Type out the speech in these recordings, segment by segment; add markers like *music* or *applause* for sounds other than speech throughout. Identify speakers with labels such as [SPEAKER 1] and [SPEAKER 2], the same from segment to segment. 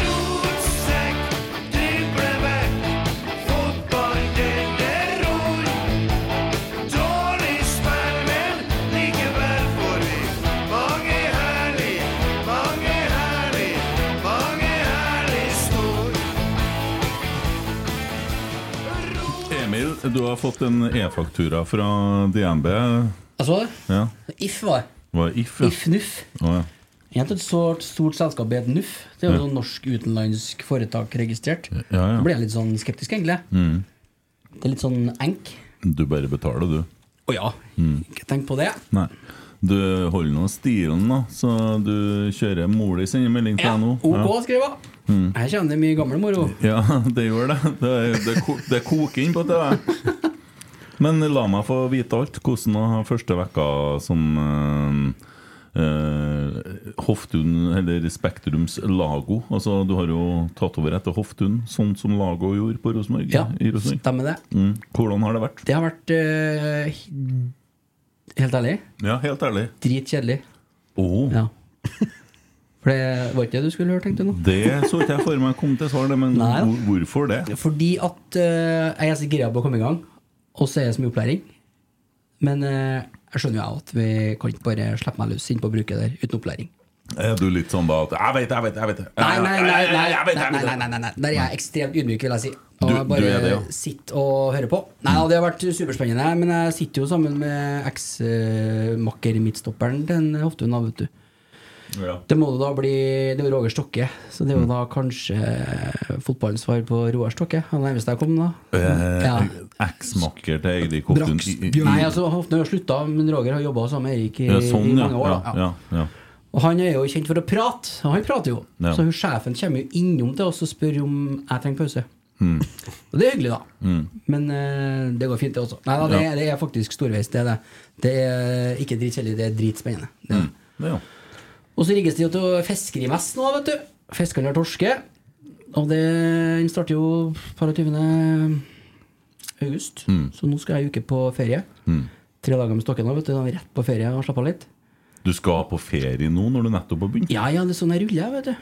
[SPEAKER 1] Rotsekk, driblevekk, fotball det er ror. Dårlig spill, men likevel får vi mange herlig, mange herlig, mange herlig snor.
[SPEAKER 2] Emil, du har fått en e-faktura fra DNB.
[SPEAKER 3] Jeg så det.
[SPEAKER 2] Ja,
[SPEAKER 3] If var det.
[SPEAKER 2] Hva er if? ja?
[SPEAKER 3] If Nuff.
[SPEAKER 2] Å, ja.
[SPEAKER 3] Egentlig et stort, stort selskap het Nuff. Det er jo
[SPEAKER 2] Ja.
[SPEAKER 3] sånn norsk utenlandsk foretak registrert.
[SPEAKER 2] ja,
[SPEAKER 3] Da
[SPEAKER 2] ja.
[SPEAKER 3] blir jeg litt sånn skeptisk, egentlig. Det er litt sånn enk.
[SPEAKER 2] Du bare betaler, du. Mm.
[SPEAKER 3] Å ja, ikke tenk på det.
[SPEAKER 2] Nei. Du holder nå stilen, da, så du kjører mor di sin melding til
[SPEAKER 3] Ja,
[SPEAKER 2] deg nå.
[SPEAKER 3] ok, skriver jeg. Her kommer det mye gammel moro.
[SPEAKER 2] Mm. Ja, det gjør det. Det, det, ko- det koker inn på TV. Men la meg få vite alt. Hvordan har første vekka som eh, eh, Hoftun, eller Spektrums Lago Altså, du har jo tatt over etter Hoftun, sånn som Lago gjorde på Rosenborg.
[SPEAKER 3] Ja,
[SPEAKER 2] i Rosenborg.
[SPEAKER 3] stemmer det.
[SPEAKER 2] Mm. Hvordan har det vært?
[SPEAKER 3] Det har vært eh, he- Helt ærlig,
[SPEAKER 2] Ja, helt ærlig.
[SPEAKER 3] dritkjedelig.
[SPEAKER 2] Åh,
[SPEAKER 3] Ja. For det var ikke det du skulle høre, tenkte du nå?
[SPEAKER 2] Det så ikke jeg for meg kom til svar, det, men
[SPEAKER 3] Nei da.
[SPEAKER 2] hvor- hvorfor det?
[SPEAKER 3] Fordi at eh, jeg er så gira på å komme i gang, og så er det så mye opplæring. Men eh, jeg skjønner jo jeg at vi kan ikke bare slippe meg løs inn på bruket der uten opplæring.
[SPEAKER 2] Er du litt sånn da at Jeg vet, jeg vet, jeg vet det.
[SPEAKER 3] Nei, nei, nei, nei, nei,
[SPEAKER 2] Jeg
[SPEAKER 3] nei,
[SPEAKER 2] vet, jeg
[SPEAKER 3] nei,
[SPEAKER 2] vet
[SPEAKER 3] nei,
[SPEAKER 2] det.
[SPEAKER 3] nei, nei. Der er jeg ekstremt ydmyk, vil jeg si.
[SPEAKER 2] Du-
[SPEAKER 3] Og
[SPEAKER 2] du
[SPEAKER 3] jeg bare
[SPEAKER 2] er det, ja.
[SPEAKER 3] sitter og hører på. Nei, ja, Det har vært superspennende, men jeg sitter jo sammen med eh, eksmakker-midtstopperen til en Hoftun. da, vet du.
[SPEAKER 2] Ja. Mm.
[SPEAKER 3] Det må jo da bli Det er jo Roger Stokke, så det er jo da kanskje fotballens svar på Roar Stokke. Han er nærmest jeg kom, da. Ja.
[SPEAKER 2] Eh, Eksmakker til Eirik Hoftun.
[SPEAKER 3] Braks.
[SPEAKER 2] i- i- i-
[SPEAKER 3] Nei, altså Hoftun har jo slutta, men Roger har jobba sammen med Erik i,
[SPEAKER 2] ja, sånn,
[SPEAKER 3] i
[SPEAKER 2] ja.
[SPEAKER 3] mange år.
[SPEAKER 2] ja,
[SPEAKER 3] da.
[SPEAKER 2] ja, ja.
[SPEAKER 3] Og han er jo kjent for å prate, og han prater jo.
[SPEAKER 2] Ja.
[SPEAKER 3] Så hun sjefen kommer jo innom til oss og spør om jeg trenger pause.
[SPEAKER 2] Mm.
[SPEAKER 3] Og det er hyggelig, da. Men eh, det går fint, det også. Nei da, det,
[SPEAKER 2] Ja.
[SPEAKER 3] det er faktisk storveis. Det er det. Det er ikke dritkjedelig, det er dritspennende. Det. er det.
[SPEAKER 2] Det, ja.
[SPEAKER 3] Og så rigges det jo til fiskerimess nå, vet du. Fiskeren har torske. Og det, den starter jo 22. august,
[SPEAKER 2] Mm.
[SPEAKER 3] så nå skal jeg en uke på ferie. Tre dager med stokken nå, vet du. Da er vi rett på ferie og slapper av litt.
[SPEAKER 2] Du skal på ferie nå når du nettopp har begynt?
[SPEAKER 3] Ja, ja, det er sånn jeg ruller, vet du.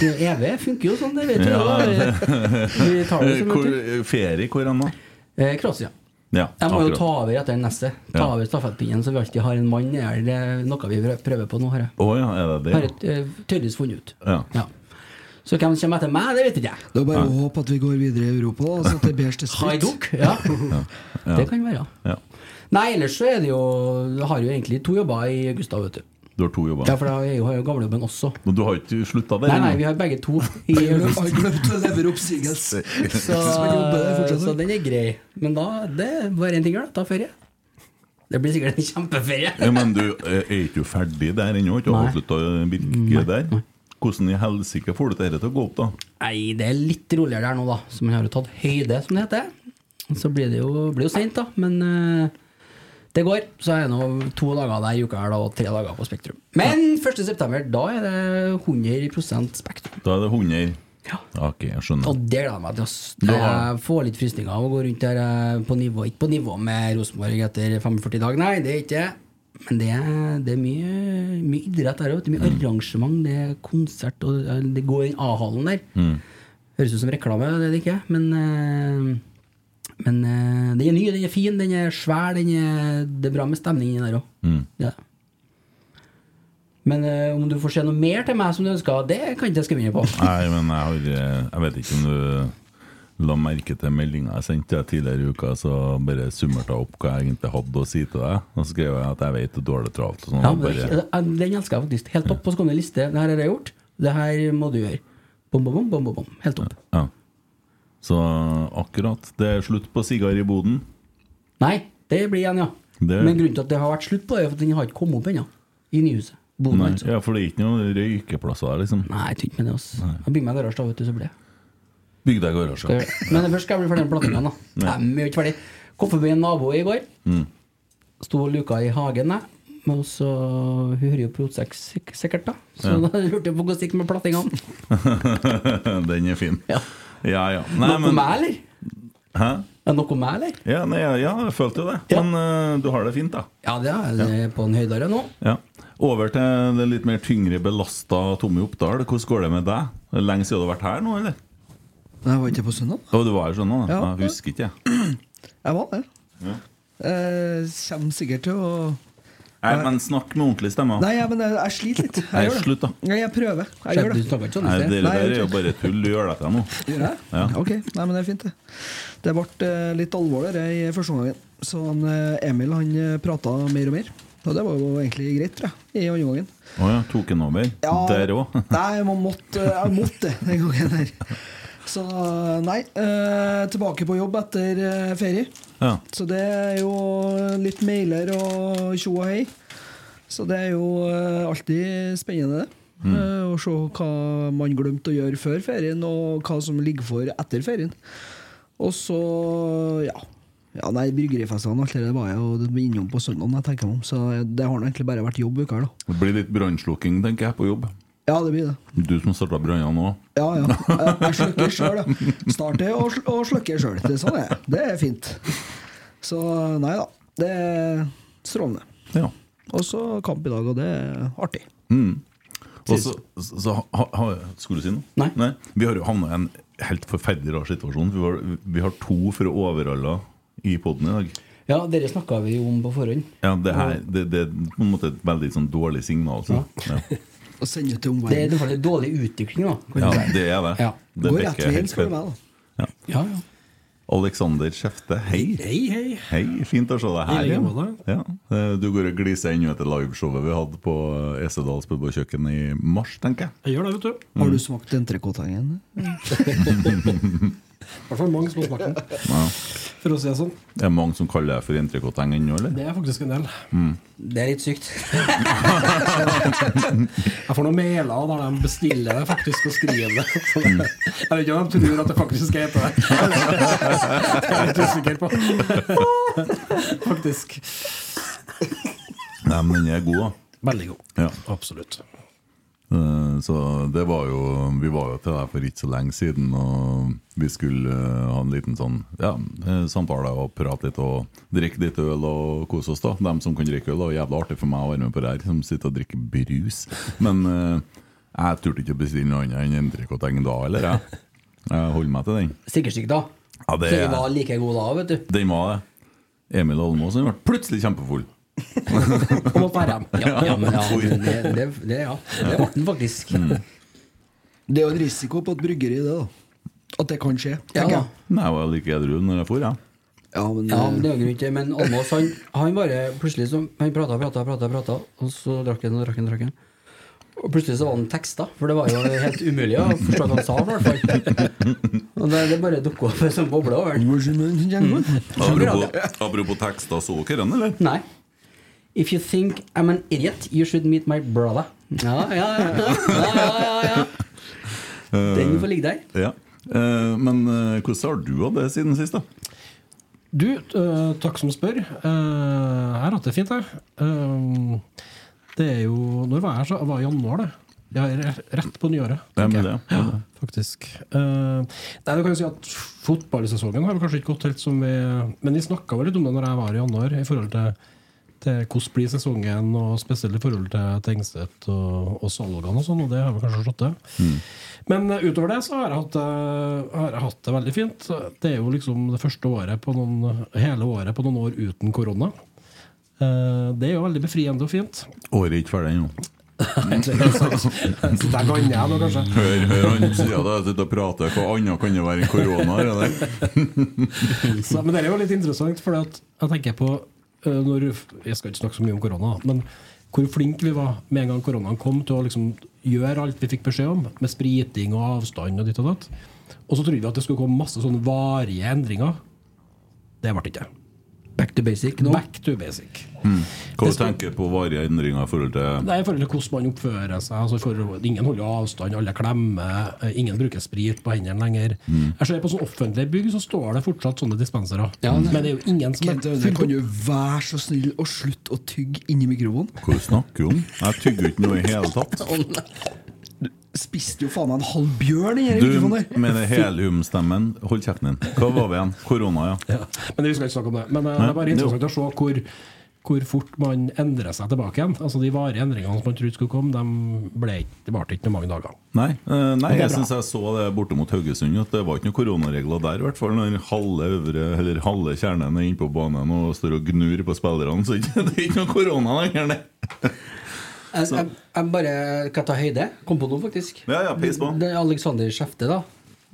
[SPEAKER 3] Det EV funker jo sånn, det vet du.
[SPEAKER 2] Ja.
[SPEAKER 3] *laughs* da. Vi tar det
[SPEAKER 2] Eh,
[SPEAKER 3] som
[SPEAKER 2] Hvor,
[SPEAKER 3] vet du.
[SPEAKER 2] eh, ferie hvor enn da?
[SPEAKER 3] Eh, Kroatia.
[SPEAKER 2] Ja,
[SPEAKER 3] Jeg må jo
[SPEAKER 2] akkurat.
[SPEAKER 3] ta over etter den neste. Ta
[SPEAKER 2] Ja.
[SPEAKER 3] over stafettpinnen, så vi alltid har en mann. Det er det noe vi prøver på nå, har jeg.
[SPEAKER 2] Å ja, er det det?
[SPEAKER 3] Har jeg eh, tydeligvis funnet ut.
[SPEAKER 2] Ja.
[SPEAKER 3] Ja. Så hvem som kommer etter meg, det vet ikke jeg.
[SPEAKER 4] Det er bare å håpe at vi går videre i Europa, da, så at det bæres til sprit. *laughs*
[SPEAKER 3] Hajduk? Ja. Det kan være.
[SPEAKER 2] Ja.
[SPEAKER 3] Nei, ellers så er det jo Jeg har jo egentlig to jobber i Gustav, vet du.
[SPEAKER 2] Du har to jobber.
[SPEAKER 3] Ja, for da er jo, har jeg jo gamlejobben også.
[SPEAKER 2] Men du har ikke slutta der?
[SPEAKER 3] Nei, nei,
[SPEAKER 2] ennå?
[SPEAKER 3] vi har begge to
[SPEAKER 4] *laughs*
[SPEAKER 3] i
[SPEAKER 4] Jeg
[SPEAKER 3] august.
[SPEAKER 4] har glemt å levere oppsigelse. *laughs*
[SPEAKER 3] Så,
[SPEAKER 4] man jobber der fortsatt, da.
[SPEAKER 3] så den er grei. Men da det er bare én ting å gjøre, ta ferie. Det blir sikkert en kjempeferie.
[SPEAKER 2] Ja, men du eh, er ikke jo ferdig der ennå? Ikke
[SPEAKER 3] Nei.
[SPEAKER 2] avslutta virket der? Hvordan i helsike får du dette til å gå opp, da?
[SPEAKER 3] Nei, det er litt roligere der nå, da. Så man har jo tatt høyde, som det heter. Så blir det jo, blir jo seint, da. Men eh, Det går, så er det nå to dager der i uka her da, og tre dager på Spektrum. Men 1. september, da er det 100 Spektrum.
[SPEAKER 2] Da er det 100.
[SPEAKER 3] Ja.
[SPEAKER 2] Ok, jeg skjønner.
[SPEAKER 3] Og det gleder jeg meg til. ass.
[SPEAKER 2] Du har-
[SPEAKER 3] Jeg får litt frysninger av å gå rundt der eh, på nivå, ikke på nivå med Rosenborg etter 45 dager, nei, det er ikke det. Men det er, det er mye, mye idrett der òg. Mye arrangement, det er konsert, og eh, det går i A-hallen der. Høres ut som reklame, det er det ikke, men eh, men eh, den er ny, den er fin, den er svær, den er, det er bra med stemning inni der òg. Ja. Men eh, om du får se noe mer til meg som du ønsker, det kan ikke jeg skrive under på.
[SPEAKER 2] Nei, men jeg har eh, Jeg vet ikke om du la merke til meldinga jeg sendte deg tidligere i uka, så bare summerte jeg opp hva jeg egentlig hadde å si til deg. Og så skrev jeg at jeg vet at du har det travelt og sånn.
[SPEAKER 3] Ja,
[SPEAKER 2] og
[SPEAKER 3] men det,
[SPEAKER 2] bare,
[SPEAKER 3] eh, den elsker jeg faktisk. Helt topp. Og så kom det en liste. Det her har jeg gjort. Det her må du gjøre. Bom, bom, bom, bom, bom, bom. Helt topp.
[SPEAKER 2] ja. Så akkurat. Det er slutt på sigar i boden.
[SPEAKER 3] Nei, det blir igjen, ja.
[SPEAKER 2] Det-
[SPEAKER 3] Men grunnen til at det har vært slutt på det, er for at den har ikke kommet opp ennå. I nyhuset. Boden,
[SPEAKER 2] Nei,
[SPEAKER 3] altså.
[SPEAKER 2] ja, for det er ikke noen røykeplasser der, liksom.
[SPEAKER 3] Nei, jeg tror ikke med det, altså. Jeg bygger meg en garasje, da, vet du, så blir det.
[SPEAKER 2] Bygg deg garasje.
[SPEAKER 3] Skal jeg- Men først skal jeg bli ferdig med plantinga, da. Nei, vi er jo ikke ferdig. Kom forbi en nabo i går. Sto og luka i hagen, jeg. Og så, Hun hører jo Protsex sik- sikkert, da. *laughs* Så da lurte jeg på hvordan det gikk med plattingene.
[SPEAKER 2] *laughs* Den er fin.
[SPEAKER 3] Ja.
[SPEAKER 2] ja. ja. Nei,
[SPEAKER 3] Noe
[SPEAKER 2] men-
[SPEAKER 3] meg, eller?
[SPEAKER 2] Hæ?
[SPEAKER 3] Er det noe meg, eller?
[SPEAKER 2] Ja, nei, ja, jeg følte jo det.
[SPEAKER 3] Ja.
[SPEAKER 2] Men eh, du har det fint, da.
[SPEAKER 3] Ja, det er jeg på en høydere nå.
[SPEAKER 2] Ja. Over til Eh, det litt mer tyngre belasta Tommy Oppdal. Hvordan går det med deg? Det er Lenge siden du har vært her nå, eller?
[SPEAKER 5] Nei, Jeg var ikke på søndag.
[SPEAKER 2] Å, du var her sånn nå? da.
[SPEAKER 5] Ja.
[SPEAKER 2] Jeg husker ikke. jeg.
[SPEAKER 5] Jeg var det. Jeg kommer sikkert til å
[SPEAKER 2] Nei, men snakk med ordentlig stemme.
[SPEAKER 5] Nei, ja, men jeg, jeg sliter litt.
[SPEAKER 2] Nei,
[SPEAKER 5] Jeg gjør det.
[SPEAKER 2] slutt, da.
[SPEAKER 5] Nei, jeg prøver. Jeg gjør
[SPEAKER 3] Skjedde,
[SPEAKER 5] det.
[SPEAKER 3] du snakket ikke sånn
[SPEAKER 2] Nei,
[SPEAKER 3] i
[SPEAKER 2] det
[SPEAKER 3] sted.
[SPEAKER 5] Nei,
[SPEAKER 2] der er
[SPEAKER 5] jeg
[SPEAKER 2] jo bare tull. Du gjør deg til nå.
[SPEAKER 5] *laughs* Gjør jeg?
[SPEAKER 2] Ja.
[SPEAKER 5] Ok, nei, men det er fint det. Det ble eh, litt alvorligere i første omgangen. Så han, eh, Emil han eh, prata mer og mer. Og det var jo egentlig greit, tror jeg, i andre omgangen.
[SPEAKER 2] Å ja, tok han over?
[SPEAKER 5] Ja,
[SPEAKER 2] Der òg?
[SPEAKER 5] Nei, jeg må- måtte, jeg måtte det den gangen der. Så nei. eh, tilbake på jobb etter eh, ferie.
[SPEAKER 2] Ja.
[SPEAKER 5] Så det er jo litt mailer og tjo og hei. Så det er jo eh, alltid spennende, det. Eh, Å se hva man glemte å gjøre før ferien, og hva som ligger for etter ferien. Og så, ja. ja nei, Bryggerifestene og alt det der var jeg jo innom på søndagen, jeg tenker meg om. Så det har nå egentlig bare vært jobb uka her, da.
[SPEAKER 2] Det blir litt brannslukking, tenker jeg, på jobb.
[SPEAKER 5] Ja, det blir det.
[SPEAKER 2] Du som starta brannene nå
[SPEAKER 5] Ja, ja. Jeg, jeg slukker sjøl, da. Starter og, sl og slukker sjøl. Det er sånn det er. Det er fint. Så nei da. Det er strålende.
[SPEAKER 2] Ja.
[SPEAKER 5] Og så kamp i dag, og det er artig.
[SPEAKER 2] Og så, så, så ha, ha, Skulle du si noe?
[SPEAKER 3] Nei.
[SPEAKER 2] Vi har jo havna i en helt forferdelig rar situasjon. Vi, var, vi har to fra Overhalla i poden i dag.
[SPEAKER 3] Ja, dere snakka vi jo om på forhånd.
[SPEAKER 2] Ja, det her det, det er på en måte et veldig sånn dårlig signal. Så. Ja.
[SPEAKER 5] Og sende ut til
[SPEAKER 3] Det er i
[SPEAKER 5] omverdenen.
[SPEAKER 3] hvert fall en dårlig utvikling, da. kan du
[SPEAKER 2] ja,
[SPEAKER 3] si.
[SPEAKER 2] det er det.
[SPEAKER 3] Ja.
[SPEAKER 2] det
[SPEAKER 5] Går
[SPEAKER 2] dekker
[SPEAKER 5] rett veien,
[SPEAKER 2] helt
[SPEAKER 5] spør du
[SPEAKER 2] feil.
[SPEAKER 5] meg. da
[SPEAKER 3] ja, ja.
[SPEAKER 2] Alexander Skjefte, hei.
[SPEAKER 6] Hei, hei.
[SPEAKER 2] Hei, Fint altså. å se deg her.
[SPEAKER 6] I like
[SPEAKER 2] igjen.
[SPEAKER 6] måte.
[SPEAKER 2] Ja. Eh, Du går og gliser ennå etter liveshowet vi hadde på Esedals pub og kjøkken i mars, tenker jeg. Mm.
[SPEAKER 6] Jeg gjør det, vet du.
[SPEAKER 5] Har du smakt entrecôte-tangen?
[SPEAKER 6] *laughs* I hvert fall mange som har smakt den. For å si det sånn.
[SPEAKER 2] Det er mange som kaller deg for entrecôteheng ennå, eller? Mm.
[SPEAKER 6] Det er faktisk en del.
[SPEAKER 3] Det er litt sykt.
[SPEAKER 6] *laughs* Jeg får noen mailer der de bestiller det faktisk og skriver det. Så
[SPEAKER 2] Mm.
[SPEAKER 6] det- Jeg vet ikke om de tror at det faktisk er
[SPEAKER 2] *laughs*
[SPEAKER 6] på det. Det er jeg litt usikker på. Faktisk.
[SPEAKER 2] Nei, men den er god, da.
[SPEAKER 6] Veldig god.
[SPEAKER 2] Ja.
[SPEAKER 6] Absolutt.
[SPEAKER 2] Eh, Så det var jo Vi var jo til deg for ikke så lenge siden, og vi skulle eh, ha en liten sånn ja, eh, samtale og prate litt og drikke litt øl og kose oss, da. Dem som kan drikke øl, og jævla artig for meg å være med på det her, som sitter og drikker brus. Men eh, jeg turte ikke å bestille noe annet enn entrecôte da, eller? Jeg, jeg holder meg til den.
[SPEAKER 3] Sikkerstykk, da.
[SPEAKER 2] Ja, det
[SPEAKER 3] Så
[SPEAKER 2] er-
[SPEAKER 3] jeg var like god da, vet du.
[SPEAKER 2] Den var det. Emil Almås han ble plutselig
[SPEAKER 3] *laughs*
[SPEAKER 2] kjempefull.
[SPEAKER 3] Og måtte være hjem. Ja, ja, men ja, det, det, det, ja. det ble den faktisk.
[SPEAKER 2] Mm.
[SPEAKER 5] Det er jo en risiko på et bryggeri, det. da At det kan skje.
[SPEAKER 3] Ja,
[SPEAKER 5] tenker
[SPEAKER 3] da.
[SPEAKER 5] jeg.
[SPEAKER 2] Nei, jeg var like edru når jeg for, ja.
[SPEAKER 5] ja men,
[SPEAKER 3] ja, men det er jo grunn til Men Almås, han, han bare plutselig så, Han prata, prata, prata, prata, og så drakk han og drakk han. drakk han. Og plutselig så var han teksta, for det var jo helt umulig å forstå hva han sa. i hvert
[SPEAKER 2] *laughs*
[SPEAKER 3] fall. Og det, det bare dukka opp en sånn boble over den.
[SPEAKER 2] Apropos, apropos tekster, så dere den, eller?
[SPEAKER 3] Nei. If you think I'm an idiot, you should meet my brother. Ja, ja, ja. ja, ja, ja, ja. Den får ligge der.
[SPEAKER 2] Ja. Eh, men eh, hvordan har du hatt det siden sist, da?
[SPEAKER 6] Du, eh, takk som spør. Eh, jeg har hatt det fint, jeg. Eh, det er jo Når var jeg her? så? Jeg var i januar, det. Jeg er re- rett på nyåret.
[SPEAKER 2] Det er
[SPEAKER 6] tenker
[SPEAKER 2] med
[SPEAKER 6] jeg.
[SPEAKER 2] det, det er med det.
[SPEAKER 6] Faktisk. Eh, nei, du kan jo si at fotballsesongen har vel kanskje ikke gått helt som vi Men vi snakka vel litt om det når jeg var i januar, i forhold til, til hvordan blir sesongen, og spesielt i forhold til Tengstedt og, og salgene og sånn, og det har vi kanskje slått til. Men eh, utover det så har jeg, hatt, det- har jeg hatt det veldig fint. Det er jo liksom det første året på noen, hele året på noen år uten korona. Eh, Det er jo veldig befriende og fint.
[SPEAKER 2] Året er ikke ferdig ennå.
[SPEAKER 6] Så der kan jeg nå, kanskje.
[SPEAKER 2] Hør, hør, han sier at jeg sitter og prater. Hva annet kan det være enn korona? er det det?
[SPEAKER 6] Så, men det er jo litt interessant, for jeg tenker på eh, når, Jeg skal ikke snakke så mye om korona, men hvor flinke vi var med en gang koronaen kom, til å liksom gjøre alt vi fikk beskjed om, med spriting og avstand og ditt og datt. Og så trodde vi at det skulle komme masse sånne varige endringer. Det ble det ikke.
[SPEAKER 3] Back to basic nå.
[SPEAKER 6] Back to basic.
[SPEAKER 2] Hva tenker du på varige endringer i forhold til
[SPEAKER 6] Det er i forhold til hvordan man oppfører seg. Altså i forhold, ingen holder avstand, alle klemmer, eh, ingen bruker sprit på hendene lenger.
[SPEAKER 2] Mm.
[SPEAKER 6] Jeg ser På sånne offentlige bygg så står det fortsatt sånne dispensere. Men det er jo ingen som
[SPEAKER 4] Kent
[SPEAKER 6] er
[SPEAKER 4] Aune, kan du være så snill å slutte å tygge inni mikrofonen?
[SPEAKER 2] Hva du snakker om? Jeg tygger ikke noe i hele
[SPEAKER 4] *laughs*
[SPEAKER 2] tatt.
[SPEAKER 4] Spiste jo faen meg en halv bjørn i den
[SPEAKER 2] Du,
[SPEAKER 4] mikrofonen der!
[SPEAKER 2] med den helhumstemmen Hold kjeften din. Hva var vi igjen? Korona, ja.
[SPEAKER 6] Ja. Men vi skal ikke snakke om det. Men eh, det er bare
[SPEAKER 2] Nei,
[SPEAKER 6] interessant å se hvor, hvor fort man endrer seg tilbake igjen. Altså De varige endringene som man trodde skulle komme, de ble ikke, det varte ikke noe mange dager.
[SPEAKER 2] Nei, eh, nei
[SPEAKER 6] Og det er
[SPEAKER 2] jeg
[SPEAKER 6] bra.
[SPEAKER 2] syns jeg så det borte mot Haugesund. At det var ikke noen koronaregler der, i hvert fall. Når halve, øvre, eller halve kjernen er inne på banen og står og gnur på spillerne, så ikke- *laughs* det er ikke noe korona lenger. nei.
[SPEAKER 3] Jeg, jeg, jeg bare kan ta høyde. Kom på noe, faktisk.
[SPEAKER 2] Ja, ja, pis på.
[SPEAKER 3] Det er Alexander Skjefte, da.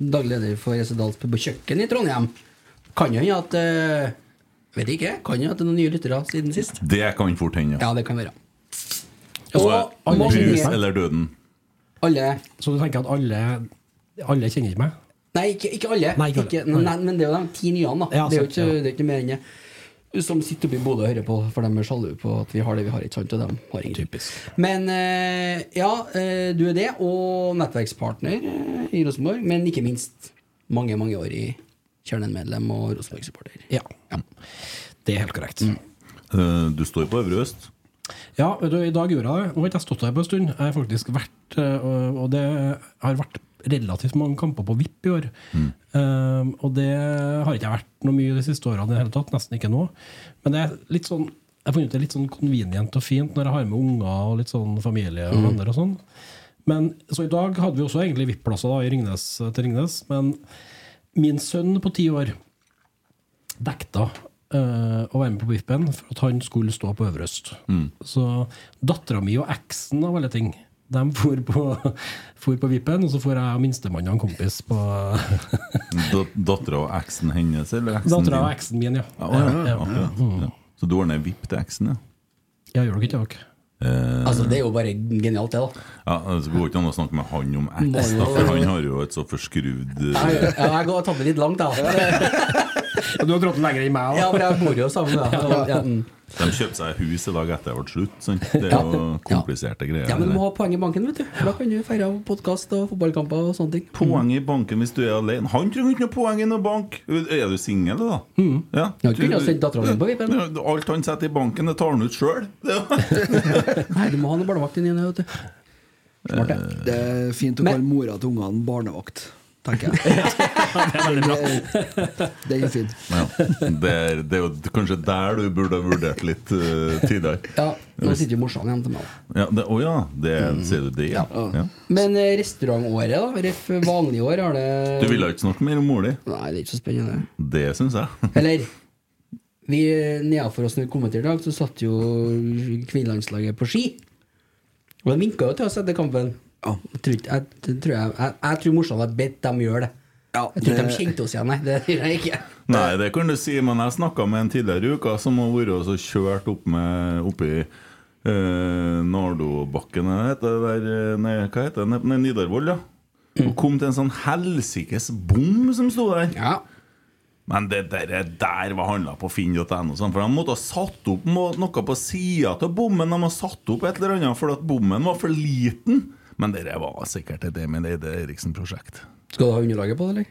[SPEAKER 3] Daglig leder for Resedals pub og kjøkken i Trondheim. Kan jo hende at eh, Vet ikke. Kan jo hende at det er noen nye lyttere siden sist.
[SPEAKER 2] Det kan fort hende, ja.
[SPEAKER 3] Ja, det kan være.
[SPEAKER 2] Og
[SPEAKER 3] Og
[SPEAKER 2] eh,
[SPEAKER 3] alle,
[SPEAKER 2] Hus
[SPEAKER 3] kjenner-
[SPEAKER 2] eller døden.
[SPEAKER 3] alle
[SPEAKER 6] Så du tenker at alle, alle kjenner ikke meg?
[SPEAKER 3] Nei, ikke, ikke alle.
[SPEAKER 6] Nei, ikke alle.
[SPEAKER 3] Ikke, nei, men det er jo de ti nyene, da.
[SPEAKER 6] Ja,
[SPEAKER 3] det, er jo
[SPEAKER 6] sant,
[SPEAKER 3] ikke,
[SPEAKER 6] ja.
[SPEAKER 3] det er ikke mer enn det. Som sitter oppe i Bodø og hører på, for de er sjalu på at vi har det vi har. ikke sant? Og de har ingen. Men eh, ja, eh, du er det, og nettverkspartner eh, i Rosenborg. Men ikke minst mange, mange år i Kjernen-medlem og Rosenborg-supporter.
[SPEAKER 6] Ja. Det er helt korrekt.
[SPEAKER 2] Eh, Du står på Øvre Øst.
[SPEAKER 6] Ja, vet du, i dag gjorde jeg det. Nå har ikke jeg stått her på en stund. Jeg har faktisk vært eh, Og og det har vært relativt mange kamper på VIP i år.
[SPEAKER 5] Mm.
[SPEAKER 6] Um, og det har ikke jeg vært noe mye de siste årene i det hele tatt. Nesten ikke nå. Men det er litt sånn jeg har funnet ut det er litt sånn convenient og fint når jeg har med unger og litt sånn familie
[SPEAKER 5] Mm.
[SPEAKER 6] og venner. og sånn Men Så i dag hadde vi også egentlig VIP-plasser da, i Ringnes, til Ringnes. Men min sønn på ti år nekta eh, å være med på Biffen for at han skulle stå på Øverøst.
[SPEAKER 2] Mm.
[SPEAKER 6] Så dattera mi og eksen av alle ting de for på, *laughs* for på Vippen, og så får jeg og minstemann og en kompis på *laughs*
[SPEAKER 2] Da- Dattera og eksen hennes, eller eksen
[SPEAKER 6] Dattera og
[SPEAKER 2] din?
[SPEAKER 6] eksen min, ja. Mm.
[SPEAKER 2] Ja, ja, ja, ja, ja. Så du ordner VIP til eksen, ja?
[SPEAKER 6] Ja, gjør dere ikke det? dere?
[SPEAKER 2] Eh,
[SPEAKER 3] Altså, Det er jo bare genialt, det, da.
[SPEAKER 2] ja altså, det går ikke an å snakke med han om
[SPEAKER 3] Nei,
[SPEAKER 2] eksen,
[SPEAKER 3] nei,
[SPEAKER 2] for
[SPEAKER 3] nei.
[SPEAKER 2] han har jo et så forskrudd
[SPEAKER 3] Jeg,
[SPEAKER 2] eh,
[SPEAKER 3] jeg, jeg går og tabber litt langt, da.
[SPEAKER 6] Ja, Du har dratt den lenger enn meg
[SPEAKER 3] *laughs* Ja,
[SPEAKER 6] òg.
[SPEAKER 3] for jeg bor jo sammen med deg. Ja, mm.
[SPEAKER 2] De kjøpte seg hus i dag etter det ble slutt. Sant? Det er jo
[SPEAKER 3] Ja.
[SPEAKER 2] kompliserte greier.
[SPEAKER 3] Ja, men du må
[SPEAKER 2] det.
[SPEAKER 3] ha poeng i banken, vet du. For da kan du feire podkast og fotballkamper og sånne ting. Mm.
[SPEAKER 2] Poeng i banken hvis du er alene. Han trenger ikke noe poeng i noen bank! Er du singel, da? Ja.
[SPEAKER 3] Ja, du Mm. kunne ha sendt datteren din på vippen.
[SPEAKER 2] Ja, Alt han setter i banken, det tar han ut *laughs* sjøl.
[SPEAKER 3] Nei, du må ha noe barnevakt inni deg, vet du. Smart, det.
[SPEAKER 4] Det er fint å
[SPEAKER 3] Men-
[SPEAKER 4] kalle mora til ungene barnevakt, tenker jeg. Den er fin.
[SPEAKER 2] Ja. Det, er, det er jo kanskje der du burde ha vurdert litt eh, tidligere.
[SPEAKER 3] Ja, Mm. nå sitter jo morsan igjen til meg. da.
[SPEAKER 2] Ja, det, å ja, det sier du det, ja. ja.
[SPEAKER 3] Men eh, restaurantåret, da? Ref vanlige år, har det
[SPEAKER 2] Du ville ikke snakke mer om mor di.
[SPEAKER 3] Nei, det er ikke så spennende.
[SPEAKER 2] Det syns jeg. *laughs*
[SPEAKER 3] Eller vi Nedenfor oss når vi kom hit i dag, så satt jo kvinnelandslaget på ski. Og de vinka jo til oss etter kampen. Jeg tror, ikke- jeg, tror jeg, jeg, jeg tror morsan har bedt dem gjøre det.
[SPEAKER 4] Ja,
[SPEAKER 3] jeg tror ikke
[SPEAKER 4] det-
[SPEAKER 3] de kjente oss igjen, nei. Det gjør jeg ikke.
[SPEAKER 2] Nei, det kan du si, men jeg snakka med en tidligere i uka som har vært og så kjørt opp med, oppi eh, Nardobakken hva heter det der, eh, nei, hva heter det, Ned- ned Nidarvoll, ja. Og kom til en sånn helsikes bom som sto der.
[SPEAKER 3] Ja.
[SPEAKER 2] Men det der, der var handla på finn.no, sånn, for de måtte ha satt opp må- noe på sida av bommen. De har satt opp et eller annet fordi at bommen var for liten. Men det der var sikkert et Emil Eide Eriksen-prosjekt.
[SPEAKER 3] Skal du ha underlaget på det, eller?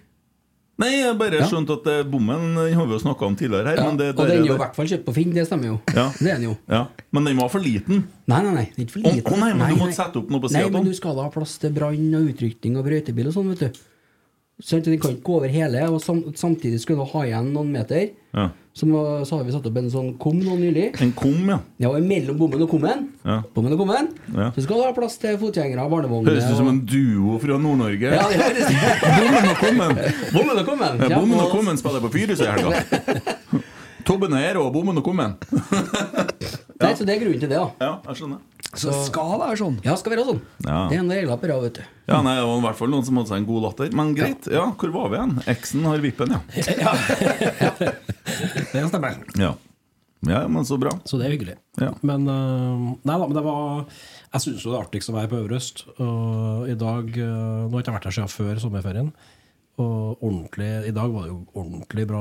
[SPEAKER 2] Nei, jeg bare
[SPEAKER 3] Ja.
[SPEAKER 2] skjønte at eh, bommen den har vi jo snakka om tidligere her.
[SPEAKER 3] Ja,
[SPEAKER 2] men det,
[SPEAKER 3] og den er jo
[SPEAKER 2] det-
[SPEAKER 3] i hvert fall kjøpt på Finn, det stemmer jo.
[SPEAKER 2] Ja.
[SPEAKER 3] Det er den jo.
[SPEAKER 2] Ja. Men den var for liten.
[SPEAKER 3] Nei, nei, nei. det er Ikke for
[SPEAKER 2] Å,
[SPEAKER 3] lite.
[SPEAKER 2] å nei, men du måtte sette opp noe på siden
[SPEAKER 3] Nei,
[SPEAKER 2] av
[SPEAKER 3] men
[SPEAKER 2] den.
[SPEAKER 3] du skal da ha plass til brann og utrykning og brøytebil og sånn, vet du. Sånn at Den kan ikke gå over hele, og sam samtidig skulle du ha igjen noen meter.
[SPEAKER 2] Ja.
[SPEAKER 3] Så, må, så har vi satt opp en sånn kom nå nylig.
[SPEAKER 2] En kom, ja.
[SPEAKER 3] Ja, og mellom bommen og kommen,
[SPEAKER 2] Ja.
[SPEAKER 3] bommen og kommen
[SPEAKER 2] Ja.
[SPEAKER 3] så skal du ha plass til fotgjengere og barnevogner.
[SPEAKER 2] Høres ut som
[SPEAKER 3] og-
[SPEAKER 2] en duo fra Nord-Norge.
[SPEAKER 3] ja, det høres
[SPEAKER 2] *laughs* Bommen og kommen.
[SPEAKER 3] Bommen og kommen!
[SPEAKER 2] Ja, bommen og
[SPEAKER 3] og-
[SPEAKER 2] kommen spiller på Fyrisøy i helga.
[SPEAKER 3] *laughs*
[SPEAKER 2] Tobben er her og bommen og kommen.
[SPEAKER 3] Nei, så det er grunnen til det, da.
[SPEAKER 2] Ja, jeg skjønner.
[SPEAKER 4] Så det skal være sånn.
[SPEAKER 3] Ja, skal være sånn.
[SPEAKER 2] Ja.
[SPEAKER 3] Det er noen regler på det, vet du.
[SPEAKER 2] Ja, nei, Det var i hvert fall noen som hadde seg en god latter. Men greit, ja, hvor var vi igjen? Eksen har vippen, ja.
[SPEAKER 6] Det stemmer.
[SPEAKER 2] Ja, ja men så bra.
[SPEAKER 6] Så det er hyggelig.
[SPEAKER 2] Ja.
[SPEAKER 6] Men eh, Nei da, men det var Jeg syns jo det er artigst å være på Øverøst. Og i dag eh, Nå har jeg ikke vært her siden før sommerferien. Og ordentlig I dag var det jo ordentlig bra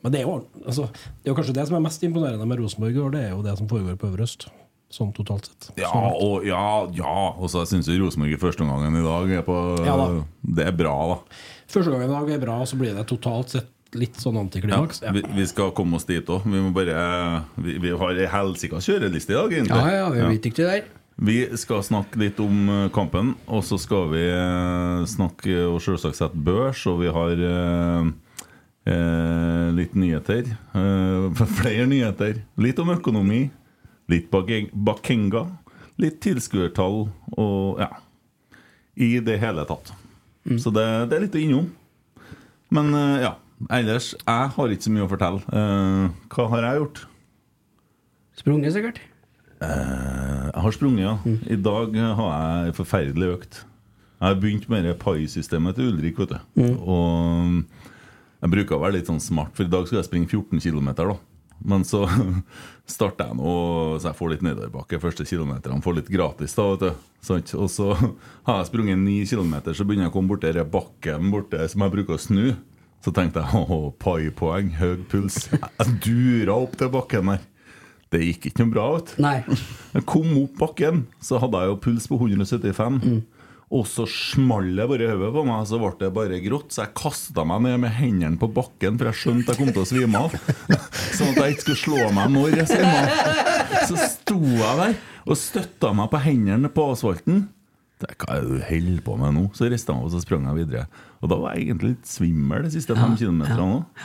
[SPEAKER 6] Men det er jo, ord- altså, det er jo kanskje det som er mest imponerende med Rosenborg i år, det er jo det som foregår på Øverøst. Sånn totalt sett.
[SPEAKER 2] Ja,
[SPEAKER 6] Så-
[SPEAKER 3] Sånn.
[SPEAKER 2] og ja, ja. Og så syns jeg Rosenborg i første omgangen i dag er på
[SPEAKER 6] Ja da.
[SPEAKER 2] Det er bra, da.
[SPEAKER 6] Første gangen i dag er bra, og så blir det totalt sett litt sånn antiklimaks.
[SPEAKER 2] Vi, vi skal komme oss dit òg. Vi må bare Vi, vi har ei helsika kjøreliste i dag, egentlig.
[SPEAKER 3] Ja, ja, vi er ikke det der.
[SPEAKER 2] Vi skal snakke litt om eh, kampen, og så skal vi eh, snakke og selvsagt sette børs, og vi har eh, eh, litt nyheter. Eh, *laughs* flere nyheter. Litt om økonomi, litt bake- Bakenga, litt tilskuertall og ja. I det hele tatt. Så det, det er litt å innom. Men eh, ja. Ellers, jeg har ikke så mye å fortelle. Eh, hva har jeg gjort?
[SPEAKER 3] Sprunget, sikkert.
[SPEAKER 2] Eh, Jeg har sprunget, ja. I dag har jeg en forferdelig økt. Jeg har begynt med det pai-systemet til Ulrik, vet du. Og jeg bruker å være litt sånn smart, for i dag skal jeg springe 14 km, da. Men så *laughs* starter jeg nå, så jeg får litt nedoverbakke første kilometeren. Får litt gratis, da, vet du. Sant? Og så *laughs* har jeg sprunget 9 km, så begynner jeg å komme borti den bakken borte som jeg bruker å snu. Så tenkte jeg å, pai-poeng, høy puls. Jeg dura opp til bakken der. Det gikk ikke noe bra, vet du.
[SPEAKER 3] Nei.
[SPEAKER 2] Jeg kom opp bakken, så hadde jeg jo puls på 175. Og så small det bare i hodet på meg, så ble det bare grått. Så jeg kasta meg ned med hendene på bakken, for jeg skjønte jeg kom til å svime av. *laughs* Sånn at jeg ikke skulle slå meg når jeg svimte av. Så sto jeg der og støtta meg på hendene på asfalten. Det er Hva er det du holder på med nå? Så rista jeg meg opp og så sprang jeg videre. Og da var jeg egentlig litt svimmel de siste fem kilometerne òg.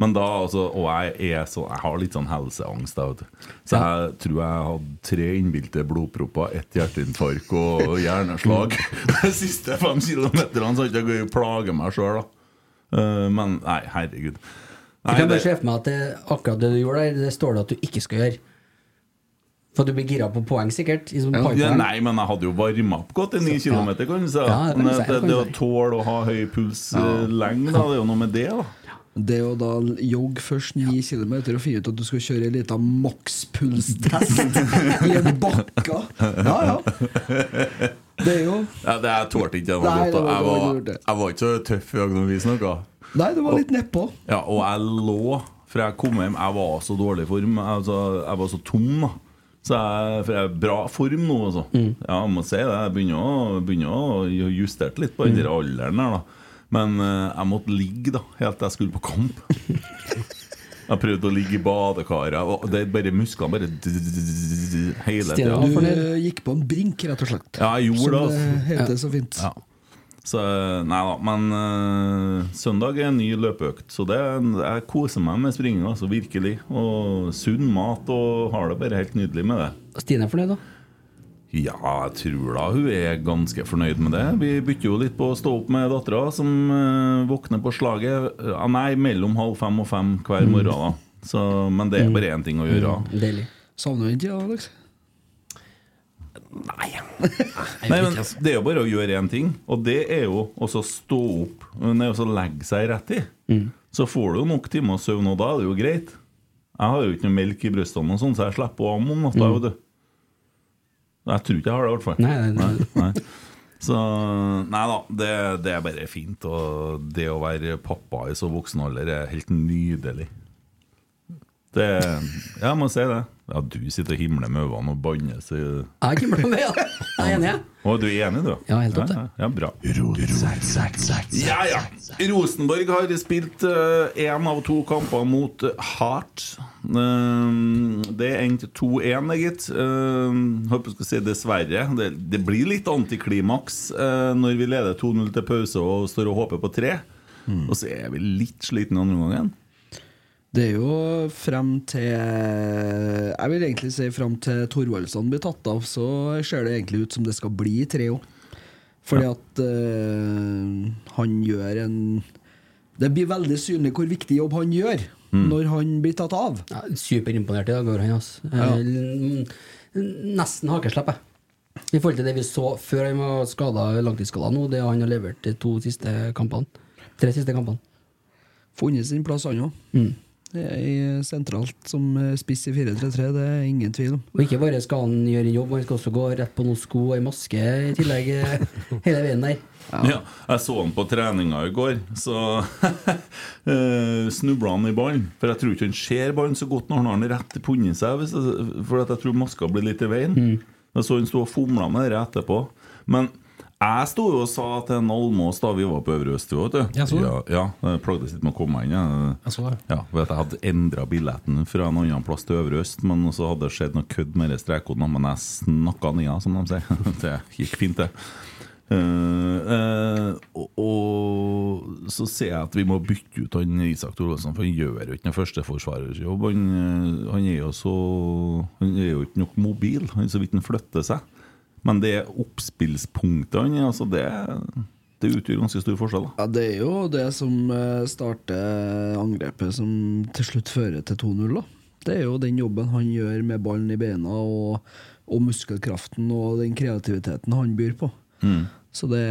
[SPEAKER 2] Men da, altså, og jeg, er så, jeg har litt sånn helseangst. Da, vet du. Så jeg tror jeg hadde tre innbilte blodpropper, ett hjerteinfarkt og hjerneslag. De siste fem kilometerne så hadde jeg ikke plaget meg sjøl, da. Eh, men nei, herregud. Nei,
[SPEAKER 3] Jeg kan bare
[SPEAKER 2] det,
[SPEAKER 3] se for meg at det, akkurat det du gjorde der, det står det at du ikke skal gjøre. For at du blir gira på poeng, sikkert. i sånn
[SPEAKER 2] ja,
[SPEAKER 3] pipeline.
[SPEAKER 2] nei, men jeg hadde jo varma opp godt i ni
[SPEAKER 3] Så- ja.
[SPEAKER 2] kilometer, kan du si. da.
[SPEAKER 3] Ja, det kan
[SPEAKER 2] Men
[SPEAKER 3] du si,
[SPEAKER 2] det, det,
[SPEAKER 3] det kan du
[SPEAKER 2] å
[SPEAKER 3] si.
[SPEAKER 2] tåle å ha høy puls eh, lenge, da, det er jo noe med det, da.
[SPEAKER 4] Det er jo da jogg først 9 km og finne ut at du skal kjøre en liten
[SPEAKER 3] *laughs*
[SPEAKER 4] makspulstest i en bakke. Ja, ja. Det er jo
[SPEAKER 2] Ja, det, jeg tålte ikke det.
[SPEAKER 4] Nei,
[SPEAKER 2] var
[SPEAKER 4] det var-
[SPEAKER 2] godt, da. Jeg
[SPEAKER 4] det var
[SPEAKER 2] var,
[SPEAKER 4] lurt, det.
[SPEAKER 2] jeg var ikke så tøff i dag når vi snakka.
[SPEAKER 4] Nei, det var litt nedpå.
[SPEAKER 2] Ja, og jeg lå For jeg kom hjem, jeg var så dårlig i form altså, Jeg var så tom da så jeg, for jeg er i bra form nå altså. Ja, jeg må si det, jeg begynner å, begynner å justere litt på den der alderen her da Men eh, jeg måtte ligge da, helt til jeg skulle på kamp Jeg prøvde å ligge i badekaret Og det er bare musklene, bare d- d- d- d- hele
[SPEAKER 3] Stille
[SPEAKER 2] tiden
[SPEAKER 3] av.
[SPEAKER 4] Du
[SPEAKER 3] fornøyd.
[SPEAKER 4] eh, gikk på en brink, rett og slett.
[SPEAKER 2] Ja, jeg gjorde det
[SPEAKER 4] Som
[SPEAKER 2] altså.
[SPEAKER 4] det heter så fint.
[SPEAKER 2] Ja. Så nei da, men eh, søndag er en ny løpeøkt, så det, jeg koser meg med springinga, altså, virkelig. Og sunn mat, og har det bare helt nydelig med det.
[SPEAKER 3] Stine er fornøyd, da.
[SPEAKER 2] Ja, jeg tror da hun er ganske fornøyd med det. Vi bytter jo litt på å stå opp med dattera, som eh, våkner på slaget ja, Nei, mellom halv fem og fem hver
[SPEAKER 3] Mm.
[SPEAKER 2] morgen, da. Så, men det er bare én ting å gjøre.
[SPEAKER 3] Deilig.
[SPEAKER 4] Savner du den tida, Alex?
[SPEAKER 6] Nei.
[SPEAKER 2] Nei, men
[SPEAKER 3] altså.
[SPEAKER 2] Det er jo bare å gjøre én ting, og det er jo også å stå opp Nei, også legge seg rett i.
[SPEAKER 3] Mm.
[SPEAKER 2] Så får du jo nok timer søvn, og da er det jo greit. Jeg har jo ikke noe melk i brystene, og sånn, så jeg slipper å amme om natta. vet du. Jeg tror ikke jeg har det, i hvert fall.
[SPEAKER 3] Mm. Nei, nei, nei.
[SPEAKER 2] Nei. Så Nei da, det, det er bare fint. Og det å være pappa i så voksen alder er helt nydelig. Det Jeg må si det. Ja, du sitter og himler med øynene og banner. så
[SPEAKER 3] Jeg har ikke vært med, ja. Jeg er enig, jeg.
[SPEAKER 2] Å, du er enig, du?
[SPEAKER 3] Ja, helt topp, det.
[SPEAKER 2] ja, ja, bra. Ja, ja. Rosenborg har spilt én av to kamper mot eh, Heart. Ehm, det endte 2-1, det, gitt. Ehm, håper jeg skal si dessverre. Det, det blir litt antiklimaks eh, når vi leder 2-0 til pause og står og håper på tre. Og så er vi litt slitne i andre omgangen.
[SPEAKER 5] Det er jo frem til Jeg vil egentlig si frem til Thorvaldsson blir tatt av, så ser det egentlig ut som det skal bli tre òg. Fordi at eh, han gjør en Det blir veldig synlig hvor viktig jobb han gjør når han blir tatt av.
[SPEAKER 3] Ja, Superimponert i dag over han. Altså. Eh, Nesten hakeslepp, jeg. I forhold til det vi så før han var skada langtidsskada nå, det han har levert de to siste kampene. Tre siste kampene.
[SPEAKER 5] Funnet sin plass, han òg. Sentralt som eh, spiss i 4-3-3, det er ingen tvil om.
[SPEAKER 3] Og ikke bare skal han gjøre en jobb, han skal også gå rett på noen sko og ei maske i tillegg eh,
[SPEAKER 6] *laughs*
[SPEAKER 3] hele veien der.
[SPEAKER 2] Ja. jeg så han på treninga i går, så *laughs* eh, snubla han i ballen. For jeg tror ikke han ser ballen så godt når han har den rett i punnen seg, hvis det- for at jeg tror maska blir litt i veien.
[SPEAKER 3] Mm.
[SPEAKER 2] Jeg så han sto og fomla med det etterpå. Men jeg sto jo og sa til en Almås da vi var på Øvre Østvå, vet du.
[SPEAKER 6] Jeg så det.
[SPEAKER 2] Ja, ja, jeg plagdes litt med å komme meg inn. Jeg.
[SPEAKER 6] Jeg så det.
[SPEAKER 2] Ja, for at jeg hadde endra billetten fra en annen plass til Øvre Øst, men så hadde det skjedd noe kødd med de strekkodene, men jeg snakka nia, som de sier. *laughs* Det gikk fint, det. Eh, eh, og, og så ser jeg at vi må bytte ut han Isak Thorvaldsen, for han gjør jo ikke noe førsteforsvarerjobb. Han, eh, han er jo så Han er jo ikke nok mobil, han er så vidt han flytter seg. Men det oppspillspunktet han er, altså det, det utgjør ganske stor forskjell. da
[SPEAKER 5] Ja, Det er jo det som eh, starter angrepet som til slutt fører til 2-0. da. Det er jo den jobben han gjør med ballen i beina og, og muskelkraften og den kreativiteten han byr på. Så det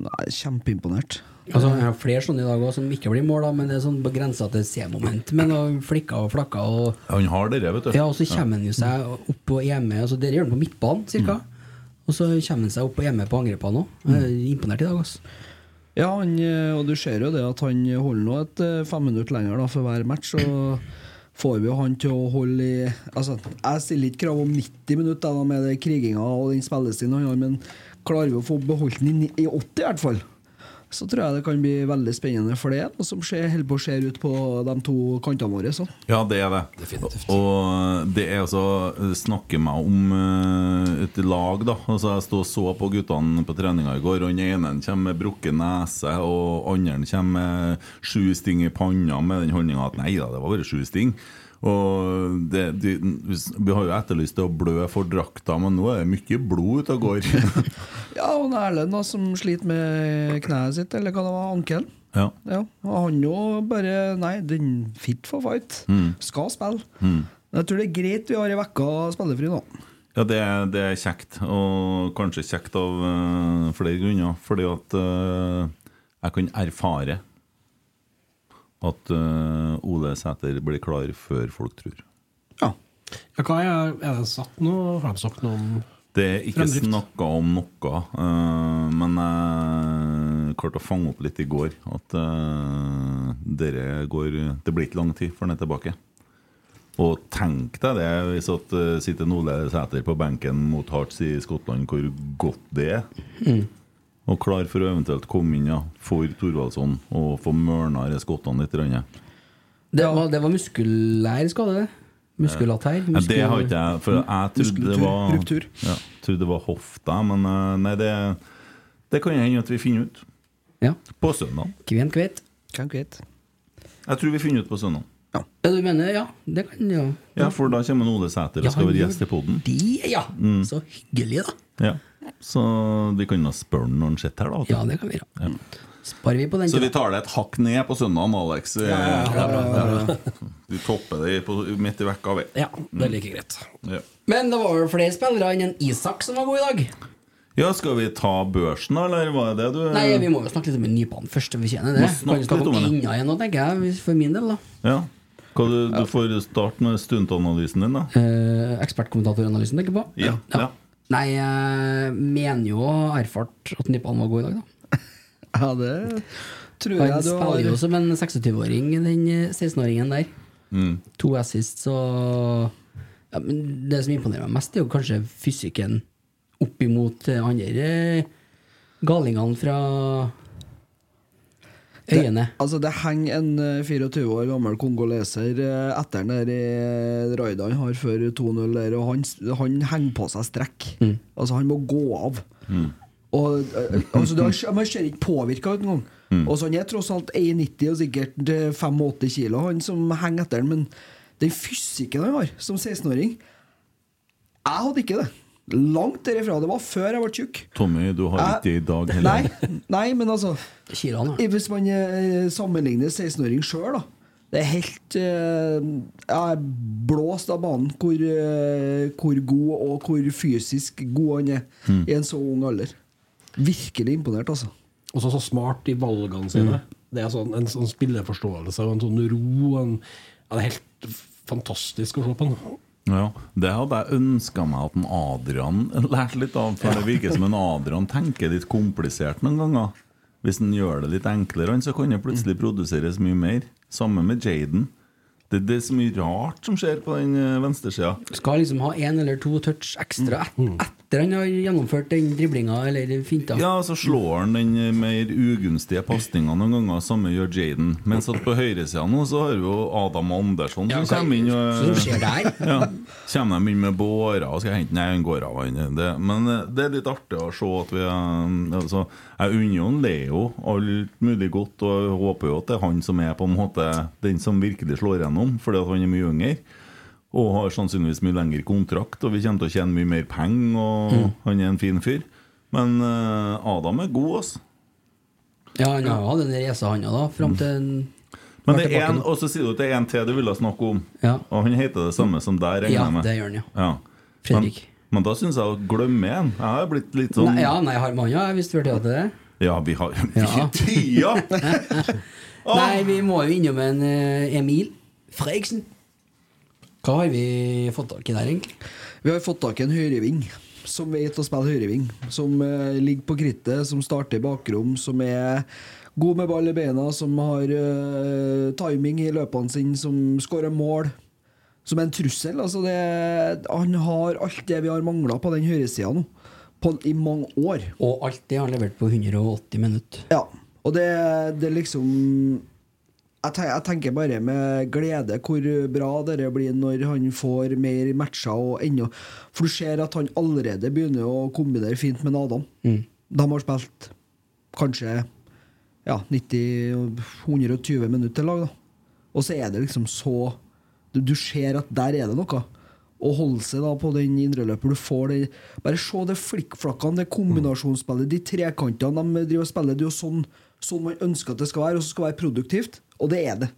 [SPEAKER 5] Nei, kjempeimponert.
[SPEAKER 3] Altså, jeg har flere sånne i dag også, som ikke blir mål, da, men det er sånn på grensa til C-moment. Men da flikka og flakka og
[SPEAKER 2] Han har det, vet du.
[SPEAKER 3] Ja, og så kommer han jo seg opp og hjemme. Altså, dere gjør han på midtbanen, cirka.
[SPEAKER 2] Mm.
[SPEAKER 3] Og så kommer han seg opp og hjemme på angrepene òg. Imponert i dag, altså.
[SPEAKER 5] Ja, han, eh, og du ser jo det at han holder nå et eh, fem minutter lenger da, for hver match. Så får vi jo han til å holde i Altså, Jeg stiller ikke krav om 90 minutter da, med det kriginga og den spillestilen han har, men klarer vi å få beholdt den i ni- i 80 i hvert fall, så tror jeg det kan bli veldig spennende. For det er noe som skjer, holder på å skje ut på de to kantene våre. sånn.
[SPEAKER 2] Ja, det er det. Og det er altså Snakke meg om eh, et lag, da. Altså, jeg sto og så på guttene på treninga i går, og den ene kommer med brukket nese, og andre kommer med sju sting i panna med den holdninga at nei da, det var bare sju sting. Og det, de, Vi har jo etterlyst det å blø for drakta, men nå er det mye blod ute og går.
[SPEAKER 5] Ja, og Erlend da, som sliter med kneet sitt, eller hva det var, ankelen.
[SPEAKER 2] ja.
[SPEAKER 5] Ja, og han jo bare Nei, den fit for fight. Skal spille. Men Jeg tror det er greit vi har ei uke spillefri nå.
[SPEAKER 2] Ja, det er, det er kjekt, og kanskje kjekt av eh, flere grunner. Fordi at eh, jeg kan erfare at eh, Ole Sæter blir klar før folk tror.
[SPEAKER 5] Ja.
[SPEAKER 6] Ja, hva er, er det satt noe fremsagt noe om
[SPEAKER 2] Det er ikke
[SPEAKER 6] Fremdrift.
[SPEAKER 2] snakka om noe, eh, men jeg klarte å fange opp litt i går at eh, dere går Det blir ikke lang tid før han er tilbake. Og tenk deg det, hvis at eh, sitter Ole Sæter på benken mot Hearts i Skottland, hvor godt det er. Og klar for å eventuelt komme inn ja, for Thorvaldsson og få mørna de skottene litt. grann, ja.
[SPEAKER 3] Det, var- det var muskulær skade, det. Muskulatær.
[SPEAKER 2] Ja,
[SPEAKER 3] muskel-
[SPEAKER 2] det har ikke jeg, for jeg trodde det
[SPEAKER 5] Muskeltur-
[SPEAKER 2] var
[SPEAKER 5] ruptur.
[SPEAKER 2] Ja, trodde det var hofta, men eh, nei, det, det kan hende at vi finner ut
[SPEAKER 3] Ja.
[SPEAKER 2] på søndag.
[SPEAKER 3] Kvent, kvett.
[SPEAKER 5] Hvem vet?
[SPEAKER 2] Jeg tror vi finner ut på søndag.
[SPEAKER 3] Ja, du mener Ja, det kan jo
[SPEAKER 2] Ja, for da kommer Ole Sæter og skal være gjest i poden.
[SPEAKER 3] De, ja!
[SPEAKER 2] Mm.
[SPEAKER 3] Så hyggelig, da.
[SPEAKER 2] Ja. Så vi kan da spørre han når han sitter her, da. vet du.
[SPEAKER 3] Ja, det kan vi gjøre. Sparer vi på den.
[SPEAKER 2] Så
[SPEAKER 3] til
[SPEAKER 2] vi
[SPEAKER 3] da.
[SPEAKER 2] tar det et hakk ned på søndagen, Alex. Ja, Vi topper det på, midt i vekka, vi.
[SPEAKER 6] Ja, det er like greit.
[SPEAKER 2] Ja.
[SPEAKER 3] Men det var vel flere spillere enn en Isak som var god i dag.
[SPEAKER 2] ja, skal vi ta børsen, da, eller hva er det du
[SPEAKER 3] Nei, Vi må jo snakke litt om Nypan først. Vi tjener
[SPEAKER 2] Eh. Må
[SPEAKER 3] det.
[SPEAKER 2] snakke
[SPEAKER 3] Kan vi snakke
[SPEAKER 2] litt
[SPEAKER 3] om
[SPEAKER 2] om det.
[SPEAKER 3] Inna igjen nå, tenker jeg, hvis- for min del. da
[SPEAKER 2] Ja. Hva du, du får starte med stuntanalysen din, da.
[SPEAKER 3] Eh, Ekspertkommentatoranalysen tenker jeg på.
[SPEAKER 2] Ja, ja.
[SPEAKER 3] Nei, jeg mener jo å ha erfart at Nypan var god i dag, da.
[SPEAKER 5] Ja, det tror
[SPEAKER 3] Han
[SPEAKER 5] jeg du
[SPEAKER 3] spiller jo
[SPEAKER 5] har.
[SPEAKER 3] som en 26-åring, den eh, 16-åringen der.
[SPEAKER 2] Mm.
[SPEAKER 3] To assists og ja, men Det som imponerer meg mest, er jo kanskje fysikken opp imot eh, andre galingene fra øyene.
[SPEAKER 5] Altså, det henger en eh, 24 år gammel kongoleser eh, etter den der eh, raida han har før 2-0 der, og han, han henger på seg strekk. Altså, han må gå av.
[SPEAKER 2] Mm.
[SPEAKER 5] Og, eh, altså, det, er- man ser ikke påvirka engang.
[SPEAKER 2] Mm.
[SPEAKER 5] Og så han er tross alt 1,90 og sikkert eh, 85 kilo, han som henger etter den, men den fysikken han har som 16-åring Jeg hadde ikke det. Langt derifra. Det var før jeg ble tjukk.
[SPEAKER 2] Tommy, du har ikke det i dag heller.
[SPEAKER 5] Nei, nei, men altså
[SPEAKER 3] Kiloene, ja.
[SPEAKER 5] hvis man eh, sammenligner 16-åring sjøl, da. Det er helt eh, Jeg er blåst av banen hvor, eh, hvor god og hvor fysisk god han er i en så ung alder. Virkelig imponert, altså.
[SPEAKER 6] Også så smart i valgene sine. Det er sånn, en sånn spilleforståelse og en sånn ro. og En, ja, det er helt f- fantastisk å se på han.
[SPEAKER 2] Ja, Det hadde jeg ønska meg at en Adrian lærte litt av. For det virker som en Adrian tenker litt komplisert noen ganger. Hvis han gjør det litt enklere, han, så kan det plutselig produseres mye mer. Samme med Jaden. Det, det er så mye rart som skjer på den eh, venstresida.
[SPEAKER 3] Skal liksom ha én eller to touch ekstra et,
[SPEAKER 5] Mm.
[SPEAKER 3] etter han har gjennomført den driblinga eller finta.
[SPEAKER 2] Ja, så slår han den eh, mer ugunstige pasninga noen ganger. Samme gjør Jaden. Mens at på høyresida nå så har vi jo Adam Andersson som
[SPEAKER 3] hva-
[SPEAKER 2] kommer inn
[SPEAKER 3] Som
[SPEAKER 2] og
[SPEAKER 3] skjer der.
[SPEAKER 2] ja. Kommer de inn med bårer og skal hente Nei, han går av. Han. Det, men eh, det er litt artig å se at vi eh, altså, Jeg unner jo en Leo alt mulig godt, og jeg håper jo at det er han som er på en måte den som virkelig slår gjennom, fordi at han er mye yngre. Og har sannsynligvis mye lengre kontrakt, og vi kommer til å tjene mye mer penger. Og han er en fin fyr. Men eh, Adam er god, altså.
[SPEAKER 3] Ja, han har jo hatt en reise, han òg, da. Fram til en
[SPEAKER 2] Men det er
[SPEAKER 3] tilbake
[SPEAKER 2] en,
[SPEAKER 3] nå.
[SPEAKER 2] og så sier du at det er en til du ville snakke om,
[SPEAKER 3] Ja.
[SPEAKER 2] og han heter det samme som deg, regner
[SPEAKER 3] Ja,
[SPEAKER 2] jeg med.
[SPEAKER 3] det gjør han, ja.
[SPEAKER 2] ja.
[SPEAKER 3] Fredrik.
[SPEAKER 2] Men, men da syns jeg å glemme en. Jeg har blitt litt sånn
[SPEAKER 3] Nei, ja,
[SPEAKER 2] Ja,
[SPEAKER 3] nei, har man ja, hvis du hørte til det.
[SPEAKER 2] vi har *laughs*
[SPEAKER 3] Ja.
[SPEAKER 2] Tida!
[SPEAKER 3] *laughs*
[SPEAKER 2] Åh!
[SPEAKER 3] Nei, vi må jo innom en eh, Emil Fredriksen. Hva har vi fått tak i der, egentlig?
[SPEAKER 5] Vi har fått tak i en høyreving som vet å spille høyreving. Som eh, ligger på krittet, som starter i bakrom, som er god med ball i beina, som har eh, timing i løpene sine, som skårer mål. Som er en trussel. Altså det, han har alt det vi har mangla på den høyresida nå, på, i mange år.
[SPEAKER 3] Og alt det har han levert på 180 minutter.
[SPEAKER 5] Ja, og det, det er liksom jeg, ten- jeg tenker bare med glede hvor bra dette blir når han får mer matcher og ennå For du ser at han allerede begynner å kombinere fint med en Adam. De har spilt kanskje ja, 90-120 minutter til lag, da. Og så er det liksom så Du, du ser at der er det noe. Å holde seg da på den indreløper du får det, Bare se det flikkflakkene, det kombinasjonsspillet, de trekantene de driver og spiller. Det er jo sånn, sånn man ønsker at det skal være, og så skal det være produktivt. Og det er det.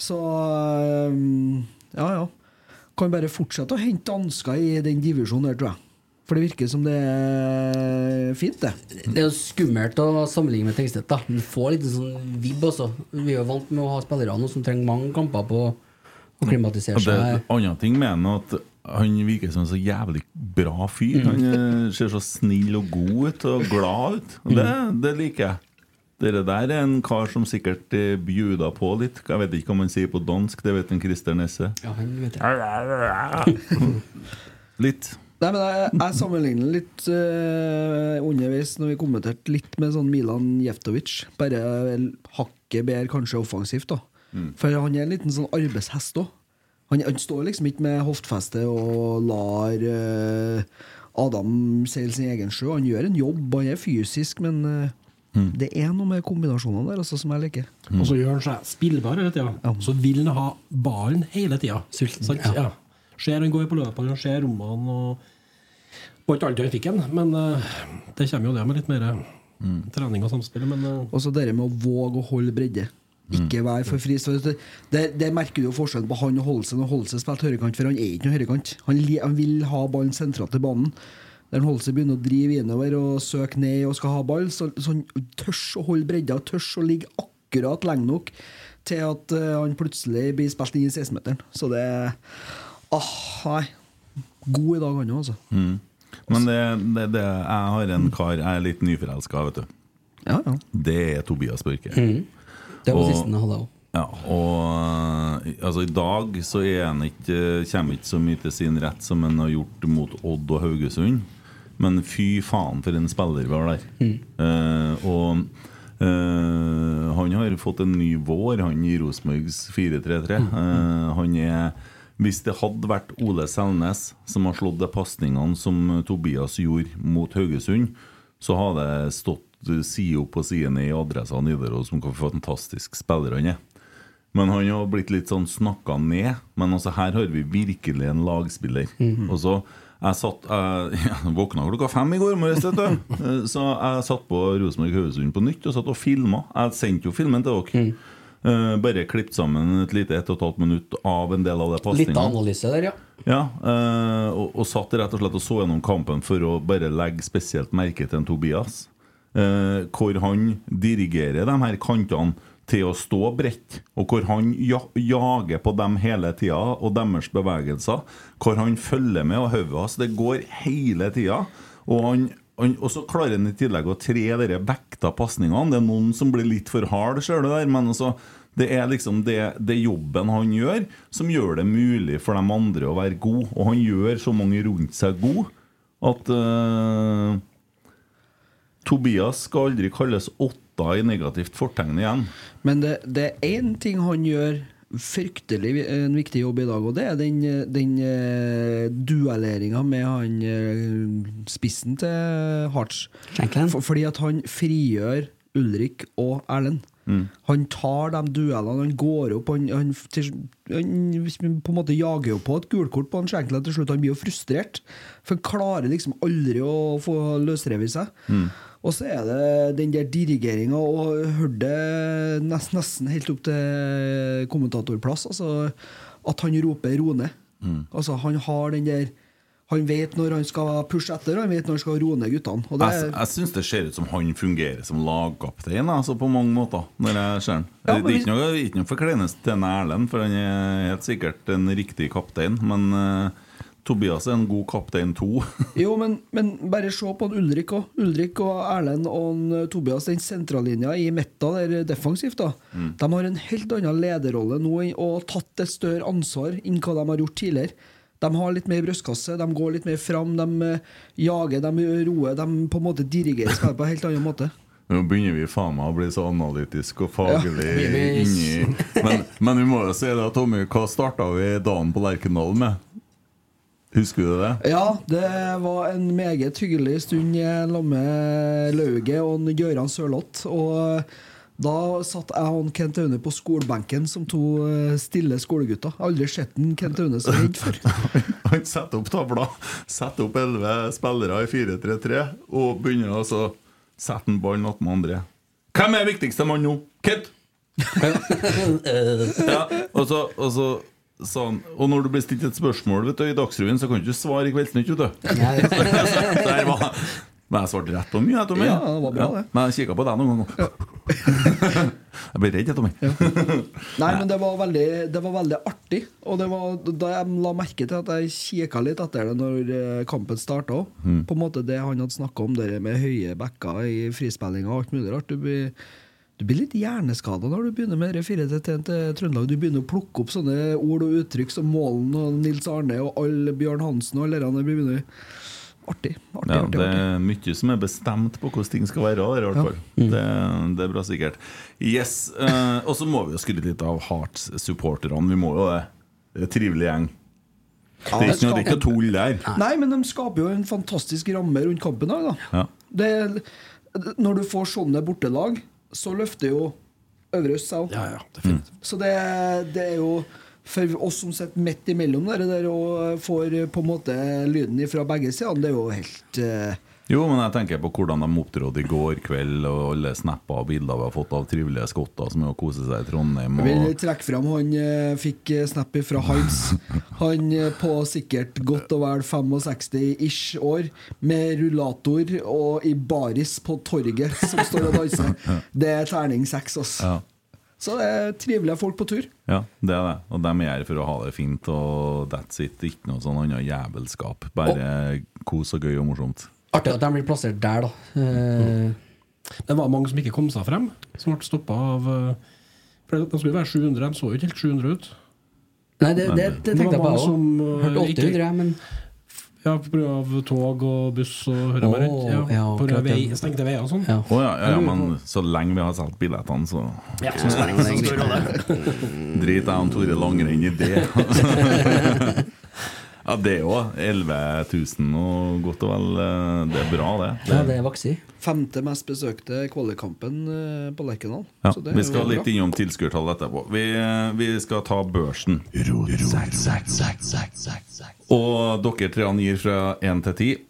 [SPEAKER 5] Så øhm, ja, ja. Kan bare fortsette å hente dansker i den divisjonen der, tror jeg. For det virker som det er fint, det.
[SPEAKER 3] Det er jo skummelt å sammenligne med Tengstedt. da Du får litt sånn vibb, altså. Vi er jo vant med å ha spillere nå som trenger mange kamper på å klimatisere
[SPEAKER 2] Det er
[SPEAKER 3] seg.
[SPEAKER 2] en annen ting med han at han virker som en så jævlig bra fyr. Han
[SPEAKER 3] Mm.
[SPEAKER 2] eh, ser så snill og god ut og glad ut. Og Det,
[SPEAKER 3] Mm.
[SPEAKER 2] det liker jeg. Dere der er en kar som sikkert eh, bjuda på litt. Jeg vet ikke hva man sier på dansk, det vet en Christer Nesse.
[SPEAKER 3] Ja, han vet det.
[SPEAKER 2] Litt.
[SPEAKER 5] Nei, men Jeg, jeg sammenligner litt eh, underveis når vi kommenterte litt med sånn Milan Jeftovic. Bare vel hakket bedre, kanskje offensivt. da For han er en liten sånn arbeidshest òg. Han, han står liksom ikke med hoftfeste og lar eh, Adam seile sin egen sjø. Han gjør en jobb, han er fysisk, men eh, det er noe med kombinasjonene der altså, som jeg liker.
[SPEAKER 6] Og så gjør han seg spillbar hele tida. Så vil han ha ballen hele tida.
[SPEAKER 3] Sulten,
[SPEAKER 6] Sant?
[SPEAKER 3] ja.
[SPEAKER 6] Ja. Ser han går på løpene, han ser rommene og Og ikke alltid han fikk den, men eh, det kommer jo det med litt mer eh, trening og samspill. Men eh,
[SPEAKER 5] Og så det med å våge å holde bredde. Ikke være for fristående. Det, det merker du jo forskjellen på han og Holsen. Og Holsen spilte høyrekant, for han er ikke noen høyrekant. Han, li- han vil ha ballen sentralt til banen. Der Holsen begynner å drive innover og søke ned og skal ha ball, så, så han tørs å holde bredda, tørs å ligge akkurat lenge nok til at eh, han plutselig blir spilt inn i 16-meteren. Så det Åh, nei. God i dag, han òg, altså.
[SPEAKER 2] Men det, det, det, jeg har en kar jeg er litt nyforelska, vet du.
[SPEAKER 5] Ja, ja.
[SPEAKER 2] Det er Tobias Børke.
[SPEAKER 3] Mhm. Det var
[SPEAKER 2] Og-
[SPEAKER 3] siste han hadde òg.
[SPEAKER 2] Ja, og eh, altså, i dag så er han ikke, eh, kommer ikke så mye til sin rett som han har gjort mot Odd og Haugesund. Men fy faen for en spiller vi har der. Eh, og eh, han har fått en ny vår, han i Rosenborgs 4-3-3. Eh, han er Hvis det hadde vært Ole Selnes som har slått de pasningene som Tobias gjorde mot Haugesund, så hadde jeg stått eh, side opp og side ned i adressa Nidaros om hvor fantastisk spiller han er. Men han har blitt litt sånn snakka ned. Men altså her har vi virkelig en lagspiller. Og så jeg satt jeg, *laughs* jeg våkna klokka fem i går morges, vet du. Eh, Så jeg satt på Rosenborg Haugesund på nytt og satt og filma. Jeg sendte jo filmen til dere. Eh, Bare klippet sammen et lite ett og et halvt minutt av en del av de
[SPEAKER 6] Litt
[SPEAKER 2] pasningene.
[SPEAKER 6] analyse der, ja.
[SPEAKER 2] Ja, eh, og, og satt rett og slett og så gjennom kampen for å bare legge spesielt merke til en Tobias. eh, hvor han dirigerer de her kantene til å stå bredt, og hvor han ja, jager på dem hele tida og deres bevegelser. Hvor han følger med og hodet hans. Det går hele tida. Og han han, og så klarer han i tillegg å tre dere vekta pasningene. Det er noen som blir litt for hard, ser du der, men altså det er liksom det, det jobben han gjør, som gjør det mulig for de andre å være gode. Og han gjør så mange rundt seg gode at eh, Tobias skal aldri kalles åtta i negativt fortegn igjen.
[SPEAKER 5] Men det, det er én ting han gjør fryktelig vi- en viktig jobb i dag, og det er den, eh, den eh, duelleringa med han eh, spissen til Hearts.
[SPEAKER 6] Shankland.
[SPEAKER 5] For, fordi at han frigjør Ulrik og Erlend. Han tar de duellene, han går opp Han, han, til, han på en måte jager jo på et gulkort på han Shankland til slutt. Han blir jo frustrert, for han klarer liksom aldri å få løsrevet seg. Og så er det den der dirigeringa, og hørte det nesten, nesten helt opp til kommentatorplass, altså, at han roper 'ro ned'. Altså, han har den der Han vet når han skal pushe etter, og han vet når han skal roe ned guttene. Og det
[SPEAKER 2] Jeg, jeg syns det ser ut som han fungerer som lagkaptein altså på mange måter. Når jeg ser han
[SPEAKER 5] Ja,
[SPEAKER 2] Det
[SPEAKER 5] men
[SPEAKER 2] er ikke noe, ikke noe forklenelse til en Erlend, for han er helt sikkert en riktig kaptein. Men eh, Tobias er en god kaptein to. *laughs*
[SPEAKER 5] Jo, men, men bare se på han Ulrik òg. Ulrik og Erlend og han Tobias, den sentrallinja i midta der eh, defensivt, da. De har en helt annen lederrolle nå og tatt et større ansvar enn hva de har gjort tidligere. De har litt mer brystkasse, de går litt mer fram, de eh, jager, de roer. De på en måte dirigerer spillet på en helt annen måte.
[SPEAKER 2] Nå begynner vi faen meg å bli så analytisk og faglig
[SPEAKER 6] Ja, vi- vi-
[SPEAKER 2] inni *laughs* men, men vi må jo si det, at, Tommy, hva starta vi dagen på Lerkendal med? Husker du det?
[SPEAKER 5] Ja, det var en meget hyggelig stund eh, i Lamme Lauget og en Gøran Sørloth. Og eh, da satt jeg og en Kent Aune på skolebenken som to eh, stille skolegutter. Jeg har Aldri sett en Kent Aune så redd før.
[SPEAKER 2] *laughs* Han setter opp tavla, setter opp elleve spillere i 4-3-3 og begynner altså å sette en ball natt med andre. Hvem er viktigste mann nå? Kit! ja, og så, og så sa han Og når du blir stilt et spørsmål vet du, i Dagsrevyen, så kan du ikke svare i Kveldsnytt, vet du. *laughs* Der var men jeg svarte rett på mye, jeg, Tommy.
[SPEAKER 5] Ja, det var bra, det.
[SPEAKER 2] Men jeg kikka på deg noen ganger. *laughs* jeg ble redd, jeg, Tommy.
[SPEAKER 5] Nei, men det var veldig, det var veldig artig. Og det var, da jeg la merke til at jeg kikka litt etter det når eh, kampen starta.
[SPEAKER 2] Mm.
[SPEAKER 5] På en måte det han hadde snakka om, det der med høye backer i frispillinga og alt mulig rart. Du blir, du blir litt hjerneskada når du begynner med 4-1 til Trøndelag. Du begynner å plukke opp sånne ord og uttrykk som Målen og Nils Arne og all Bjørn Hansen og alle de der. begynner- Artig. artig,
[SPEAKER 2] Ja,
[SPEAKER 5] artig,
[SPEAKER 2] det
[SPEAKER 5] artig.
[SPEAKER 2] er mye som er bestemt på hvordan ting skal være. Der, i hvert fall. Det, det er bra sikkert. Yes, eh, Og så må vi jo skryte litt av Hearts-supporterne. Vi må jo det. Det er en trivelig gjeng. Det er ikke noe, det er ikke noe tull der.
[SPEAKER 5] Nei, men de skaper jo en fantastisk ramme rundt kampen her, da.
[SPEAKER 2] Ja.
[SPEAKER 5] Det, er- når du får sånne bortelag, så løfter jo Øvre Øst seg òg.
[SPEAKER 3] Ja, ja, definitivt.
[SPEAKER 5] Så det, det er jo for oss som sitter midt imellom der, der og får på en måte lyden fra begge sider, det er jo helt eh,
[SPEAKER 2] Jo, men jeg tenker på hvordan de opptrådte i går kveld, og alle snapper og bilder vi har fått av trivelige skotter som er og koser seg i Trondheim.
[SPEAKER 5] Jeg vil
[SPEAKER 2] Og
[SPEAKER 5] trekke fram han eh, fikk eh, snap fra Heinz.
[SPEAKER 3] *laughs*
[SPEAKER 5] Han eh, på sikkert godt og vel 65-ish år, med rullator og i baris på torget, som står og
[SPEAKER 3] *laughs*
[SPEAKER 5] danser. Det er terning seks, ass.
[SPEAKER 2] Ja.
[SPEAKER 5] Så det er trivelige folk på tur.
[SPEAKER 2] Ja, det er det. Og de er her for å ha det fint, og that's it. Ikke noe sånn annet jævelskap. Bare kos og gøy og morsomt.
[SPEAKER 6] Artig at de blir plassert der, da. Eh,
[SPEAKER 3] Det var mange som ikke kom seg frem, som ble stoppa av eh, For De skulle jo være 700, de så jo ikke helt 700 ut.
[SPEAKER 6] Nei, det, det, det
[SPEAKER 3] Det var
[SPEAKER 6] tenkte jeg på,
[SPEAKER 3] mange
[SPEAKER 6] jeg òg.
[SPEAKER 3] som, eh,
[SPEAKER 6] Hørte
[SPEAKER 3] ikke-
[SPEAKER 6] 800, jeg, men Ja, pga. tog og buss og hører meg rundt. Ja,
[SPEAKER 3] Åh, ja,
[SPEAKER 6] på grunn av
[SPEAKER 3] akkurat, ja.
[SPEAKER 6] vei, stengte veier og sånn.
[SPEAKER 3] Ja.
[SPEAKER 2] Å ja, ja, ja, men så lenge vi har solgt billettene, så
[SPEAKER 6] Ja, så strengt.
[SPEAKER 3] det er greit.
[SPEAKER 2] driter jeg og Tore Langrenn i det. *laughs* ja, det òg. 11 000 og godt og vel. eh, Det er bra, det.
[SPEAKER 3] Ja, det vokser.
[SPEAKER 5] Femte mest besøkte kvalikkampen eh, på Lerkendal.
[SPEAKER 2] Ja,
[SPEAKER 5] Så det er
[SPEAKER 2] vi
[SPEAKER 5] jo
[SPEAKER 2] skal
[SPEAKER 5] bra.
[SPEAKER 2] litt innom tilskuertall etterpå. Vi, eh, vi skal ta børsen. Og dere tre han gir fra 1 til 10.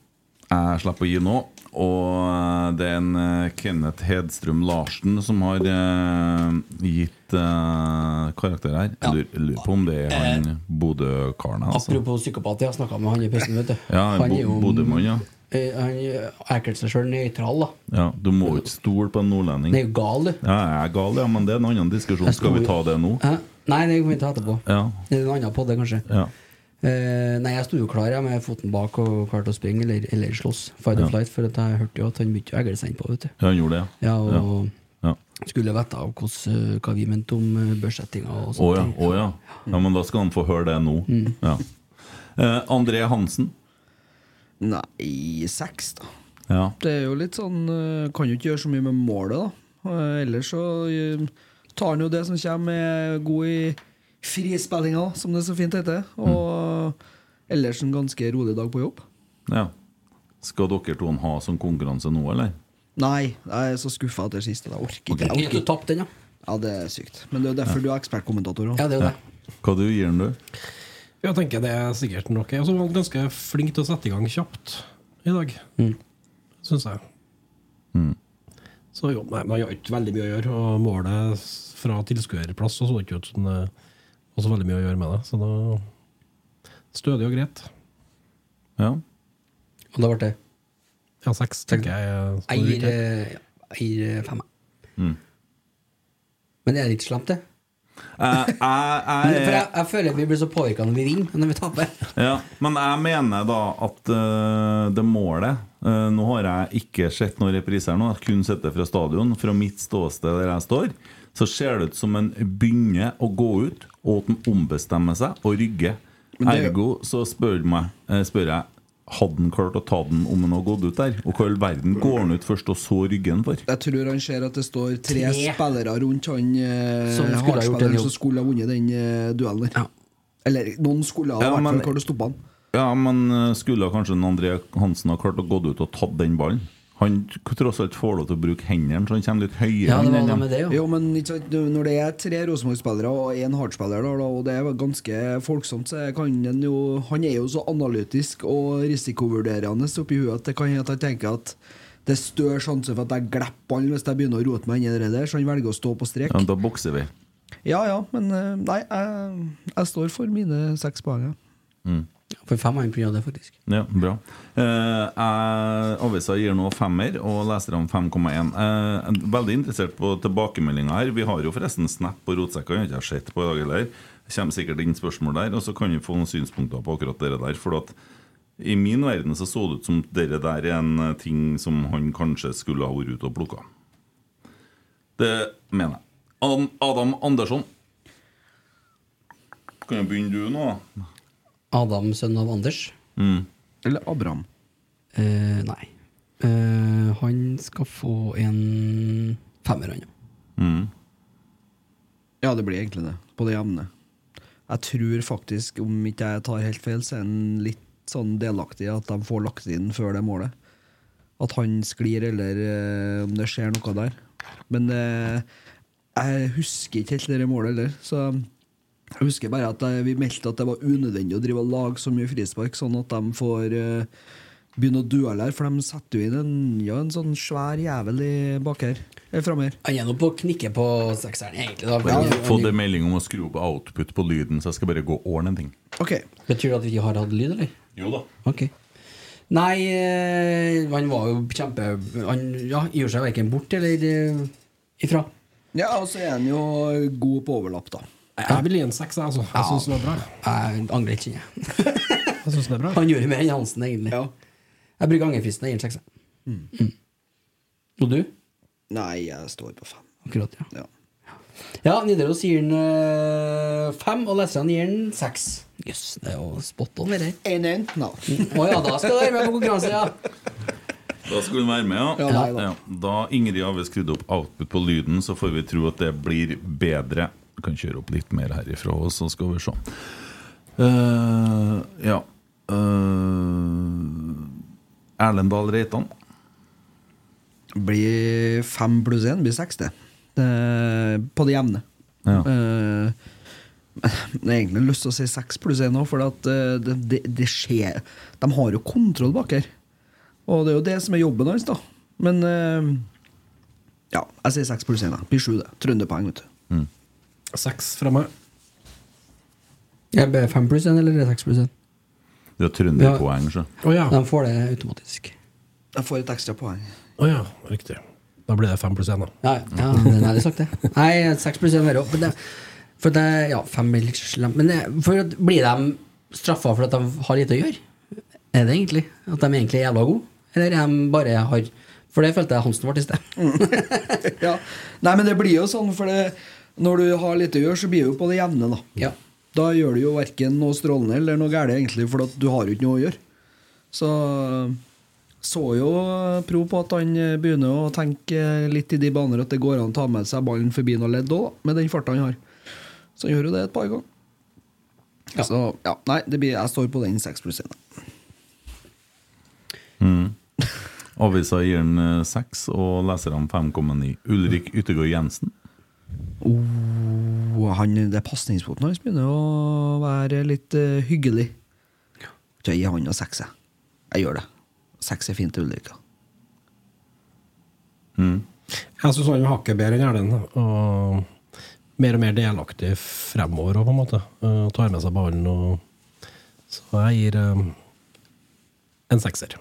[SPEAKER 2] Jeg slipper å gi nå. Og det er en eh, Kenneth Hedstrøm Larsen som har eh, gitt eh, karakter her. Jeg lurer, lurer på om det er han Bodø-karen hans. altså.
[SPEAKER 3] Eh, Apropos psykopat, jeg har snakka med han i pausen. vet du.
[SPEAKER 2] Ja,
[SPEAKER 3] han er
[SPEAKER 2] Bo-
[SPEAKER 3] jo
[SPEAKER 2] Bodø-mann, ja.
[SPEAKER 3] eh, Han erklærer seg sjøl nøytral, da.
[SPEAKER 2] ja. Du må jo ikke stole på en nordlending.
[SPEAKER 3] Han er jo gal, du.
[SPEAKER 2] Ja, jeg er gal, ja, men det er en annen diskusjon.
[SPEAKER 3] Jeg
[SPEAKER 2] Skal vi ta
[SPEAKER 3] tror-
[SPEAKER 2] det nå?
[SPEAKER 3] Hæ? Nei, det kan vi ta etterpå.
[SPEAKER 2] Ja.
[SPEAKER 3] Det er en annen podd, det, kanskje.
[SPEAKER 2] ja.
[SPEAKER 3] Eh, nei, jeg sto jo klar jeg, med foten bak og klar til å springe eller, eller slåss. Fight
[SPEAKER 2] Ja.
[SPEAKER 3] or flight, for at jeg hørte jo at han begynte å egle seg innpå, vet du.
[SPEAKER 2] Ja, Han gjorde det,
[SPEAKER 3] Ja, og
[SPEAKER 2] Ja.
[SPEAKER 3] skulle vite av hvordan, hva vi mente om eh, børssettinga og
[SPEAKER 2] Å
[SPEAKER 3] sånt.
[SPEAKER 2] ja, å ja. ja. Men da skal han få høre det nå.
[SPEAKER 3] Mm.
[SPEAKER 2] Ja. Eh, André Hansen.
[SPEAKER 5] Nei, seks, da.
[SPEAKER 2] Ja.
[SPEAKER 5] Det er jo litt sånn eh, Kan jo ikke gjøre så mye med målet, da. Eh, Ellers så eh, tar han jo det som kommer, er god i frispillinga, som det så fint heter.
[SPEAKER 2] Mm.
[SPEAKER 5] Og ellers en ganske rolig dag på jobb.
[SPEAKER 2] ja. Skal dere to ha sånn konkurranse nå, eller?
[SPEAKER 5] Nei, jeg er så skuffa etter siste. Jeg orker ikke. Jeg
[SPEAKER 3] Du
[SPEAKER 5] orker ikke.
[SPEAKER 3] tapte den, ja.
[SPEAKER 5] Ja, det er sykt. Men det er jo derfor du er ekspertkommentator. også.
[SPEAKER 3] Ja, det er jo det.
[SPEAKER 2] Hva du gir han, du?
[SPEAKER 6] Jeg tenker det er sikkert nok. Og så var han ganske flink til å sette i gang kjapt i dag, syns jeg. Så jo, nei, men han har ikke veldig mye å gjøre, og målet s- fra tilskuerplass så så det ikke ut som det var så veldig mye å gjøre med det. Så da stødig og greit.
[SPEAKER 2] Ja.
[SPEAKER 3] Og da ble det
[SPEAKER 6] Ja, seks tenker jeg. står
[SPEAKER 3] eier,
[SPEAKER 6] ut her.
[SPEAKER 3] eh, eier fem.
[SPEAKER 2] Mm.
[SPEAKER 3] Men det er litt slemt, det.
[SPEAKER 2] Eh, jeg,
[SPEAKER 3] Men,
[SPEAKER 2] jeg,
[SPEAKER 3] for jeg, jeg føler at vi blir så påvirka når vi vinner, men når vi taper.
[SPEAKER 2] Ja, men jeg mener da at eh, det målet eh, Nå har jeg ikke sett noen repriser nå, jeg har kun sett det fra stadion. Fra mitt ståsted der jeg står, så ser det ut som en begynner å gå ut, og at den ombestemmer seg og rygger.
[SPEAKER 5] Men det-
[SPEAKER 2] Ergo så spør, meg, eh, spør jeg hadde han klart å ta den om han hadde gått ut der? Og hva i all verden går han ut først og så ryggen for?
[SPEAKER 5] Jeg tror han ser at det står tre,
[SPEAKER 3] Tre.
[SPEAKER 5] spillere rundt han eh,
[SPEAKER 3] Som skulle ha gjort
[SPEAKER 5] hardspilleren
[SPEAKER 3] en jobb.
[SPEAKER 5] som skulle ha vunnet den eh, duellen. der.
[SPEAKER 3] Ja.
[SPEAKER 5] Eller noen skulle ha i
[SPEAKER 2] Ja,
[SPEAKER 5] hvert
[SPEAKER 2] men-
[SPEAKER 5] fall klart å stoppe han.
[SPEAKER 2] Ja, men eh, skulle kanskje en André Hansen ha klart å gå ut og tatt den ballen? Han tross alt får lov til å bruke hendene, så han kommer litt høyere.
[SPEAKER 3] Ja, det
[SPEAKER 2] enn
[SPEAKER 3] var noe
[SPEAKER 2] dem.
[SPEAKER 3] med det, jo.
[SPEAKER 5] Jo, men ikke sant, du- når det er tre Rosenborg-spillere og én Hart-spiller, da, da, og det er ganske folksomt, så kan han jo Han er jo så analytisk og risikovurderende oppi huet at det kan hende at han tenker at det er større sjanse for at jeg glipper ballen hvis jeg begynner å rote meg inn i det der, så han velger å stå på strek.
[SPEAKER 2] Ja, da bokser vi.
[SPEAKER 5] Ja ja, men eh, nei, jeg, jeg står for mine seks poeng. jeg.
[SPEAKER 3] For fem er en pga. det, faktisk.
[SPEAKER 2] Ja, bra. Eh, jeg- avisa gir nå femmer, og leserne 5,1. Eh, veldig interessert på tilbakemeldinga her. Vi har jo forresten Snap på rotsekka, jeg har ikke sett på i dag heller. Det kommer sikkert inn spørsmål der, og så kan vi få noen synspunkter på akkurat det der. For at i min verden så så det ut som det der er en eh, ting som han kanskje skulle ha vært ute og plukka. Det mener jeg. Adam, Adam Andersson. Kan jo begynne du nå, da.
[SPEAKER 3] Adam, sønn av Anders.
[SPEAKER 5] Eller Abraham.
[SPEAKER 3] Eh, nei. Eh, han skal få en femmer, han. ja.
[SPEAKER 5] Ja, det blir egentlig det. På det jevne. Jeg tror faktisk, om ikke jeg tar helt feil, så er han litt sånn delaktig i at de får lagt inn før det målet. At han sklir, eller eh, om det skjer noe der. Men eh, jeg husker ikke helt det der målet heller, så jeg husker bare at eh, vi meldte at det var unødvendig å drive og lage så mye frispark, sånn at de får eh, begynne å duelle her, for de setter jo inn en, ja, en sånn svær jævel i eh, bak her. Eller framme her.
[SPEAKER 3] Han er nå på knikket på sekseren, egentlig. Da.
[SPEAKER 2] Jeg
[SPEAKER 3] Han-
[SPEAKER 2] har fått en
[SPEAKER 3] han-
[SPEAKER 2] melding om å skru opp output på lyden, så jeg skal bare gå og ordne en ting.
[SPEAKER 5] Ok,
[SPEAKER 3] Betyr det at vi ikke har hatt lyd, eller?
[SPEAKER 2] Jo da.
[SPEAKER 3] Ok. Nei, eh, han var jo kjempe... Han ja, gjorde seg verken bort eller eh, ifra.
[SPEAKER 5] Ja, og så er han jo god på overlapp, da.
[SPEAKER 6] Jeg vil gi en seks, jeg, altså. Jeg syns den er bra.
[SPEAKER 3] Jeg angrer ikke, kjenner jeg.
[SPEAKER 6] Jeg synes den er bra.
[SPEAKER 3] Han gjorde mer enn Hansen, egentlig. Jeg bruker angerfristen. Jeg gir en sekser. Mm. Og du?
[SPEAKER 5] Nei, jeg står på fem.
[SPEAKER 3] Akkurat, ja.
[SPEAKER 5] Ja.
[SPEAKER 3] Ja, Nidaros gir den eh, fem, og leserne gir den seks. Jøss, det er jo spot on, det der.
[SPEAKER 5] 1-1. Nei.
[SPEAKER 6] Mm.
[SPEAKER 3] Å ja, da skal dere med på konkurranse, ja.
[SPEAKER 2] Da skulle den være med, ja.
[SPEAKER 5] Ja, nei da.
[SPEAKER 2] ja. Da Ingrid Ave skrudde opp output på lyden, så får vi tro at det blir bedre. Vi kan kjøre opp litt mer herifra, og så skal vi se. Eh, ja Eh, Erlend Dahl Reitan.
[SPEAKER 5] blir fem pluss én, blir seks, det. Eh, På det jevne.
[SPEAKER 2] Ja.
[SPEAKER 5] Eh, Jeg har egentlig lyst til å si seks pluss én òg, for at eh, det, det, det skjer De har jo kontroll bak her. Og det er jo det som er jobben hans, da. Men eh, ja, jeg sier seks pluss én. Blir sju, det. Trønderpoeng, vet du.
[SPEAKER 6] Seks fra meg.
[SPEAKER 3] Jeg ber fem pluss en, eller er det seks pluss en?
[SPEAKER 2] Det er trønderpoeng, så.
[SPEAKER 6] Å ja.
[SPEAKER 3] De får det automatisk.
[SPEAKER 5] Jeg får et ekstra poeng.
[SPEAKER 6] Å ja. Riktig. Da blir det fem pluss én, da.
[SPEAKER 3] Ja, ja, ja, men jeg hadde sagt det. Nei, seks pluss en verre opp. Men det, for det, ja, fem blir liksom slemt. Men det, for at, blir de straffa for at de har lite å gjøre? Er det egentlig? At de egentlig er jævla gode? Eller er de bare har For det følte jeg Hansen var til sted.
[SPEAKER 5] Ja. Nei, men det blir jo sånn, for det, når du har litt å gjøre, så blir det jo på det jevne, da.
[SPEAKER 3] Ja.
[SPEAKER 5] Da gjør du jo verken noe strålende eller noe gærent, egentlig, for at du har jo ikke noe å gjøre. Så eh, så jo Pro på at han eh, begynner å tenke eh, litt i de baner at det går an å ta med seg ballen forbi noe ledd òg, med den farta han har. Så han gjør jo det et par ganger. Så ja, nei, det blir, jeg står på den 6 pluss 1.
[SPEAKER 2] Avisa gir den eh, seks, og leserne 5,9. Ulrik Yttergård Jensen.
[SPEAKER 5] Oh, han, det pasningsfoten hans begynner å være litt eh, hyggelig. Jeg gir han og seks, jeg. Jeg gjør det. Seks er fint til Ulrik. da.
[SPEAKER 6] Jeg syns han var sånn hakket bedre enn Erlend. da. Og mer og mer delaktig fremover òg, på en måte. Eh, tar med seg ballen og Så jeg gir eh, en sekser.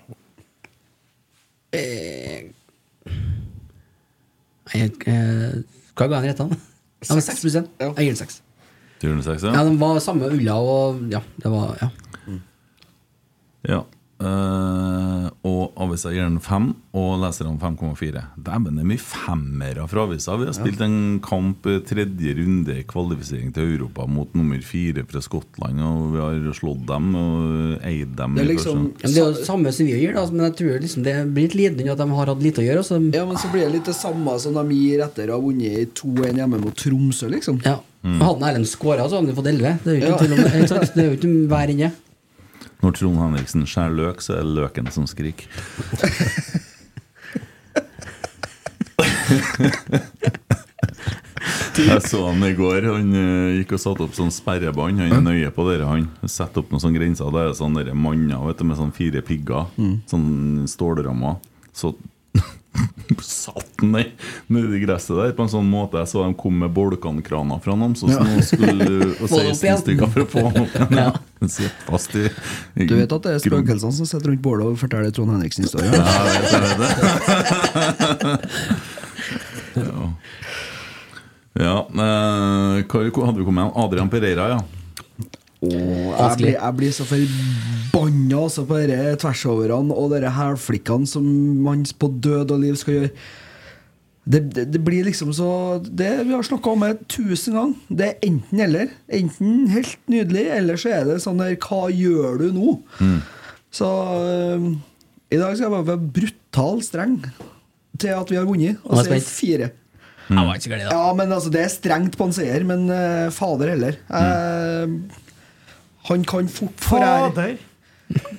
[SPEAKER 3] Jeg, eh, hva ga han rett an? Ja, men seks pluss en. Jeg gir den seks.
[SPEAKER 2] Du gir den seks,
[SPEAKER 3] Ja, de var samme ulla og Ja, det var ja.
[SPEAKER 2] Ja. eh, og avisa gir den fem, og leserne 5,4. Dæven, det er mye femmere fra avisa. Vi har spilt en kamp eh, tredje runde i kvalifisering til Europa mot nummer fire fra Skottland, og vi har slått dem og eh, eid dem.
[SPEAKER 5] Det er
[SPEAKER 2] i
[SPEAKER 5] liksom
[SPEAKER 2] første.
[SPEAKER 3] Ja, men Det er jo det samme som vi gjør, da, men jeg tror liksom det blir litt lidende at de har hatt lite å gjøre. og Så de,
[SPEAKER 5] Ja, men så blir det litt det samme som de gir etter å ha vunnet i 2-1 hjemme mot Tromsø, liksom.
[SPEAKER 3] ja.
[SPEAKER 2] Mm.
[SPEAKER 3] Hadde Erlend skåra, så hadde de fått elleve. Det er jo
[SPEAKER 5] Ja.
[SPEAKER 3] ikke til og med- ikke sant? Det er jo ikke hver inne.
[SPEAKER 2] Når Trond Henriksen skjærer løk, så er det løken som skriker. Jeg så han i går. Han eh, gikk og satte opp sånn sperrebånd. Han er nøye på dere, han. Setter opp noen sånne grenser. Det er sånn dere manner vet du, med sånn fire pigger.
[SPEAKER 5] Mm.
[SPEAKER 2] Sånn stålrammer. Så *laughs* satt han der nedi gresset der på en sånn måte. Jeg så de kom med bolkankraner fra ham, så nå skulle eh,
[SPEAKER 5] *laughs*
[SPEAKER 2] og
[SPEAKER 3] Få det opp
[SPEAKER 2] 16
[SPEAKER 3] igjen.
[SPEAKER 2] stykker for å få han opp igjen. *laughs* ja. Den sitter fast i, i
[SPEAKER 5] Du vet at det er
[SPEAKER 2] kroken.
[SPEAKER 5] spøkelsene som sitter rundt bålet og forteller Trond Henriksen historien?
[SPEAKER 2] Ja, jeg vet, jeg vet det. ja. ja eh, hva hvor hadde vi kommet igjen? Adrian Pereira, ja.
[SPEAKER 5] Jeg blir, jeg blir så forbanna altså, på disse tversoverne og disse hælflikkene som man på død og liv skal gjøre. Det, det, det blir liksom så Det vi har snakka om det tusen ganger. Det er enten-eller. Enten helt nydelig, eller så er det sånn der Hva gjør du nå?
[SPEAKER 3] Mm.
[SPEAKER 5] Så øhm, i dag skal jeg bare være brutal streng til at vi har vunnet, og
[SPEAKER 3] Nå er
[SPEAKER 5] si
[SPEAKER 3] jeg spent.
[SPEAKER 5] fire.
[SPEAKER 3] Jeg var ikke så glad i det.
[SPEAKER 5] Ja, men altså, det er strengt på en seier, men eh, fader heller. Eh,
[SPEAKER 2] Mm.
[SPEAKER 5] han kan fort forære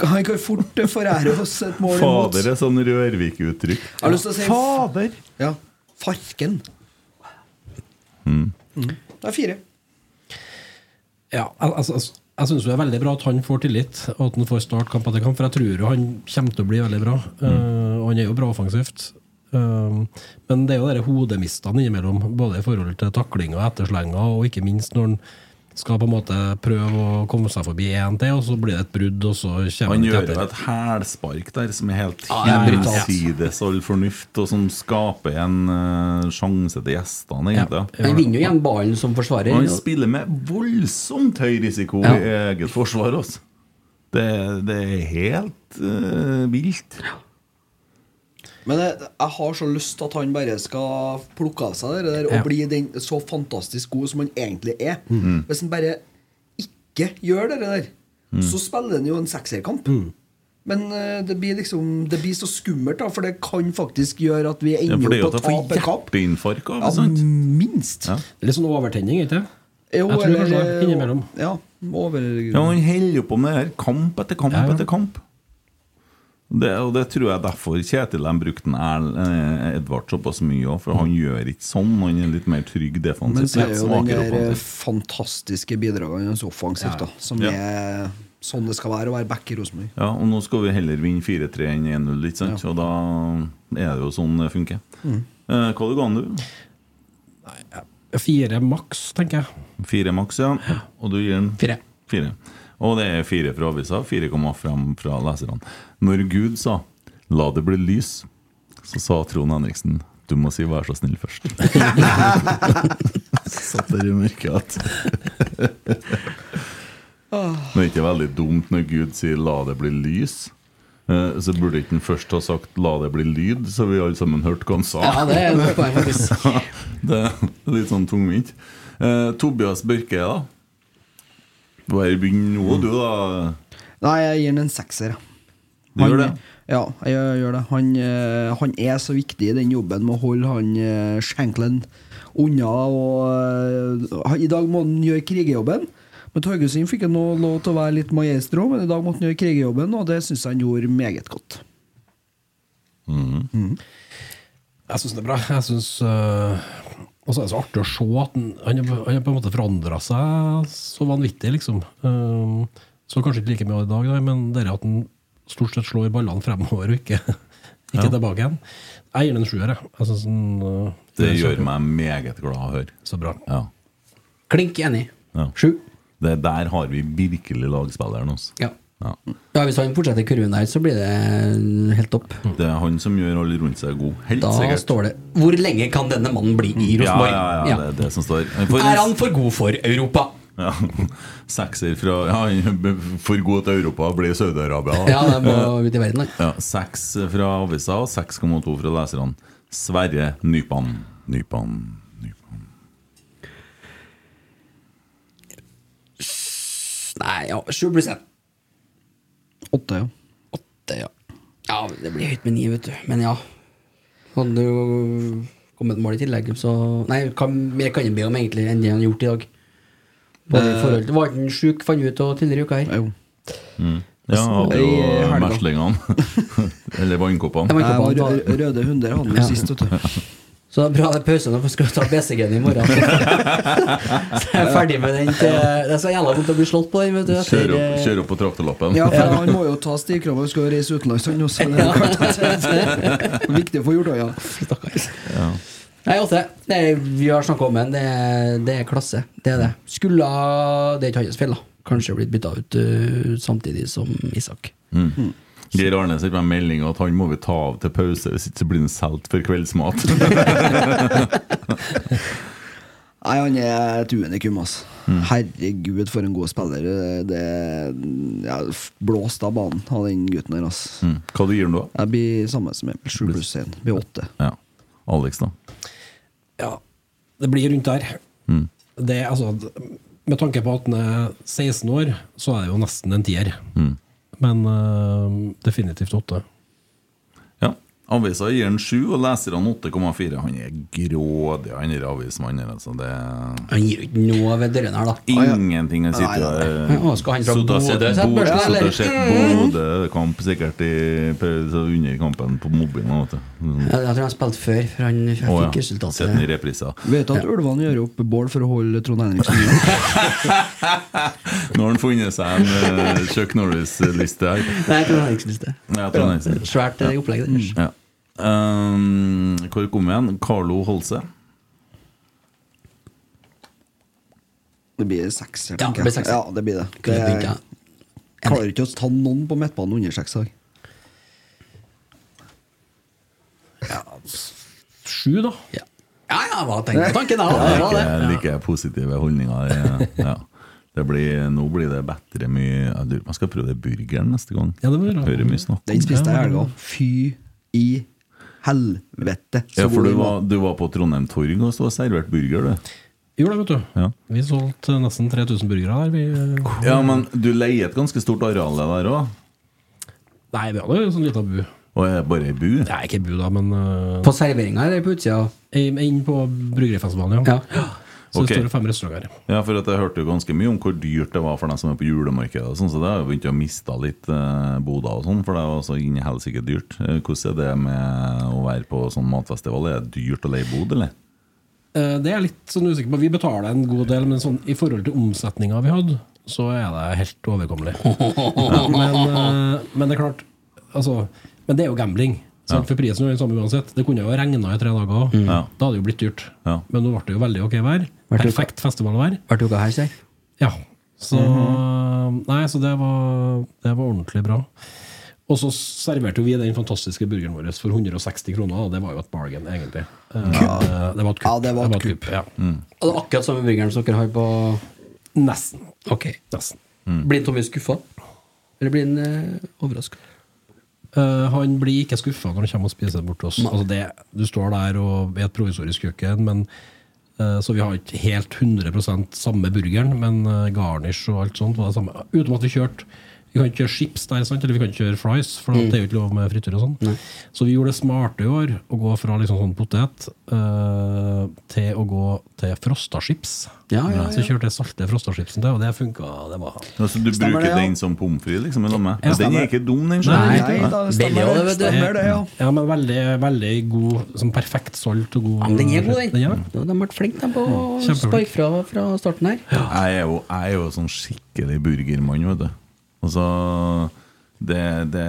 [SPEAKER 5] Han kan fort eh, forære oss et mål imot.
[SPEAKER 2] Fader er sånn Rørvik-uttrykk.
[SPEAKER 5] Jeg har lyst til å si Fader! Ja. Farken. Mm. Det er fire.
[SPEAKER 6] Ja, al- altså, altså, jeg syns det er veldig bra at han får tillit, og at han får start kamp etter kamp, for jeg tror jo han kommer til å bli veldig bra. Eh, og han er jo bra offensivt. Um, men det er jo de hodemistene innimellom, både i forhold til taklinga og etterslenga, og ikke minst når han skal på en måte prøve å komme seg forbi én til, og så blir det et brudd, og så kommer
[SPEAKER 2] Han
[SPEAKER 6] han ikke
[SPEAKER 2] gjør jo
[SPEAKER 6] etter.
[SPEAKER 2] et hælspark der som er helt
[SPEAKER 3] Ja, det er brutalt.
[SPEAKER 2] hinsides all fornuft, og som skaper en eh, sjanse til gjestene, egentlig.
[SPEAKER 3] Han vinner jo igjen ballen som forsvarer.
[SPEAKER 2] Og han
[SPEAKER 3] og-
[SPEAKER 2] spiller med voldsomt høy risiko
[SPEAKER 3] Ja.
[SPEAKER 2] i eget forsvar. Også. Det, det er helt eh, vilt.
[SPEAKER 5] Men jeg, jeg har så lyst til at han bare skal plukke av seg det der og
[SPEAKER 6] Ja.
[SPEAKER 5] bli den så fantastisk god som han egentlig er.
[SPEAKER 2] Mhm.
[SPEAKER 5] Hvis han bare ikke gjør det der, så spiller han jo en sekserkamp.
[SPEAKER 6] Mm.
[SPEAKER 5] Men eh, det blir liksom Det blir så skummelt, da, for det kan faktisk gjøre at vi
[SPEAKER 2] Ja,
[SPEAKER 5] ender
[SPEAKER 2] for det er jo
[SPEAKER 5] opp
[SPEAKER 2] at
[SPEAKER 5] på
[SPEAKER 2] jeg får
[SPEAKER 5] taperkamp.
[SPEAKER 2] hjerteinfarkt av,
[SPEAKER 5] Ja,
[SPEAKER 2] sant?
[SPEAKER 5] minst.
[SPEAKER 2] Ja.
[SPEAKER 6] Det er Litt sånn overtenning, ikke det?
[SPEAKER 5] Jo,
[SPEAKER 6] Jeg tror
[SPEAKER 5] eller-
[SPEAKER 6] kanskje det, innimellom.
[SPEAKER 5] Ja, over
[SPEAKER 2] Ja, han holder jo på med det her kamp etter kamp
[SPEAKER 6] Ja, ja.
[SPEAKER 2] etter kamp. Det, og det tror jeg derfor Kjetil han brukte en Erl- eh, Edvard såpass mye òg, for han gjør ikke sånn. Han er litt mer trygg
[SPEAKER 5] Men
[SPEAKER 2] defensivt.
[SPEAKER 5] så er
[SPEAKER 2] litt
[SPEAKER 5] jo den
[SPEAKER 2] svakere
[SPEAKER 5] der
[SPEAKER 2] offensivt.
[SPEAKER 5] fantastiske bidragene hans offensivt, da. Som
[SPEAKER 2] Ja.
[SPEAKER 5] er sånn det skal være å være back i Rosenborg.
[SPEAKER 2] Ja, og nå skal vi heller vinne 4-3 enn 1-0, ikke sant? Og da er det jo sånn det funker.
[SPEAKER 5] Mm.
[SPEAKER 2] Eh, hva du ga han, du?
[SPEAKER 6] Fire maks, tenker jeg.
[SPEAKER 2] Fire maks, ja. Og du gir den
[SPEAKER 3] Fire.
[SPEAKER 2] Fire. Og det er fire fra avisa, 4,5 fra leserne. Når Gud sa 'la det bli lys', så sa Trond Henriksen 'du må si 'vær så snill' først'. så satt der i mørket at Men det er ikke veldig dumt når Gud sier 'la det bli lys'. Eh, Så burde ikke han først ha sagt 'la det bli lyd', så vi alle sammen hørte hva han sa.
[SPEAKER 3] Ja, det er et poeng, faktisk.
[SPEAKER 2] Det er litt sånn tungvint. Eh, Tobias Børke, da? Bare begynn nå, du, da.
[SPEAKER 5] Nei, jeg gir han en sekser. ja.
[SPEAKER 2] Du gjør det?
[SPEAKER 5] Ja, jeg gjør- gjør det. Han, eh, han er så viktig i den jobben med å holde han eh, Shankland unna. Og, eh, han- I dag må han gjøre krigerjobben. Men Torgersen fikk han nå lov til å være litt maestro, men i dag måtte han gjøre krigerjobben, og det syns jeg han gjorde meget godt.
[SPEAKER 6] Jeg syns det er bra. Jeg synes, øh, Og så er det så artig å se at han- han har han har på en måte forandra seg så vanvittig, liksom. Ehm, så kanskje ikke like mye i dag, da, men det er at han stort sett slår ballene fremover og ikke, ikke tilbake igjen. Jeg gir den en sjuer, jeg. jeg synes den, øh,
[SPEAKER 2] Det
[SPEAKER 6] er
[SPEAKER 2] gjør
[SPEAKER 6] så-
[SPEAKER 2] meg meget glad å høre.
[SPEAKER 6] Så bra.
[SPEAKER 2] Ja.
[SPEAKER 3] Klink enig.
[SPEAKER 2] Ja.
[SPEAKER 3] Sju.
[SPEAKER 2] Det der har vi virkelig lagspilleren hos.
[SPEAKER 3] Ja.
[SPEAKER 2] Ja.
[SPEAKER 3] ja, hvis han fortsetter kurven der, så blir det helt topp.
[SPEAKER 2] Det er han som gjør alle rundt seg gode. Helt
[SPEAKER 3] Da
[SPEAKER 2] sikkert.
[SPEAKER 3] står det Hvor lenge kan denne mannen bli i
[SPEAKER 2] ja,
[SPEAKER 3] Rosenborg?
[SPEAKER 2] ja, ja,
[SPEAKER 3] Ja.
[SPEAKER 2] det er det som står. For en-
[SPEAKER 3] Er han for god for Europa?
[SPEAKER 2] ja. Sekser fra ja, *laughs* han- For god til Europa blir Saudi-Arabia.
[SPEAKER 3] Ja, det må ut i verden, da.
[SPEAKER 2] Ja, Seks fra avisa og 6,2 fra leserne. Sverre Nypan. Nypan. Nypan.
[SPEAKER 3] Nei, ja, sju pluss én.
[SPEAKER 5] Åtte, ja.
[SPEAKER 3] Åtte, ja. Ja, det blir høyt med ni, vet du. Men ja. Hadde jo kommet mål i tillegg, så Nei, hva mer kan det be om egentlig enn det han har gjort i dag? Bare i forhold til Var ikke han sjuk, fant vi ut av tidligere i uka her?
[SPEAKER 5] Jo.
[SPEAKER 2] Ja, hadde
[SPEAKER 5] i
[SPEAKER 2] jo eh,
[SPEAKER 5] helga.
[SPEAKER 2] meslingene. *laughs* Eller
[SPEAKER 3] Det
[SPEAKER 2] vannkoppene.
[SPEAKER 3] var
[SPEAKER 5] Jeg
[SPEAKER 3] ikke på
[SPEAKER 5] var
[SPEAKER 3] han, da.
[SPEAKER 5] rø- røde hunder hadde han
[SPEAKER 3] Ja.
[SPEAKER 5] jo sist, vet du.
[SPEAKER 3] Så det er bra det er pause nå, for vi skal ta BCG-en i morgen. *laughs* så jeg er ferdig med den til Det er så jævla vondt å bli slått på den, vet du.
[SPEAKER 2] Kjør
[SPEAKER 3] Etter,
[SPEAKER 2] opp,
[SPEAKER 3] eh,
[SPEAKER 2] kjør opp på traktorlappen.
[SPEAKER 5] Ja, for han må jo ta stivkrabba og skal reise utenlands, han også.
[SPEAKER 2] *laughs*
[SPEAKER 5] Det er klart. *laughs* Viktig å få gjort det, ja.
[SPEAKER 3] *laughs* Stakkars. Nei, åtte. Nei, vi har snakka om den. Det, er- det er klasse. Det er det. Skulle Det er ikke hans feil, da. Kanskje blitt bytta ut eh, samtidig som Isak.
[SPEAKER 2] Mm. Geir Arne sendte meg en melding at han må vi ta av til pause, hvis ikke så blir han solgt for kveldsmat.
[SPEAKER 5] *laughs* Nei, han er et unikum, altså.
[SPEAKER 2] Mm.
[SPEAKER 5] Herregud, for en god spiller. Det ja, f- Blåst av banen av den gutten der, altså.
[SPEAKER 2] Mm. Hva du gir han da?
[SPEAKER 5] Jeg blir samme som Emil. Sju pluss én. Blir åtte.
[SPEAKER 2] Ja. Alex, da?
[SPEAKER 6] Ja, det blir rundt der.
[SPEAKER 2] Mm,
[SPEAKER 6] Det, er altså, d- med tanke på at han er 16 år, så er det jo nesten en tier.
[SPEAKER 2] mm.
[SPEAKER 6] Men øh, definitivt åtte.
[SPEAKER 2] Ja. Avisa gir han sju, og leserne 8,4. Han er grådig, han der avismannen. Altså, det er
[SPEAKER 3] Han gir jo ikke noe ved dørene her, da.
[SPEAKER 2] ingenting å sitte
[SPEAKER 5] Nei,
[SPEAKER 2] der
[SPEAKER 3] Men, å, skal han fra
[SPEAKER 2] Suttet og sett
[SPEAKER 3] Bodø, sett
[SPEAKER 2] Bodø-
[SPEAKER 3] børsen,
[SPEAKER 2] suttet og
[SPEAKER 3] eller?
[SPEAKER 2] sett Bodø-kamp, sikkert i pause og under kampen på mobilen. Vet du. Mm.
[SPEAKER 3] Ja, Jeg tror han spilte før, for han jeg
[SPEAKER 2] Å,
[SPEAKER 3] fikk
[SPEAKER 2] ja. Sett den i
[SPEAKER 3] resultatet.
[SPEAKER 2] repriser.
[SPEAKER 5] Vet du at ulvene gjør opp bål for å holde Trond Henriksen unna?
[SPEAKER 2] Nå har han funnet seg en eh, Chuck Norris-liste her.
[SPEAKER 3] Nei, jeg tror han ikke liste.
[SPEAKER 2] Ja, Trond Henriksen.
[SPEAKER 3] Svært eh, opplegg.
[SPEAKER 5] Mm.
[SPEAKER 3] det.
[SPEAKER 2] Ja. Um, hvor kom vi igjen? Carlo Holse.
[SPEAKER 5] Det blir seks,
[SPEAKER 3] Ja, det blir sekser.
[SPEAKER 5] Ja, det blir det.
[SPEAKER 3] Kunne begynt,
[SPEAKER 5] det
[SPEAKER 3] ja.
[SPEAKER 5] klarer ikke å ta noen på midtbanen under seks i dag.
[SPEAKER 6] Sju, da.
[SPEAKER 3] Ja, ja, ja hva tenkte jeg tanken da? Det var det.
[SPEAKER 2] Jeg liker positive holdninger. Ja. Ja. Det blir, nå blir det bedre mye Jeg lurer- Jeg skal prøve det burgeren neste gang.
[SPEAKER 6] Ja, det blir bra.
[SPEAKER 2] Hører mye snakk.
[SPEAKER 5] Den spiste jeg i helga. Fy i helvete.
[SPEAKER 2] Ja,
[SPEAKER 5] så
[SPEAKER 2] for
[SPEAKER 5] god
[SPEAKER 2] du
[SPEAKER 5] den
[SPEAKER 2] var, du var på Trondheim Torg og så servert burger, du.
[SPEAKER 6] Gjorde det, vet du.
[SPEAKER 2] Ja.
[SPEAKER 6] Vi solgte nesten 3000 burgere her. Vi, eh,
[SPEAKER 2] Ja, men du leier et ganske stort areal der òg.
[SPEAKER 6] nei, vi hadde en sånn lita bu.
[SPEAKER 2] Og er det bare ei bu?
[SPEAKER 6] Det er ikke bu, da, men eh,
[SPEAKER 3] På serveringa eller på utsida?
[SPEAKER 6] inn på bryggerifestivalen, ja.
[SPEAKER 3] Ja.
[SPEAKER 6] Så
[SPEAKER 2] Ok.
[SPEAKER 6] det står fem restauranter.
[SPEAKER 2] Ja, for at jeg hørte jo ganske mye om hvor dyrt det var for dem som er på julemarkedet, og sånn, så det har jo begynt å miste litt eh, boder og sånn, for det er jo også inni helsike dyrt. Eh, Hvordan er det med å være på sånn matfestival? Er det dyrt å leie bod, eller?
[SPEAKER 6] Eh, Det er jeg litt sånn usikker på. Vi betaler en god del, men sånn, i forhold til omsetninga vi hadde, så er det
[SPEAKER 2] *laughs*
[SPEAKER 6] helt overkommelig. Men, eh, men det er klart altså, Men det er jo gambling. sant? For prisen er jo den samme uansett. Det kunne jo ha regna i tre dager òg. Da hadde det jo blitt dyrt.
[SPEAKER 2] Ja.
[SPEAKER 6] Men nå ble det jo veldig ok vær.
[SPEAKER 3] Ble det
[SPEAKER 6] Perfekt festivalvær.
[SPEAKER 3] Ble dere her, sier
[SPEAKER 6] Ja. Så,
[SPEAKER 2] Mhm.
[SPEAKER 6] nei, så det, var, det var ordentlig bra. Og så serverte jo vi den fantastiske burgeren vår for 160 kroner. og Det var jo et bargain, egentlig. Eh, Det var et kupp.
[SPEAKER 5] Ja, det var et
[SPEAKER 6] kupp, ja.
[SPEAKER 3] Og det er akkurat samme burgeren som dere har på
[SPEAKER 6] Nesten.
[SPEAKER 3] Ok.
[SPEAKER 6] Nesten.
[SPEAKER 3] Blir Tommy skuffa? Eller blir han eh, overraska?
[SPEAKER 6] Eh, han blir ikke skuffa når han kommer og spiser bort til oss. Altså det, du står der og er et provisorisk kjøkken, men, eh, så vi har ikke helt 100 samme burgeren, men eh, garnish og alt sånt var det samme. Utenom at vi kjørte Vi kan ikke kjøre chips der, sant? eller vi kan ikke kjøre fries, for det er jo ikke lov med frityr og sånn. Så vi gjorde det smarte i år, å gå fra liksom sånn potet eh, til å gå til frosta chips.
[SPEAKER 3] Ja, ja,
[SPEAKER 6] Så kjørte jeg salte frosta chipsen til, og det funka. Det var
[SPEAKER 2] Ja, så Altså, du
[SPEAKER 5] Stemmer
[SPEAKER 2] bruker
[SPEAKER 5] det, ja.
[SPEAKER 2] den som pommes frites, liksom? Eller med? den
[SPEAKER 5] stemmer.
[SPEAKER 2] er ikke dum, den.
[SPEAKER 6] Nei,
[SPEAKER 5] Nei, da
[SPEAKER 3] Billig
[SPEAKER 5] stemmer
[SPEAKER 3] også,
[SPEAKER 5] det.
[SPEAKER 3] vet du.
[SPEAKER 5] Stemmer det, ja.
[SPEAKER 6] Ja, men veldig, veldig god, sånn perfekt solgt og god
[SPEAKER 3] Ja, men den er god, den.
[SPEAKER 6] Ja.
[SPEAKER 3] Ja, De ble flinke de, på å
[SPEAKER 6] Kjempeflink.
[SPEAKER 3] sparke fra fra starten her.
[SPEAKER 2] Jeg er jo, jeg er jo sånn skikkelig burgermann, vet du. Altså det, det,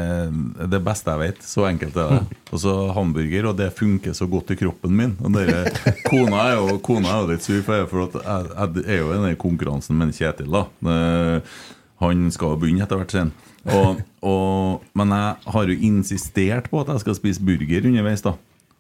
[SPEAKER 2] det beste jeg vet. Så enkelt er det. Og så hamburger, og det funker så godt i kroppen min. Og dere, kona, er jo, kona er jo litt sur, for jeg, for at jeg, jeg er jo i den der konkurransen med Kjetil. da Eh, Han skal jo begynne etter hvert, sen. Og, og, men jeg har jo insistert på at jeg skal spise burger underveis. da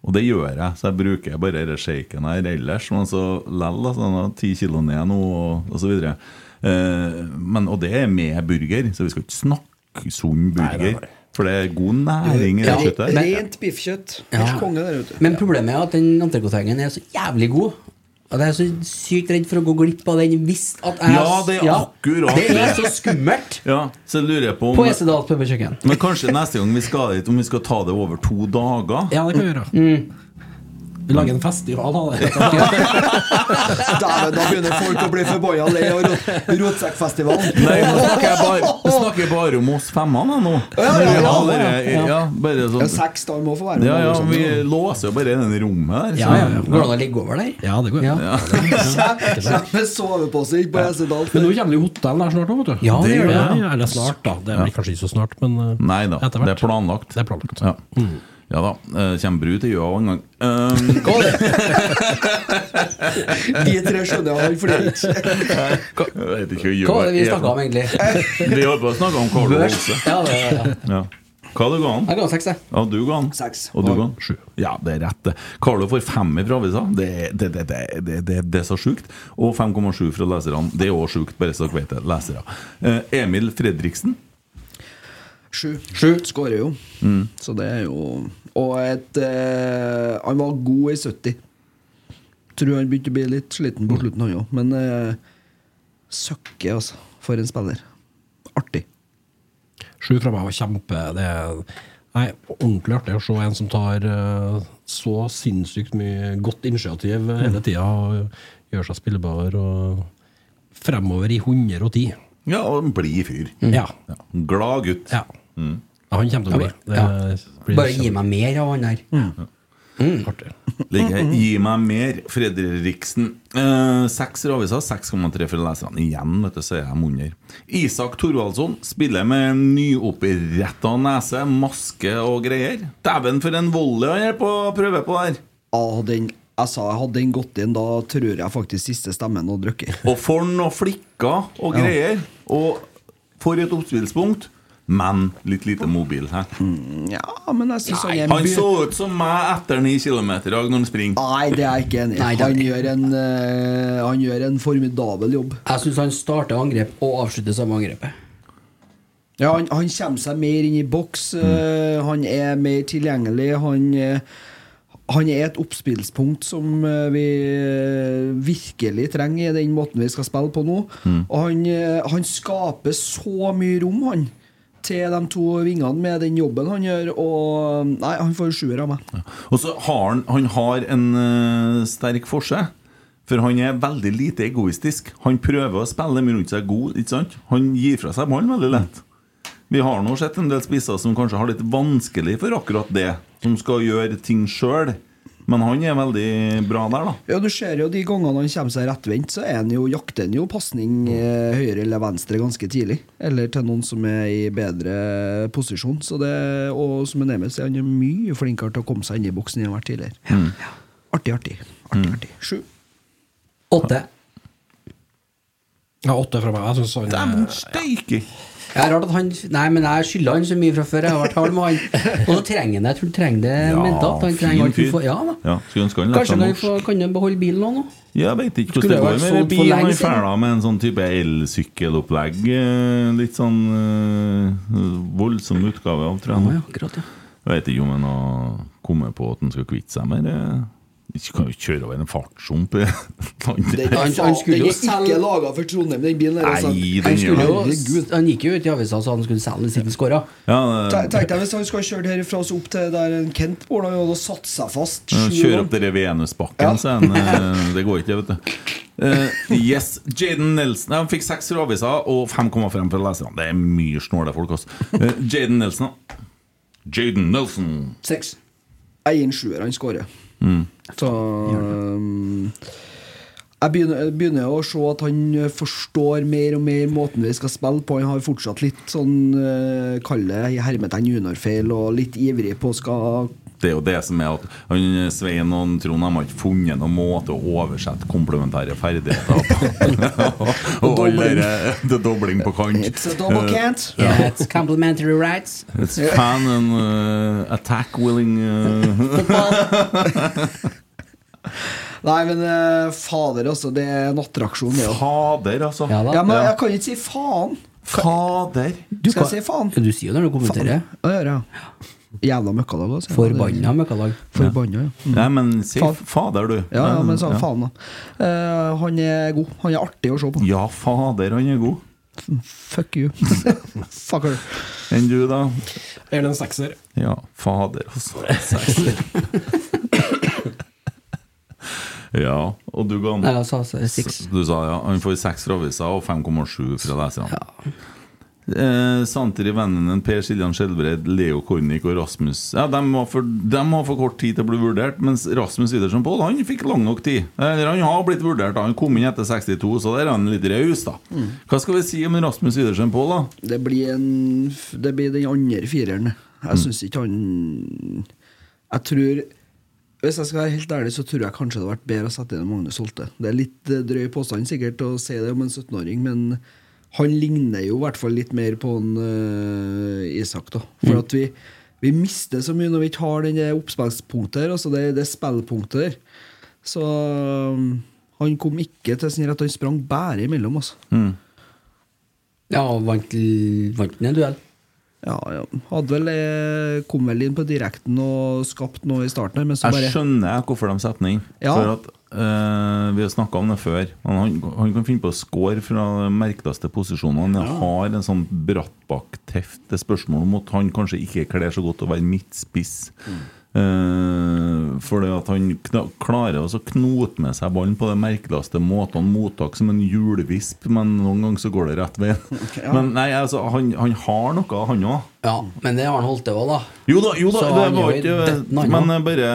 [SPEAKER 2] og det gjør jeg, så jeg bruker bare denne shaken her ellers. Men så lell, altså, den har ti kilo ned nå, og, og så videre. Eh, men, og det er med burger, så vi skal ikke snakke sunn burger. For det er god næring i det kjøttet. her.
[SPEAKER 4] Rent biffkjøtt. Helt
[SPEAKER 3] Ja.
[SPEAKER 4] konge der ute.
[SPEAKER 3] Men problemet er at den entrecôte-hengen er så jævlig god. At jeg er så sykt redd for å gå glipp av den hvis at jeg
[SPEAKER 2] Ja, det er akkurat
[SPEAKER 3] Det er
[SPEAKER 2] det.
[SPEAKER 3] så skummelt!
[SPEAKER 2] Ja, så lurer jeg på
[SPEAKER 3] På
[SPEAKER 2] om
[SPEAKER 3] Esedals pøbelkjøkken.
[SPEAKER 2] Men kanskje neste gang vi skal dit, om vi skal ta det over to dager?
[SPEAKER 6] ja, det kan vi gjøre.
[SPEAKER 3] Mm.
[SPEAKER 6] Vi lager en festival av det.
[SPEAKER 5] Dæven, da begynner folk å bli forbanna lei av rot rotsekkfestivalen.
[SPEAKER 2] Nei, nå snakker jeg bare, nå snakker jeg bare om oss femmene nå.
[SPEAKER 5] ja, ja, ja.
[SPEAKER 2] Når vi har dere- ja, bare
[SPEAKER 4] Ja,
[SPEAKER 2] sånn
[SPEAKER 4] Seks da, vi må få være med.
[SPEAKER 2] Ja, ja,
[SPEAKER 5] liksom.
[SPEAKER 4] alle sammen.
[SPEAKER 2] vi låser jo bare i det rommet der.
[SPEAKER 3] Ja, ja, ja. Går det an å ligge over der?
[SPEAKER 6] Ja, det går.
[SPEAKER 3] Ja.
[SPEAKER 5] Kjem med sovepose inn på Esedal.
[SPEAKER 6] Men nå kommer det jo hotell der snart òg, vet du.
[SPEAKER 3] Ja, det gjør det.
[SPEAKER 6] Ja, ja, eller snart, da. Det blir kanskje ikke så snart, men eh,
[SPEAKER 2] Nei da,
[SPEAKER 6] etter
[SPEAKER 2] det
[SPEAKER 6] hvert.
[SPEAKER 2] er planlagt.
[SPEAKER 6] Det er planlagt.
[SPEAKER 2] Ja,
[SPEAKER 3] Mm.
[SPEAKER 2] ja da. eh, Kjem Bru til Gjøa en gang. Um,
[SPEAKER 4] De tre skjønner jeg, for det er ikke
[SPEAKER 2] *laughs* jeg vet ikke hva
[SPEAKER 3] Hva
[SPEAKER 2] Gjøa
[SPEAKER 3] var det vi snakka om, egentlig?
[SPEAKER 2] *laughs* Vi holdt på å snakke om Carlo
[SPEAKER 3] Børs.
[SPEAKER 2] Olse.
[SPEAKER 3] Ja, det, ja, ja.
[SPEAKER 2] Ja. Hva du ga han?
[SPEAKER 3] Jeg ga seks, jeg.
[SPEAKER 2] Ja, du ga han.
[SPEAKER 4] Seks.
[SPEAKER 2] Og du ga han? Sju. Ja, det er rett, det. Carlo får fem fra avisa. Det, er- det, det, det, det, det, det er så sjukt. Og 5,7 fra leserne. Det er òg sjukt, bare så dere vet det. Lesere. Eh, Emil Fredriksen.
[SPEAKER 4] Sju. Sju. Skårer jo.
[SPEAKER 6] Mm.
[SPEAKER 4] Så det er jo Og et eh, Han var god i 70. Tror han begynte å bli litt sliten på slutten, han òg. Men eh, søkke, altså. For en spiller. Artig.
[SPEAKER 6] Sju fra meg var kjempe Det er nei, ordentlig artig å se en som tar eh, så sinnssykt mye godt initiativ
[SPEAKER 4] Mm.
[SPEAKER 6] hele tida og gjør seg spillbar og fremover i 110.
[SPEAKER 2] Ja, og en blid fyr.
[SPEAKER 3] Mm.
[SPEAKER 6] Ja.
[SPEAKER 2] Ja. Glad gutt.
[SPEAKER 6] ja. Ja, han kommer til å bli. Det blir
[SPEAKER 3] Bare gi meg mer av han der.
[SPEAKER 6] kjempeartig.
[SPEAKER 2] Ligger
[SPEAKER 4] Mm,
[SPEAKER 2] her. Gi meg mer, Fredriksen. Eh, Seks raviser, 6,3 fra leserne. Igjen, vet du, så er de under. Isak Thorvaldsson spiller med nyoppretta nese, maske og greier. Dæven, for en volley han er på prøve på der!
[SPEAKER 4] Ah, den, jeg sa jeg hadde den gått inn, da tror jeg faktisk siste stemmen hadde drukket.
[SPEAKER 2] Og for'n og flikker og greier. Og for et oppspillspunkt, men litt lite mobil. Hæ?
[SPEAKER 4] Ja, men jeg syns han er Mm. en
[SPEAKER 2] Han
[SPEAKER 4] by...
[SPEAKER 2] så ut som meg etter 9 km i dag når han springer.
[SPEAKER 4] Nei, det er jeg ikke enig i.
[SPEAKER 3] Nei, det er-
[SPEAKER 4] Han, gjør en, eh, han gjør en formidabel jobb.
[SPEAKER 3] Jeg syns han starter angrep og avslutter samme angrepet.
[SPEAKER 5] Ja, han, han kommer seg mer inn i boks. eh,
[SPEAKER 3] Mm.
[SPEAKER 5] han er mer tilgjengelig. Han, eh, han er et oppspillspunkt som eh, vi eh, virkelig trenger i den måten vi skal spille på nå.
[SPEAKER 3] Mm.
[SPEAKER 5] Og han, eh, han skaper så mye rom, han. Til de to vingene med den jobben han gjør. Og eh, Nei, han får sjuer av meg.
[SPEAKER 2] Og så har han, han har en eh, sterk forse. For han er veldig lite egoistisk. Han prøver å spille dem rundt seg god, ikke sant? Han gir fra seg ballen veldig lett. Vi har nå sett en del spisser som kanskje har litt vanskelig for akkurat det. Som skal gjøre ting sjøl. Men han er veldig bra der, da.
[SPEAKER 5] Ja, Du ser jo de gangene han kommer seg rettvendt, så er han jo, jakter han jo pasning eh, høyre eller venstre ganske tidlig. Eller til noen som er i bedre posisjon. Så det, og som en Emil sier, han er mye flinkere til å komme seg inn i boksen enn han har vært tidligere.
[SPEAKER 2] Mm.
[SPEAKER 5] Artig, artig. artig, artig. Sju.
[SPEAKER 3] Åtte.
[SPEAKER 7] Ja, åtte fra meg. Jeg synes
[SPEAKER 3] Eh,
[SPEAKER 7] han
[SPEAKER 2] Dæven steike!
[SPEAKER 3] Jeg er rart at han Nei, men jeg skylder han så mye fra før. Jeg har vært hard med han. Og så trenger han det. Jeg tror han trenger det mentalt. Han trenger alt han får. Ja da.
[SPEAKER 2] Ja, skulle ønske han lærte
[SPEAKER 3] Kanskje
[SPEAKER 2] seg
[SPEAKER 3] han kan,
[SPEAKER 2] norsk.
[SPEAKER 3] få, kan han beholde bilen òg nå?
[SPEAKER 2] Jeg veit ikke
[SPEAKER 3] Skulle
[SPEAKER 2] hvordan det
[SPEAKER 3] det
[SPEAKER 2] går med
[SPEAKER 3] vært solgt
[SPEAKER 2] det
[SPEAKER 3] for
[SPEAKER 2] bilen.
[SPEAKER 3] lenge
[SPEAKER 2] Han
[SPEAKER 3] siden?
[SPEAKER 2] ferda med en sånn type elsykkelopplegg. eh, Litt sånn eh, voldsom utgave av, tror jeg. nå.
[SPEAKER 3] Ja, akkurat, ja.
[SPEAKER 2] Jeg vet ikke om han har kommet på at han skal kvitte seg med det. Ikke kan jo kjøre over en eh. fartshump *laughs* i landet.
[SPEAKER 5] Den,
[SPEAKER 3] Han- han
[SPEAKER 5] den
[SPEAKER 3] skulle jo
[SPEAKER 5] er ikke
[SPEAKER 3] selv-
[SPEAKER 5] laga for Trondheim, den bilen der. altså.
[SPEAKER 2] Nei, den
[SPEAKER 3] Han,
[SPEAKER 2] gjør
[SPEAKER 3] skulle
[SPEAKER 2] det.
[SPEAKER 3] jo,
[SPEAKER 5] Herregud.
[SPEAKER 3] han gikk jo ut i avisa og sa han skulle selge siden han skåra.
[SPEAKER 2] Ja, eh,
[SPEAKER 5] Tenk tenk deg hvis han skal kjøre herifra og så opp til der en Kent bor, da har han satt seg fast.
[SPEAKER 2] eh,
[SPEAKER 5] sju
[SPEAKER 2] kjøre
[SPEAKER 5] ganger.
[SPEAKER 2] opp dere Venusbakken, så er han, eh, Det går ikke, vet du. Eh, yes, Jaden Nelson Han fikk seks fra avisa og 5,5 fra leserne. Det er mye snåle folk, altså. Eh, Jaden Nelson, da. Jaden Nelson.
[SPEAKER 3] Seks.
[SPEAKER 5] Jeg gir en sjuer, han scorer. Så um, jeg begynner, begynner å se at han forstår mer og mer måten vi skal spille på. Han har fortsatt litt sånn uh, Kall det i hermetegn juniorfeil og litt ivrig på å skal
[SPEAKER 2] Det er jo det som er at han, eh, Svein og han Trond har ikke funnet noen måte å oversette komplementære
[SPEAKER 5] *laughs*
[SPEAKER 2] ferdigheter på. og alle
[SPEAKER 5] Dobling.
[SPEAKER 2] dere- det er dobling på kant. Eh,
[SPEAKER 5] It's a double cant!
[SPEAKER 3] That's complimentary rights.
[SPEAKER 2] It's fan and uh, attack willing uh,
[SPEAKER 5] Nei, men eh, fader, altså. Det er en attraksjon, det òg.
[SPEAKER 2] Fader, altså.
[SPEAKER 3] Ja da.
[SPEAKER 5] Ja, men jeg kan ikke si faen.
[SPEAKER 2] Fader.
[SPEAKER 3] Du
[SPEAKER 5] Skal
[SPEAKER 3] kan-
[SPEAKER 5] jeg si faen?
[SPEAKER 3] Ja, Du sier jo når du kommenterer.
[SPEAKER 5] Hva gjør jeg? Jævla møkkadag, altså.
[SPEAKER 3] Forbanna møkkalag.
[SPEAKER 5] Forbanna, ja.
[SPEAKER 2] Nei, men si
[SPEAKER 5] Fa-
[SPEAKER 2] fader, du.
[SPEAKER 5] Ja, ja, men så
[SPEAKER 2] ja.
[SPEAKER 5] faen, da. Eh, han er god. Han er artig å se på.
[SPEAKER 2] Ja, fader, han er god.
[SPEAKER 5] Fuck you. *laughs* Fucker.
[SPEAKER 2] Enn du, da?
[SPEAKER 7] Eller en sekser.
[SPEAKER 2] Ja, fader,
[SPEAKER 5] *laughs*
[SPEAKER 2] altså. ja, og du ga
[SPEAKER 3] Nei, jeg sa seks.
[SPEAKER 2] Du sa ja, han får seks fra avisa og 5,7 fra leserne. Eh, Santeri Vennenen, Per Siljan Skjelbreid, Leo Kornik og Rasmus Ja, De har for, dem har for kort tid til å bli vurdert, mens Rasmus Widersen Pål han fikk lang nok tid. Eller Han har blitt vurdert, da. han kom inn etter 62, så der er han litt raus. da. Hva skal vi si om Rasmus Widersen Pål, da?
[SPEAKER 5] Det blir, en, det blir den andre fireren. Jeg syns ikke han Jeg tror Hvis jeg skal være helt ærlig, så tror jeg kanskje det hadde vært bedre å sette inn Magnus Holte. Det er litt eh, drøy påstand sikkert å si det om en 17-åring, men han ligner jo i hvert fall litt mer på en eh, Isak, da. For at vi, vi mister så mye når vi ikke har den der oppspillspunktet her. Altså det, det er spillpunktet der. Så um, han kom ikke til sin rett, han sprang bare imellom, altså.
[SPEAKER 3] Ja, og vant vant den en duell.
[SPEAKER 5] Ja, ja. Hadde vel, eh, kom vel inn på direkten og skapt noe i starten her, men så bare
[SPEAKER 2] Jeg skjønner hvorfor de setter den inn.
[SPEAKER 5] Ja.
[SPEAKER 2] For at eh, Vi har snakka om det før. Men han, han kan finne på å score fra de merkeligste posisjonene. Jeg har en sånn brattbakkteft til spørsmål om at han kanskje ikke kler så godt å være midtspiss.
[SPEAKER 5] Mm.
[SPEAKER 2] Eh, fordi at han kna klarer også å knote med seg ballen på de merkeligste måtene. Mottak som en hjulvisp, men noen ganger så går det rett
[SPEAKER 5] *laughs*
[SPEAKER 2] veien. Men nei, altså, han, han har noe, han òg.
[SPEAKER 3] Ja, men det har han holdt til òg, da.
[SPEAKER 2] Jo da, jo da
[SPEAKER 3] Så
[SPEAKER 2] det
[SPEAKER 3] han
[SPEAKER 2] var
[SPEAKER 3] gjør
[SPEAKER 2] ikke
[SPEAKER 3] dette nå, ja.
[SPEAKER 2] Men eh, bare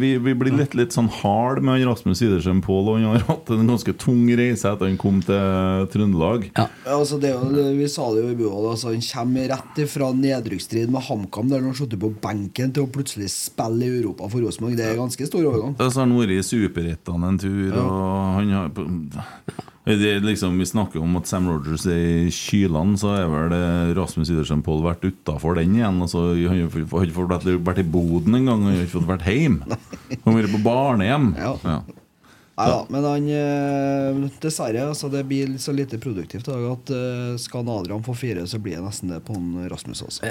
[SPEAKER 2] vi, vi blir litt, litt sånn hard med han Rasmus Sidersen Pål. og Han har hatt en ganske tung reise etter han kom til Trøndelag.
[SPEAKER 3] Ja.
[SPEAKER 5] Ja, altså det, er jo- det- vi sa det jo i Buhold, altså, han kommer rett ifra nedrykksstrid med HamKam, der han har sittet på benken, til å plutselig spille i Europa for Rosenborg. Det er ganske stor overgang.
[SPEAKER 2] Og Så har han vært i Superettan en tur, og han har det er liksom, Vi snakker om at Sam Rogers er i kylene, så er vel eh, Rasmus Sidersen Pål vært utafor den igjen. Altså, han har ikke fått- fått vært- vært i Boden engang, han har ikke fått vært hjemme. Han har vært på barnehjem.
[SPEAKER 5] Ja. Nei da, men han eh, Dessverre, altså, det blir så lite produktivt i dag at eh, skal Adrian få fire, så blir det nesten det på en Rasmus også.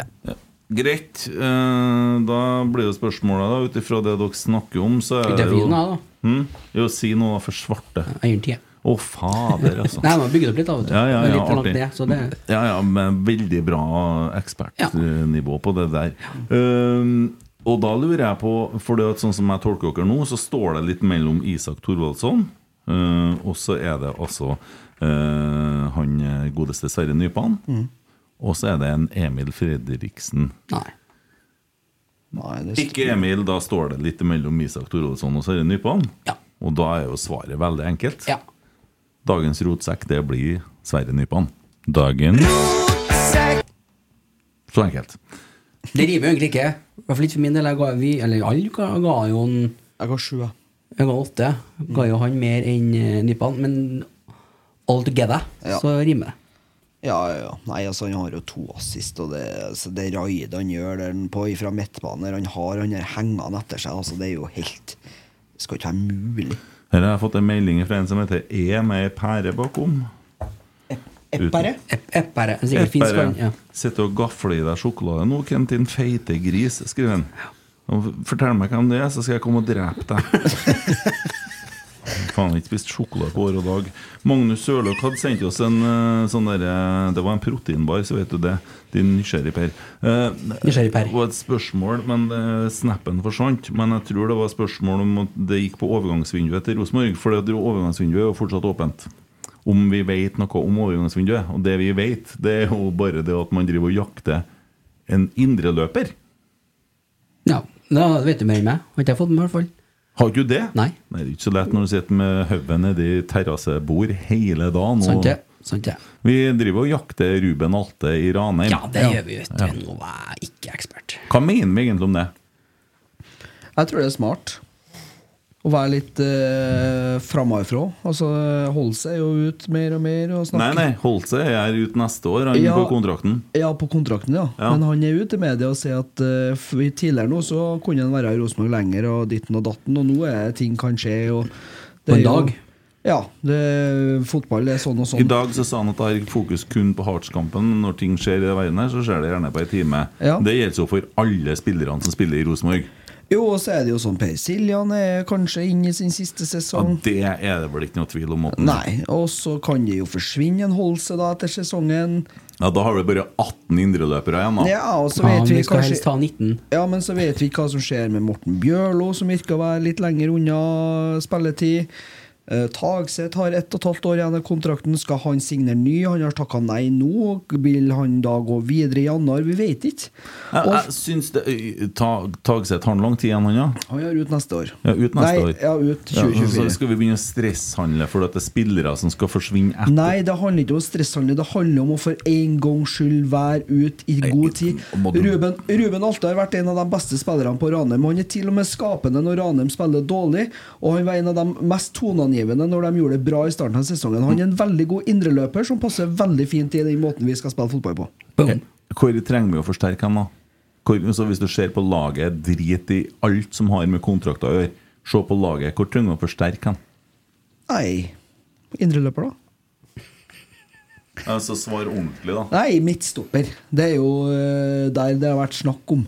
[SPEAKER 2] Greit. eh, Da blir jo spørsmålet, da, ut ifra det dere snakker om, så er
[SPEAKER 3] Ikke
[SPEAKER 2] det jo
[SPEAKER 3] fin, da.
[SPEAKER 2] Hm? Jo, si noe for svarte.
[SPEAKER 3] Eiertid.
[SPEAKER 2] Å, fader, altså.
[SPEAKER 3] Nei, man bygger det opp litt, da. Vet du.
[SPEAKER 2] *laughs* Ja, ja,
[SPEAKER 3] Det
[SPEAKER 2] ja,
[SPEAKER 3] er litt for langt
[SPEAKER 2] artig. Mm.
[SPEAKER 3] ned, så det,
[SPEAKER 2] Ja, ja, men veldig bra
[SPEAKER 3] Ja.
[SPEAKER 2] ekspertnivå på det der. Um, og da lurer jeg på, for det at sånn som jeg tolker dere nå, så står det litt mellom Isak Thorvaldsson, uh, og så er det altså uh, han godeste Sverre Nypan, og så er det en Emil Fredriksen.
[SPEAKER 3] nei.
[SPEAKER 5] Nei, det er
[SPEAKER 2] Ikke Emil, da står det litt mellom Isak Thorvaldsson og Sverre Nypan.
[SPEAKER 3] Ja.
[SPEAKER 2] Og da er jo svaret veldig enkelt.
[SPEAKER 3] Ja.
[SPEAKER 2] Dagens rotsekk, det blir Sverre Nypan. Dagens Så enkelt.
[SPEAKER 3] Det rimer jo egentlig ikke. I hvert fall ikke for min del. Jeg ga, vi, eller alle ga, ga jo en
[SPEAKER 5] Jeg ga sju, jeg.
[SPEAKER 3] Jeg ga åtte. Ga jo han mer enn eh, Nypan, men all together
[SPEAKER 5] Ja.
[SPEAKER 3] så rimer det.
[SPEAKER 5] Ja, ja, ja. Nei, altså, han har jo to assist, og det, så det raidet han gjør der han på fra midtbanen der han har han der hengende etter seg, altså, det er jo helt Det skal ikke være mulig.
[SPEAKER 2] Her har jeg fått en melding fra en som heter E med ei pære bakom. Eppere?
[SPEAKER 3] Epp- Eppere. Sikkert finsk han. Ja.
[SPEAKER 2] Sitter og gafler i deg sjokolade nå, Kent, din feite gris, skriver han. Og fortell meg hvem det er, så skal jeg komme og drepe deg. Faen, jeg har ikke spist sjokolade på år og dag. Magnus Sørløk hadde sendt oss en eh, sånn derre Det var en proteinbar, så vet du det. Din nysgjerrig Per. Eh,
[SPEAKER 3] Nysgjerrig Per.
[SPEAKER 2] Det var et spørsmål, men eh, snappen forsvant. Men jeg tror det var spørsmål om at det gikk på overgangsvinduet til Rosenborg. For det overgangsvinduet er jo fortsatt åpent. Om vi vet noe om overgangsvinduet. Og det vi vet, det er jo bare det at man driver og jakter en indreløper.
[SPEAKER 3] ja. Da vet du mer enn meg. Har ikke jeg fått med meg, i hvert fall.
[SPEAKER 2] Har ikke du det?
[SPEAKER 3] Nei.
[SPEAKER 2] det er ikke så lett når du sitter med hodet nedi terrassebord hele dagen.
[SPEAKER 3] Sant det. Sant det.
[SPEAKER 2] vi driver og jakter Ruben Alte i Ranheim.
[SPEAKER 3] Ja, det gjør vi, vet du. Nå er jeg ikke ekspert.
[SPEAKER 2] Hva mener vi egentlig om det?
[SPEAKER 5] Jeg tror det er smart å være litt eh, framoverfra. Altså, holde seg jo ut mer og mer og
[SPEAKER 2] Nei,
[SPEAKER 5] snakke
[SPEAKER 2] nei, Holse er ute neste år, han
[SPEAKER 5] Ja.
[SPEAKER 2] på kontrakten.
[SPEAKER 5] Ja, på kontrakten, ja.
[SPEAKER 2] Ja.
[SPEAKER 5] Men han er ute i media og sier at eh, f- tidligere nå så kunne han være i Rosenborg lenger, og ditten og datten, og nå er ting kan skje. Og det
[SPEAKER 3] På en
[SPEAKER 5] er jo-
[SPEAKER 3] dag?
[SPEAKER 5] Ja. Det, fotball er sånn og sånn.
[SPEAKER 2] I dag så sa han at jeg har fokus kun på Hearts-kampen. men Når ting skjer i den verden her, så skjer det gjerne på en time.
[SPEAKER 5] Ja.
[SPEAKER 2] Det gjelder jo for alle spillerne som spiller i Rosenborg.
[SPEAKER 5] Jo, og så er det jo sånn Per Siljan er kanskje inne i sin siste
[SPEAKER 2] Ja,
[SPEAKER 5] sesong.
[SPEAKER 2] det er det vel ikke noe tvil om. Morten.
[SPEAKER 5] Sånn. Nei, og så kan det jo forsvinne en Holse da etter sesongen.
[SPEAKER 2] Ja, da har vi bare 18 indreløpere igjen, da.
[SPEAKER 5] Ja, og så
[SPEAKER 3] Ja,
[SPEAKER 5] vet
[SPEAKER 3] men
[SPEAKER 5] vi
[SPEAKER 3] vi skal
[SPEAKER 5] kanskje
[SPEAKER 3] helst ta 19.
[SPEAKER 5] Ja, men så vet vi hva som skjer med Morten Bjørlo, som virker å være litt lenger unna spilletid. Eh, Tagseth har ett og et halvt år igjen av kontrakten. Skal han signere ny? Han har takka nei nå. Vil han da gå videre i januar? Vi vet ikke.
[SPEAKER 2] Jeg,
[SPEAKER 5] Og
[SPEAKER 2] jeg syns det øy, Ta- Tagseth har han lang tid igjen, han, ja?
[SPEAKER 5] han er ut neste år.
[SPEAKER 2] Ja, ut neste
[SPEAKER 5] nei,
[SPEAKER 2] år.
[SPEAKER 5] Ja, altså, ut
[SPEAKER 2] Ja, så
[SPEAKER 5] 2024.
[SPEAKER 2] skal vi begynne å stresshandle fordi at det er spillere som skal forsvinne etter?
[SPEAKER 5] Nei, det handler ikke om stresshandel. Det handler om å for en gangs skyld være ut i god tid.
[SPEAKER 2] må du-
[SPEAKER 5] Ruben, Ruben Alte har vært en av de beste spillerne på Ranheim. Han er til og med skapende når Ranheim spiller dårlig, og han var en av de mest toneangivende når de gjorde det bra i starten av sesongen. Han er en veldig god indreløper som passer veldig fint i den måten vi skal spille fotball på.
[SPEAKER 3] Boom.
[SPEAKER 2] Hvor trenger vi å forsterke han da? Hvor, så hvis du ser på laget, drit i alt som har med kontrakter å gjøre. Se på laget, hvor trenger vi å forsterke han?
[SPEAKER 5] Nei, indreløper, da?
[SPEAKER 2] Altså, svar ordentlig, da.
[SPEAKER 5] Nei, midtstopper. Det er jo eh, der det har vært snakk om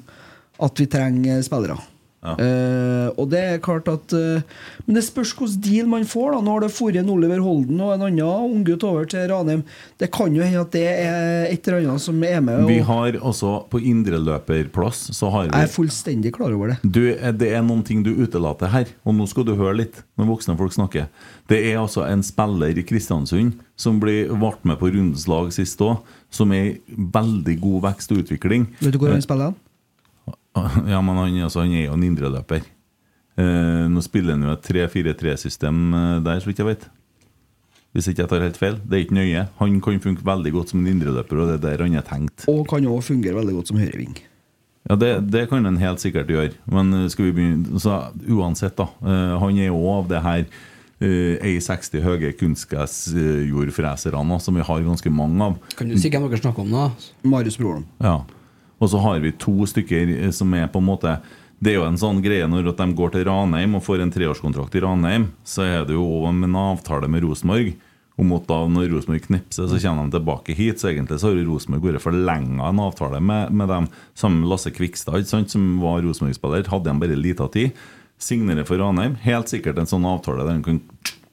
[SPEAKER 5] at vi trenger spillere.
[SPEAKER 2] Ja.
[SPEAKER 5] Eh, og det er klart at eh, Men det spørs hvilken deal man får. da Nå har det forrige en Oliver Holden og en annen unggutt over til Ranheim. Det kan jo hende at det er et eller annet som er med. Og
[SPEAKER 2] Vi har også på indreløperplass, så har
[SPEAKER 5] Jeg er
[SPEAKER 2] vi
[SPEAKER 5] fullstendig klar over det.
[SPEAKER 2] du, eh, Det er noen ting du utelater her, og nå skal du høre litt når voksne folk snakker. Det er altså en spiller i Kristiansund som blir vart med på rundens lag sist òg, som er i veldig god vekst og utvikling.
[SPEAKER 5] Vet du hvor han spiller hen?
[SPEAKER 2] *laughs* Ja, men han, altså, han er jo en indreløper. Eh, nå spiller han jo et 3-4-3-system eh, der, så vidt jeg vet. Hvis ikke jeg tar helt feil. Det er ikke nøye. Han kan funke veldig godt som en indreløper, og det er der han er tenkt.
[SPEAKER 5] Og kan òg fungere veldig godt som høyreving.
[SPEAKER 2] Ja, det, det kan han helt sikkert gjøre, men eh, skal vi begynne Så uansett, da. eh, han er jo av det her eh, A60 høye kunstgressjordfreserne, som vi har ganske mange av.
[SPEAKER 3] Kan du si hvem dere snakker om, da?
[SPEAKER 5] Marius Broholm.
[SPEAKER 2] Ja. Og så har vi to stykker eh, som er på en måte Det er jo en sånn greie når at de går til Ranheim og får en treårskontrakt i Ranheim, så er det jo også en avtale med Rosenborg om at da når Rosenborg knipser, så kommer de tilbake hit. Så egentlig så har jo Rosenborg vært forlenga en avtale med, med dem. Sammen med Lasse Kvikstad, ikke sant, som var Rosenborg-spiller, hadde han bare lita tid. Signerer for Ranheim. Helt sikkert en sånn avtale der han kan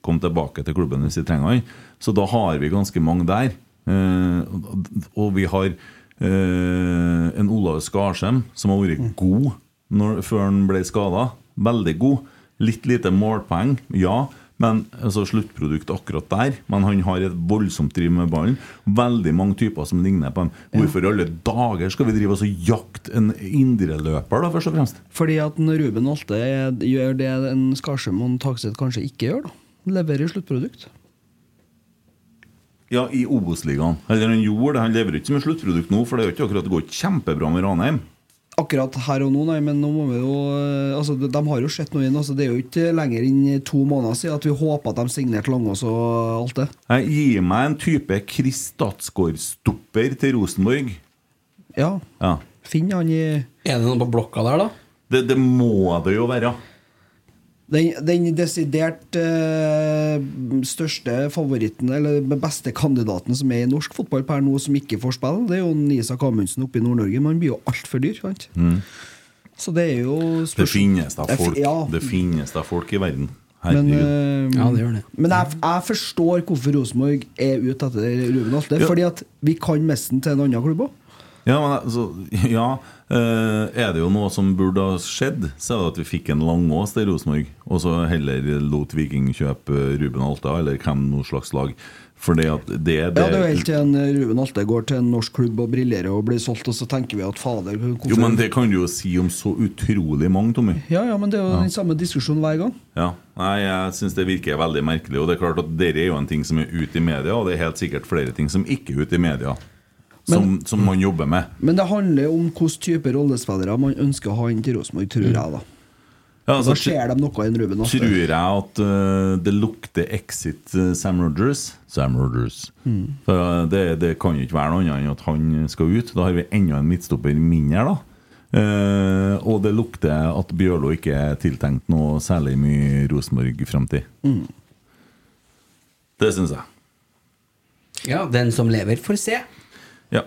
[SPEAKER 2] komme tilbake til klubben hvis de trenger han. Så da har vi ganske mange der. Eh, og- og vi har eh, en Olav Skarsheim som har vært god når, før han ble skada. Veldig god. Litt lite målpoeng, ja. Men altså sluttprodukt akkurat der. Men han har et voldsomt driv med ballen. Veldig mange typer som ligner på ham. Hvorfor i alle dager skal vi drive oss og jakte en indreløper, da, først og fremst?
[SPEAKER 5] Fordi at en Ruben Alte gjør det en Skarsheim og en Tagseth kanskje ikke gjør. da Leverer sluttprodukt.
[SPEAKER 2] Ja, i Obos-ligaen. Eller han gjorde det. Han leverer ikke som et sluttprodukt nå, for det er jo ikke akkurat det går kjempebra med Ranheim.
[SPEAKER 5] Akkurat her og nå, nei, men nå må vi jo eh, Altså, de, de har jo sett noe inn. Altså, det er jo ikke lenger enn to måneder siden at vi håpa at de signerte Langås og alt det.
[SPEAKER 2] Jeg gir meg en type Chris Statsgaard-stopper til Rosenborg.
[SPEAKER 5] Ja.
[SPEAKER 2] Ja.
[SPEAKER 5] Finn han i
[SPEAKER 3] Er det noen på blokka der, da?
[SPEAKER 2] Det, det må det jo være.
[SPEAKER 5] Den, den desidert eh, største favoritten, eller beste kandidaten som er i norsk fotball per nå, som ikke får spille, det er jo Isak Amundsen oppe i Nord-Norge. Men han blir jo altfor dyr. Sant? Så det er jo
[SPEAKER 2] Mm. Det
[SPEAKER 5] spørs-
[SPEAKER 2] finnes da
[SPEAKER 5] Det fi-
[SPEAKER 2] folk,
[SPEAKER 5] ja.
[SPEAKER 2] det finnes da folk i verden.
[SPEAKER 5] Men,
[SPEAKER 2] Herregud.
[SPEAKER 5] eh,
[SPEAKER 3] Ja, det gjør det.
[SPEAKER 5] men jeg, jeg forstår hvorfor Rosenborg er ute etter Ruben Alte.
[SPEAKER 2] Ja.
[SPEAKER 5] Fordi at vi kan mesten til en annen klubb òg.
[SPEAKER 2] Ja, men altså, *laughs* ja eh, Er det jo noe som burde ha skjedd, så er det at vi fikk en Langås til Rosenborg, og så heller lot Viking kjøpe Ruben Alta, eller hvem noe slags lag. For det at det, det,
[SPEAKER 5] Ja, det er jo helt til en Ruben Alte går til en norsk klubb og brillerer og blir solgt, og så tenker vi at fader hvorfor?
[SPEAKER 2] Jo, men det kan du jo si om så utrolig mange, Tommy.
[SPEAKER 5] Ja, ja, men det er jo den samme diskusjonen hver gang.
[SPEAKER 2] Ja, nei, jeg syns det virker veldig merkelig. Og det er klart at dere er jo en ting som er ute i media, og det er helt sikkert flere ting som ikke er ute i media, som, som man jobber med.
[SPEAKER 5] Men det handler om hvilken type rollespillere man ønsker å ha inn til Rosenborg, tror jeg. Da
[SPEAKER 2] Ja, altså,
[SPEAKER 5] Da ser de noe i en Ruben Alte.
[SPEAKER 2] Mm. Tror jeg at eh, det lukter exit eh, Sam Rogers. Sam Rogers.
[SPEAKER 6] Hmm.
[SPEAKER 2] For eh, det, det kan jo ikke være noe annet enn at han skal ut. Da har vi enda en midtstopper mindre, da. Eh, og det lukter at Bjørlo ikke er tiltenkt noe særlig mye Rosenborg-framtid.
[SPEAKER 6] Hmm.
[SPEAKER 2] Det syns jeg.
[SPEAKER 3] Ja, den som lever, får se.
[SPEAKER 2] Ja.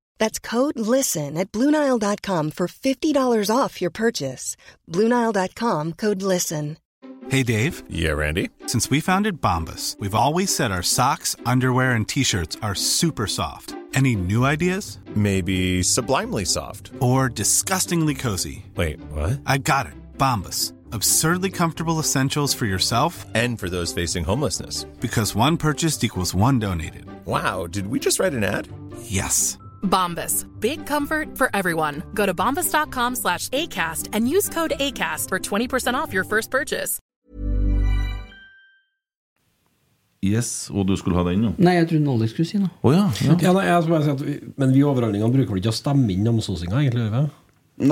[SPEAKER 8] That's code LISTEN at Bluenile.com for $50 off your purchase. Bluenile.com code LISTEN.
[SPEAKER 1] Hey, Dave.
[SPEAKER 9] Yeah, Randy.
[SPEAKER 1] Since we founded Bombus, we've always said our socks, underwear, and t shirts are super soft. Any new ideas?
[SPEAKER 9] Maybe sublimely soft.
[SPEAKER 1] Or disgustingly cozy?
[SPEAKER 9] Wait, what?
[SPEAKER 1] I got it. Bombus. Absurdly comfortable essentials for yourself
[SPEAKER 9] And for those facing homelessness.
[SPEAKER 1] because one purchased equals one donated.
[SPEAKER 9] Wow, did we just write an ad?
[SPEAKER 1] Yes.
[SPEAKER 10] Bombas. Big comfort for everyone. Go to bombas.com slash ACAST and use code ACAST for 20% off your first purchase.
[SPEAKER 2] Yes, Og du skulle ha den nå?
[SPEAKER 3] Nei, jeg trodde Alex skulle si noe.
[SPEAKER 2] Å ja, ja.
[SPEAKER 6] Ja, nei, jeg skal bare si at vi, men vi overholdningene bruker vel ikke å stemme inn namsosinga, egentlig? gjør vi det?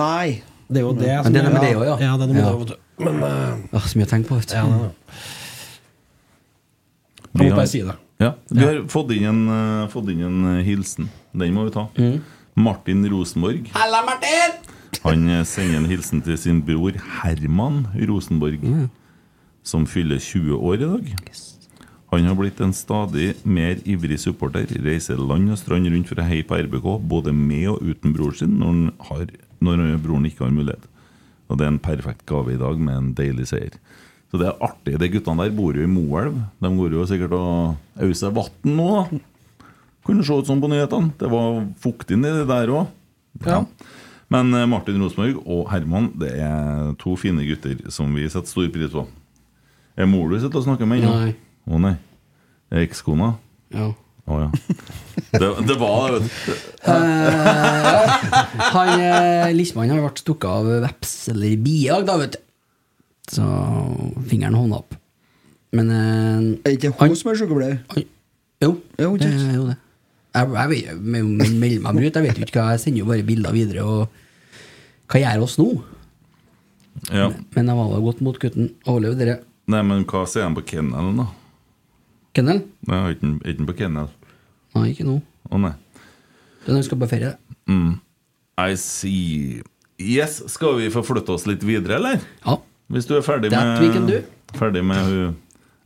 [SPEAKER 5] Nei.
[SPEAKER 6] Det er jo det
[SPEAKER 3] Men det er noe med det også, ja.
[SPEAKER 6] Ja, det er noe med
[SPEAKER 3] Ja.
[SPEAKER 6] det, vet du. Men eh,
[SPEAKER 3] Åh, så mye å tenke på. Vet du.
[SPEAKER 6] ja, det er det. jeg
[SPEAKER 2] Vi
[SPEAKER 6] måtte
[SPEAKER 2] har-
[SPEAKER 6] bare si det.
[SPEAKER 2] Ja, Vi har fått inn en, eh, fått inn en eh, hilsen. Den må vi ta. Martin Rosenborg.
[SPEAKER 3] Halla, Martin!
[SPEAKER 2] Han eh, sender en hilsen til sin bror Herman Rosenborg, som fyller 20 år i dag. Han har blitt en stadig mer ivrig supporter. Reiser land og strand rundt for å heie på RBK, både med og uten bror sin, når, han har, når broren ikke har mulighet. Og det er en perfekt gave i dag med en deilig seier. Så det er artig. De guttene der bor jo i Moelv. De går jo sikkert og auser vann nå, da. Kunne se ut sånn på nyhetene. Det var fuktig nedi der òg. Ja. Men eh, Martin Rosenborg og Herman Det er to fine gutter som vi setter stor pris på. Er mor du sitter og snakker med ennå?
[SPEAKER 3] Nei.
[SPEAKER 2] Å nei. Er ekskona?
[SPEAKER 3] Ja.
[SPEAKER 2] Å
[SPEAKER 3] *laughs*
[SPEAKER 2] ja. Det, det var det, vet du.
[SPEAKER 3] Han, eh, Lismann har vært stukket av veps eller biag, da, vet du. Så fingeren hånda opp. Men eh,
[SPEAKER 5] Er ikke
[SPEAKER 3] Oi.
[SPEAKER 5] hun som er sykepleier?
[SPEAKER 3] oi. Jo,
[SPEAKER 5] Jo, ikke
[SPEAKER 3] det,
[SPEAKER 5] sant.
[SPEAKER 3] jo det. Jeg, jeg vet, men- men meld meg brut. Jeg vet jo ikke hva Jeg sender jo bare bilder videre. Og hva gjør oss nå?
[SPEAKER 2] Ja.
[SPEAKER 3] Men jeg var da godt mot gutten. Overlevde dere.
[SPEAKER 2] Nei, men hva sier han på kennelen, da?
[SPEAKER 3] Kennel?
[SPEAKER 2] Nei, Er ikke han- er ikke han på kennel?
[SPEAKER 3] Nei, ikke nå.
[SPEAKER 2] Å nei. Mm.
[SPEAKER 3] Den ønsker på ferie. det.
[SPEAKER 2] I see. Yes, skal vi få flytte oss litt videre, eller?
[SPEAKER 3] Ja.
[SPEAKER 2] Hvis du er ferdig
[SPEAKER 3] That
[SPEAKER 2] med
[SPEAKER 3] we can do.
[SPEAKER 2] Ferdig med hun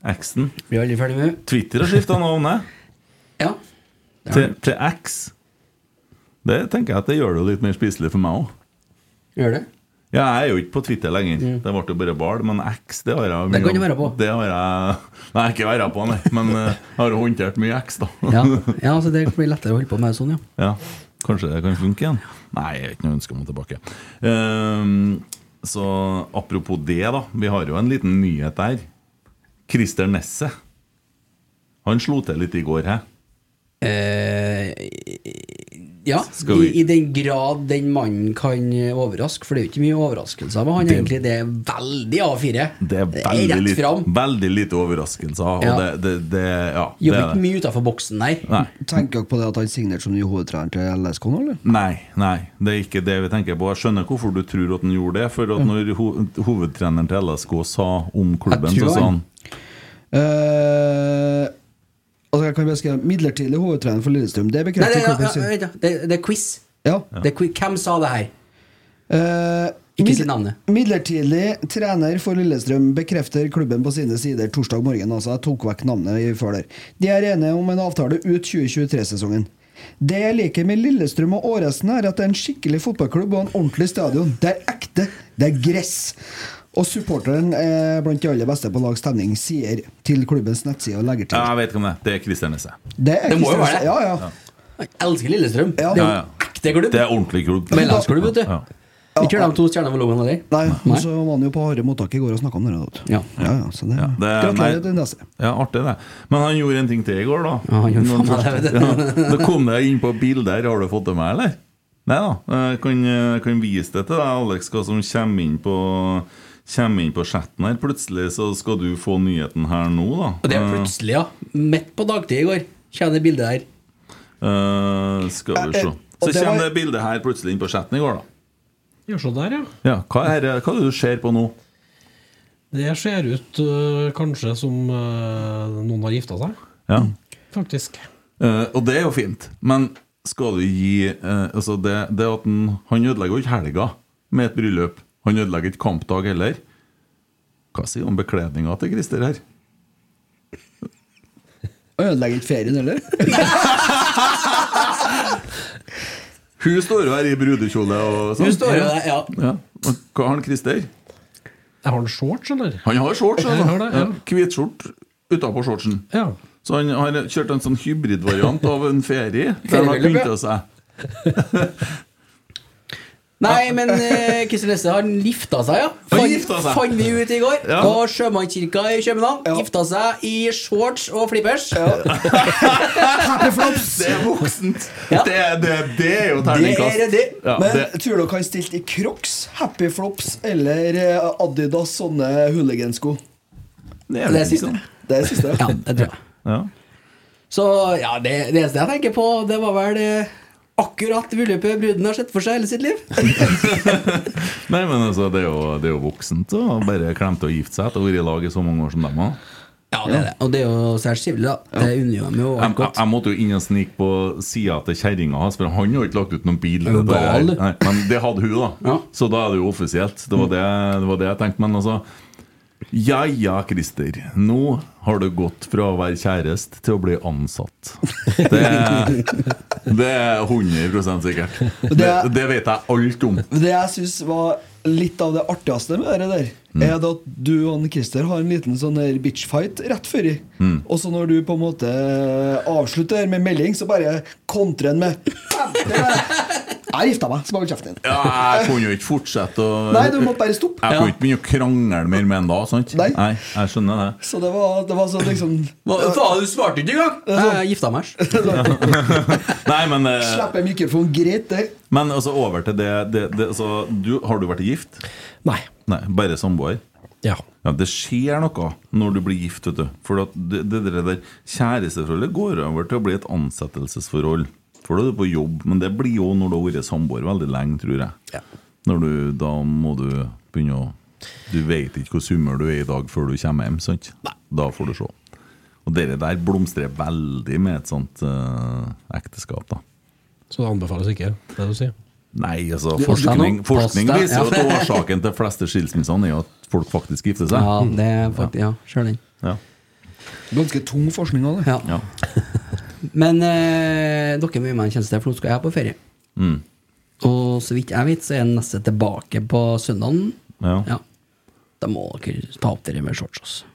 [SPEAKER 2] eksen.
[SPEAKER 3] Vi er aldri ferdig med det.
[SPEAKER 2] Twitter har skifta navn, jeg.
[SPEAKER 3] Ja.
[SPEAKER 2] til, til X. Det tenker jeg at det gjør det jo litt mer spiselig for meg òg.
[SPEAKER 3] Gjør det.
[SPEAKER 2] Ja, jeg er jo ikke på Twitter lenger. Det ble jo bare ball. Men X, det har jeg
[SPEAKER 3] Det
[SPEAKER 2] mye
[SPEAKER 3] kan du
[SPEAKER 2] om.
[SPEAKER 3] være på.
[SPEAKER 2] Det har jeg Nei, ikke være på, nei. Men eh, jeg har håndtert mye X, da.
[SPEAKER 3] *laughs* Ja, ja så det blir lettere å holde på med sånn, ja.
[SPEAKER 2] *laughs* Ja, Kanskje det kan funke igjen? Nei, jeg har ikke noe ønske om å tilbake. Ehm, så apropos det, da. Vi har jo en liten nyhet der. Christer Nesset. Han slo til litt i går, hæ?
[SPEAKER 3] Eh, ja,
[SPEAKER 2] Skal vi-
[SPEAKER 3] i, i den grad den mannen kan overraske, for det er jo ikke mye overraskelser med han
[SPEAKER 2] Det-
[SPEAKER 3] egentlig. Det er veldig A4.
[SPEAKER 2] Det er veldig,
[SPEAKER 3] rett
[SPEAKER 2] lite,
[SPEAKER 3] fram.
[SPEAKER 2] veldig lite overraskelser. Og
[SPEAKER 3] Ja.
[SPEAKER 2] det, det, det, ja, det
[SPEAKER 3] Jobber
[SPEAKER 2] er det.
[SPEAKER 3] ikke mye utafor boksen, nei.
[SPEAKER 2] Nei.
[SPEAKER 5] Tenker dere på det at han signerte som ny hovedtrener til LSK nå, eller?
[SPEAKER 2] Nei, nei, det er ikke det vi tenker på. Jeg skjønner hvorfor du tror at han gjorde det. For at når ho hovedtreneren til LSK sa om klubben,
[SPEAKER 3] Jeg tror
[SPEAKER 2] så sa han
[SPEAKER 3] han-
[SPEAKER 5] Eh, altså jeg kan beskrive Midlertidig hovedtrener for Lillestrøm. Det
[SPEAKER 3] Nei,
[SPEAKER 5] bekrefter
[SPEAKER 3] det,
[SPEAKER 5] klubben
[SPEAKER 3] det,
[SPEAKER 5] sin.
[SPEAKER 3] det, det, det er quiz.
[SPEAKER 5] Ja.
[SPEAKER 3] Det er quiz. Hvem sa det her?
[SPEAKER 5] Eh,
[SPEAKER 3] Ikke
[SPEAKER 5] mid-
[SPEAKER 3] si navnet.
[SPEAKER 5] Midlertidig trener for Lillestrøm bekrefter klubben på sine sider torsdag morgen. Altså, jeg tok vekk navnet i- før der. De er enige om en avtale ut 2023-sesongen. Det jeg liker med Lillestrøm og Åresen, er at det er en skikkelig fotballklubb og en ordentlig stadion. Det er ekte. Det er gress. Og supporteren er blant de aller beste på lag stemning, sier til klubbens nettside og legger til.
[SPEAKER 2] Jeg vet ikke om det er. Det er Christer Nesse.
[SPEAKER 5] Det, er
[SPEAKER 3] Det må jo
[SPEAKER 5] Kristian-
[SPEAKER 3] være det.
[SPEAKER 5] Ja, ja.
[SPEAKER 3] Jeg elsker Lillestrøm.
[SPEAKER 5] Ja.
[SPEAKER 3] Det er
[SPEAKER 2] Ja, ja.
[SPEAKER 3] jo en ekte klubb.
[SPEAKER 2] Det er ordentlig klubb.
[SPEAKER 3] Mellomsklubb, vet du.
[SPEAKER 2] Ja.
[SPEAKER 3] Ikke gjør de to stjernene for logoen heller.
[SPEAKER 5] Nei, og så var han jo på harde mottak i går og snakka om det. da, vet du.
[SPEAKER 3] Ja.
[SPEAKER 5] Ja, ja, så det,
[SPEAKER 2] Ja, det- nei.
[SPEAKER 5] gratulerer til Nesse.
[SPEAKER 2] Ja, artig det. Men han gjorde en ting til i går, da.
[SPEAKER 3] Ja, han gjorde faen meg det, vet
[SPEAKER 2] *laughs*
[SPEAKER 3] du.
[SPEAKER 2] Ja, da kom jeg inn på bildet her. Har du fått det med, eller? Nei da. Jeg kan, jeg kan vise det til deg, Alex, hva som kommer inn på Kommer inn på chatten her. Plutselig så skal du få nyheten her nå, da.
[SPEAKER 3] Og det er plutselig, ja. Midt på dagtid i går. Kjenner det bildet der.
[SPEAKER 2] Eh, skal vi se. Så
[SPEAKER 5] Og det var-
[SPEAKER 2] kommer det bildet her plutselig inn på chatten i går, da.
[SPEAKER 6] Ja, se der, ja.
[SPEAKER 2] Ja, hva er det hva er det du ser på nå?
[SPEAKER 6] Det ser ut øh, kanskje som øh, noen har gifta seg,
[SPEAKER 2] Ja.
[SPEAKER 6] faktisk.
[SPEAKER 2] Eh, og det er jo fint, men skal du gi eh, Altså, det, det at han, han ødelegger jo ikke helga med et bryllup. Han ødelegger ikke kampdag heller. Hva sier du om bekledninga til Christer her?
[SPEAKER 5] Og Ødelegger ikke ferien heller.
[SPEAKER 2] Hun står jo her i brudekjole og
[SPEAKER 3] Du
[SPEAKER 2] sånn.
[SPEAKER 3] står jo der, ja.
[SPEAKER 2] Ja. Men Hva har han Christer?
[SPEAKER 6] Har han shorts, eller?
[SPEAKER 2] Han har shorts,
[SPEAKER 6] Jeg har
[SPEAKER 2] altså.
[SPEAKER 6] det, ja.
[SPEAKER 2] Hvitskjort utapå shortsen.
[SPEAKER 6] Ja.
[SPEAKER 2] Så han har kjørt en sånn hybridvariant av en
[SPEAKER 3] *laughs*
[SPEAKER 2] ferie der han har
[SPEAKER 3] Feriebryllup, ja.
[SPEAKER 2] pynta seg.
[SPEAKER 3] Nei, men eh, Kristin Nesse har gifta seg, ja.
[SPEAKER 2] Han
[SPEAKER 3] Fant-
[SPEAKER 2] gifta seg.
[SPEAKER 3] Fant vi ut i går.
[SPEAKER 2] Ja.
[SPEAKER 3] På sjømannskirka i København. Gifta seg i shorts og flippers.
[SPEAKER 2] Det er voksent!
[SPEAKER 3] Ja.
[SPEAKER 2] Det, det, det er jo
[SPEAKER 3] Det er
[SPEAKER 2] terningkast.
[SPEAKER 3] ryddig.
[SPEAKER 2] Ja,
[SPEAKER 5] Men
[SPEAKER 2] det-
[SPEAKER 5] tror dere han stilte i Crocs, Happy Flops eller eh, Adidas sånne hooligansko?
[SPEAKER 2] Det liksom
[SPEAKER 3] Det er siste.
[SPEAKER 5] Det er det siste.
[SPEAKER 3] Ja, det tror jeg.
[SPEAKER 2] Ja.
[SPEAKER 3] Så ja, det, det eneste jeg tenker på, det var vel eh, akkurat bryllupet bruden har sett for seg hele sitt liv.
[SPEAKER 2] Nei, men altså, det er jo, det er jo voksent å bare klemme til å gifte seg etter å ha vært i lag i så mange år som dem har.
[SPEAKER 3] Ja, det er det. Og det er jo særs trivelig, da. Det unner jo dem jo
[SPEAKER 2] Jeg,
[SPEAKER 3] alt
[SPEAKER 2] jeg,
[SPEAKER 3] godt.
[SPEAKER 2] jeg måtte jo inn og snike på sida til kjerringa hans, for han har jo ikke lagt ut noen bil.
[SPEAKER 3] Er du
[SPEAKER 2] Det der.
[SPEAKER 3] gal, du?
[SPEAKER 2] Nei, men det hadde hun, da.
[SPEAKER 3] Ja.
[SPEAKER 2] Så da er det jo offisielt. Det var det, det var det jeg tenkte. Men altså Ja ja, Christer. Nå har du gått fra å være kjæreste til å bli ansatt. Det, det er 100 sikkert. Det, det vet jeg alt om.
[SPEAKER 5] Det jeg syns var litt av det artigste med det der, er det at du og han Christer har en liten sånn der bitchfight rett før i. Og så når du på en måte eh, avslutter med melding, så bare kontrer han med «Faen, det var- Jeg har gifta meg, så bare hold kjeften din.
[SPEAKER 2] Ja, jeg kunne jo ikke fortsette å
[SPEAKER 5] Nei, du måtte bare stoppe.
[SPEAKER 2] Jeg kunne ikke begynne å krangle mer med en da. sant?
[SPEAKER 5] Nei.
[SPEAKER 2] Nei, jeg skjønner det.
[SPEAKER 5] Så det var, det var sånn liksom
[SPEAKER 3] Hva faen, du svarte ikke engang! Nei, Jeg gifta meg. æsj.
[SPEAKER 2] Nei, men eh,
[SPEAKER 5] Slipper mikrofonen greit, det.
[SPEAKER 2] Men altså over til det, det, det altså, du, Har du vært gift?
[SPEAKER 6] Nei.
[SPEAKER 2] Nei, bare samboer.
[SPEAKER 6] Ja.
[SPEAKER 2] Ja, Det skjer noe når du blir gift. vet du For at det, det der der kjæresteforholdet går over til å bli et ansettelsesforhold. For da er du på jobb, men det blir jo når du har vært samboer veldig lenge, tror jeg.
[SPEAKER 6] Ja.
[SPEAKER 2] Når du, Da må du begynne å Du vet ikke hvor summer du er i dag før du kommer hjem. sant? Da får du se. Og det der blomstrer veldig med et sånt eh, ekteskap. da
[SPEAKER 6] Så det anbefales ikke, det du sier.
[SPEAKER 2] Nei, altså
[SPEAKER 3] Du, pass deg
[SPEAKER 2] forskning,
[SPEAKER 3] nå. Pass
[SPEAKER 2] forskning
[SPEAKER 3] deg,
[SPEAKER 2] viser jo
[SPEAKER 3] ja. *laughs*
[SPEAKER 2] at årsaken til fleste skilsmissene er jo at folk faktisk gifter seg.
[SPEAKER 3] Ja, det er faktisk Ja, sjøl den.
[SPEAKER 2] Ja.
[SPEAKER 5] Ganske tung forskning av det.
[SPEAKER 3] Ja.
[SPEAKER 2] Ja.
[SPEAKER 3] Men eh, dere må gi meg en tjeneste, for nå skal jeg på ferie.
[SPEAKER 2] Mm.
[SPEAKER 3] Og så vidt jeg vet, så er han neste tilbake på søndagen.
[SPEAKER 2] Ja.
[SPEAKER 3] Ja. Da må dere ta opp dere med shorts. altså.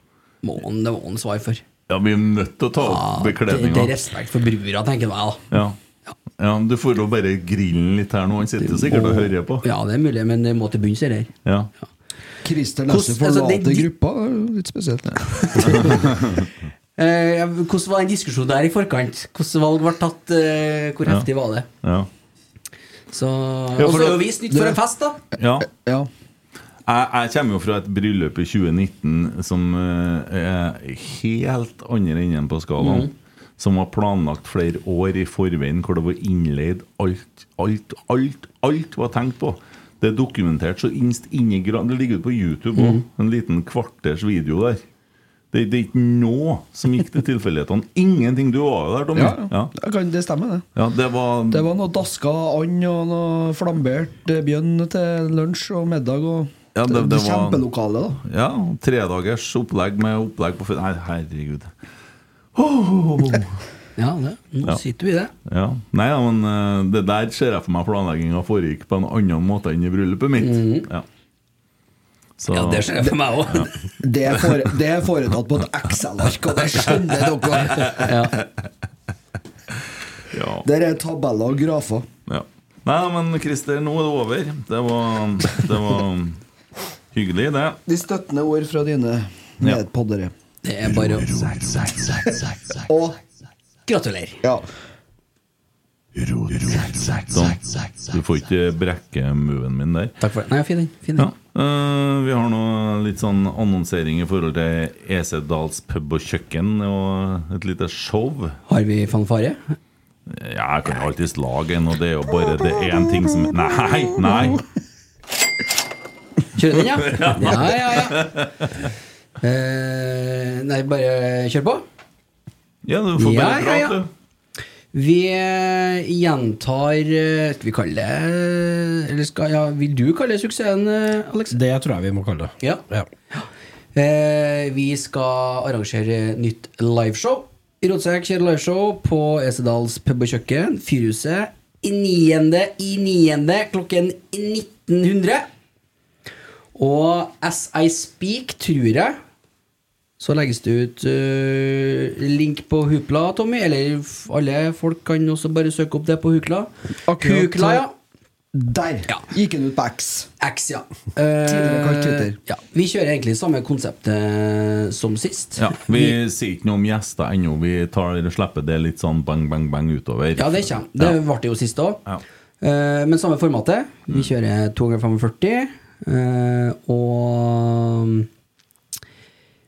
[SPEAKER 3] Må han, det må han svare for.
[SPEAKER 2] ja, vi er nødt til å ta opp
[SPEAKER 3] det, det
[SPEAKER 2] bekledninga.
[SPEAKER 3] er respekt for brura, tenker jeg da.
[SPEAKER 2] Ja. ja, men du får jo bare grille litt her nå. Han sitter sikkert og hører på.
[SPEAKER 3] Ja, det er mulig, men det må til bunns i det her.
[SPEAKER 2] Ja.
[SPEAKER 5] Christer
[SPEAKER 3] Hvordan-
[SPEAKER 5] Nesse forlater
[SPEAKER 3] altså, det-
[SPEAKER 5] gruppa. er jo Litt spesielt.
[SPEAKER 3] Eh, hvordan var den diskusjonen der i forkant? Hvordan valg ble tatt? Eh, hvor heftig var det?
[SPEAKER 2] Ja.
[SPEAKER 3] Så,
[SPEAKER 2] Ja,
[SPEAKER 3] og
[SPEAKER 2] for
[SPEAKER 3] så er
[SPEAKER 2] det-
[SPEAKER 3] jo vi snytt for en fest, da!
[SPEAKER 2] ja.
[SPEAKER 5] Ja.
[SPEAKER 2] Jeg, jeg kommer jo fra et bryllup i 2019 som eh, er helt andre enden på skalaen. Som var planlagt flere år i forveien, hvor det var innleid alt, alt, alt alt var tenkt på. Det er dokumentert så innst inni gran... Det ligger ute på YouTube òg, en liten kvarters video der. Det, det er ikke noe som gikk til tilfeldighetene. *laughs* Ingenting. Du var jo der, Tommy.
[SPEAKER 5] Ja,
[SPEAKER 2] Ja.
[SPEAKER 5] ja. Det kan- Det stemmer, det.
[SPEAKER 2] Ja, det var,
[SPEAKER 5] Det var noe daska and og noe flambert eh, bjønn til lunsj og middag. Og
[SPEAKER 2] Ja, det- det var-
[SPEAKER 5] Kjempelokale, da.
[SPEAKER 2] Ja, tredagers opplegg med opplegg på fe- Nei, herregud. Oh.
[SPEAKER 3] Ja, det. Nå
[SPEAKER 2] Ja.
[SPEAKER 3] sitter vi i det.
[SPEAKER 2] Ja. Nei, ja, men eh, det der ser jeg for meg planlegginga foregikk på en annen måte enn i bryllupet mitt. ja. Så,
[SPEAKER 3] Mhm. Ja, det skjer for meg òg.
[SPEAKER 5] Det er, fore, *laughs* det er foretatt på et Excel-ark, og det skjønner dere!
[SPEAKER 2] ja,
[SPEAKER 5] Der er tabeller og grafer.
[SPEAKER 2] ja. Nei, men Christer, nå er det over. Det var, det var hyggelig, det.
[SPEAKER 5] De støttende ord fra dine medpoddere.
[SPEAKER 3] *laughs* Det er bare å
[SPEAKER 5] Og
[SPEAKER 3] Gratulerer.
[SPEAKER 5] ja.
[SPEAKER 2] Sånn. Du får ikke brekke moven min der.
[SPEAKER 3] Takk for det. Nei, fin den. Fin
[SPEAKER 2] Ja.
[SPEAKER 3] den.
[SPEAKER 2] eh, vi har nå litt sånn annonsering i forhold til Esedals pub og kjøkken og et lite show.
[SPEAKER 3] Har vi fanfare?
[SPEAKER 2] Ja, jeg kan jo alltids lage en, og det er jo bare det er én ting som Nei! nei
[SPEAKER 3] Kjører den, ja? Ja, ja, ja. Eh, nei, bare kjør på.
[SPEAKER 2] Ja, du får bare
[SPEAKER 3] Ja, ja,
[SPEAKER 2] prate,
[SPEAKER 3] ja.
[SPEAKER 2] du.
[SPEAKER 3] Vi eh, gjentar eh, Skal vi kalle det Eller skal, ja, vil du kalle det suksessen, eh, Alex?
[SPEAKER 6] Det tror jeg vi må kalle det.
[SPEAKER 3] Ja.
[SPEAKER 6] Ja.
[SPEAKER 3] Eh, vi skal arrangere nytt liveshow. Rotsekk kjører liveshow på Esedals pub og kjøkken, Fyrhuset, i niende i niende klokken 1900. Og as I speak, tror jeg, så legges det ut eh, link på Hupla, Tommy. Eller f- alle folk kan også bare søke opp det på Hukla.
[SPEAKER 5] Akkurat.
[SPEAKER 3] Hukla, ja.
[SPEAKER 5] Der
[SPEAKER 3] Ja.
[SPEAKER 5] gikk han ut på X.
[SPEAKER 3] X, ja. Eh,
[SPEAKER 5] Tidligere kalt Twitter.
[SPEAKER 3] Ja, vi kjører egentlig samme konseptet som sist.
[SPEAKER 2] Ja, vi sier ikke noe om gjester ennå. Vi tar, slipper det litt sånn bang, bang, bang utover.
[SPEAKER 3] Ja, det kommer. Det
[SPEAKER 2] Ja.
[SPEAKER 3] ble det jo sist òg.
[SPEAKER 2] Ja. Mm.
[SPEAKER 3] men samme formatet. Vi kjører 2 ganger 45. eh, og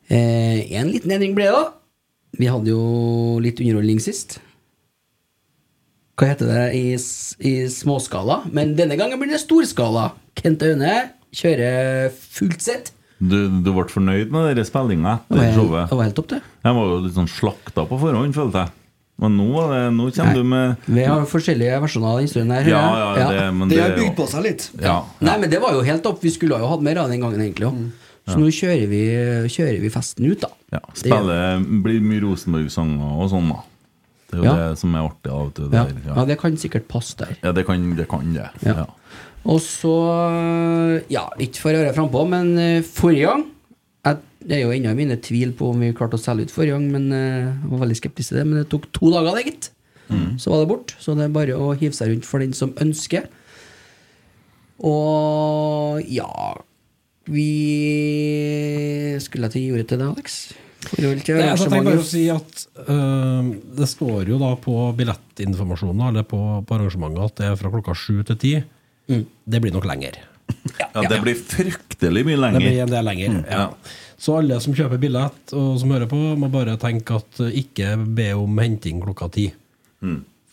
[SPEAKER 3] eh, en liten endring ble det, da. Vi hadde jo litt underholdning sist. Hva heter det i, s- i småskala? Men denne gangen blir det storskala. Kent Aune kjører fullt sett.
[SPEAKER 2] Du, du ble fornøyd med dere spillinga
[SPEAKER 3] Det
[SPEAKER 2] etter
[SPEAKER 3] var helt, det
[SPEAKER 2] showet?
[SPEAKER 3] var helt topp, det.
[SPEAKER 2] Jeg var jo litt sånn slakta på forhånd, følte jeg. Men nå, var det, nå
[SPEAKER 3] Nei.
[SPEAKER 2] kommer du med
[SPEAKER 3] Vi har forskjellige versjoner av den historien her.
[SPEAKER 2] Ja,
[SPEAKER 3] hører
[SPEAKER 2] ja,
[SPEAKER 3] jeg.
[SPEAKER 2] det, men
[SPEAKER 5] Det
[SPEAKER 2] det
[SPEAKER 5] har
[SPEAKER 2] er
[SPEAKER 5] bygd
[SPEAKER 2] jo
[SPEAKER 5] på seg litt.
[SPEAKER 2] ja. Mm.
[SPEAKER 3] Nei, men det var jo helt topp. Vi skulle ha jo hatt mer av den gangen, egentlig. også. Så nå kjører vi, kjører vi festen ut, da.
[SPEAKER 2] ja. Spiller blir mye Rosenborg-sanger og sånn, da. Det er jo
[SPEAKER 3] Ja.
[SPEAKER 2] det som er artig. av og til,
[SPEAKER 3] Ja.
[SPEAKER 2] det der,
[SPEAKER 3] ja, det kan sikkert passe der.
[SPEAKER 2] Ja, det kan det. Kan det.
[SPEAKER 3] Ja.
[SPEAKER 2] Ja.
[SPEAKER 3] Og så Ja, ikke for å høre frampå, men eh, forrige gang jeg, Det er jo ennå mine tvil på om vi klarte å selge ut forrige gang, men eh, jeg var veldig skeptisk til det. Men det tok to dager, det, gitt. Så var det bort. Så det er bare å hive seg rundt for den som ønsker. Og ja Vi Skulle jeg til ordet til deg, Alex? Forhold til
[SPEAKER 6] Nei, altså, jeg tenkte bare å
[SPEAKER 3] arrangementet?
[SPEAKER 6] si at øhm, Det står jo da på billettinformasjonen Eller på, på arrangementet at det er fra klokka 7 til 10
[SPEAKER 5] Mm.
[SPEAKER 6] Det blir nok lenger
[SPEAKER 2] Ja, det blir fryktelig mye
[SPEAKER 6] Det blir
[SPEAKER 2] lenger. Mm,
[SPEAKER 6] en del lenger ja.
[SPEAKER 2] ja.
[SPEAKER 6] Så alle som kjøper billett og som hører på Må bare tenke at øh, ikke be om henting klokka 10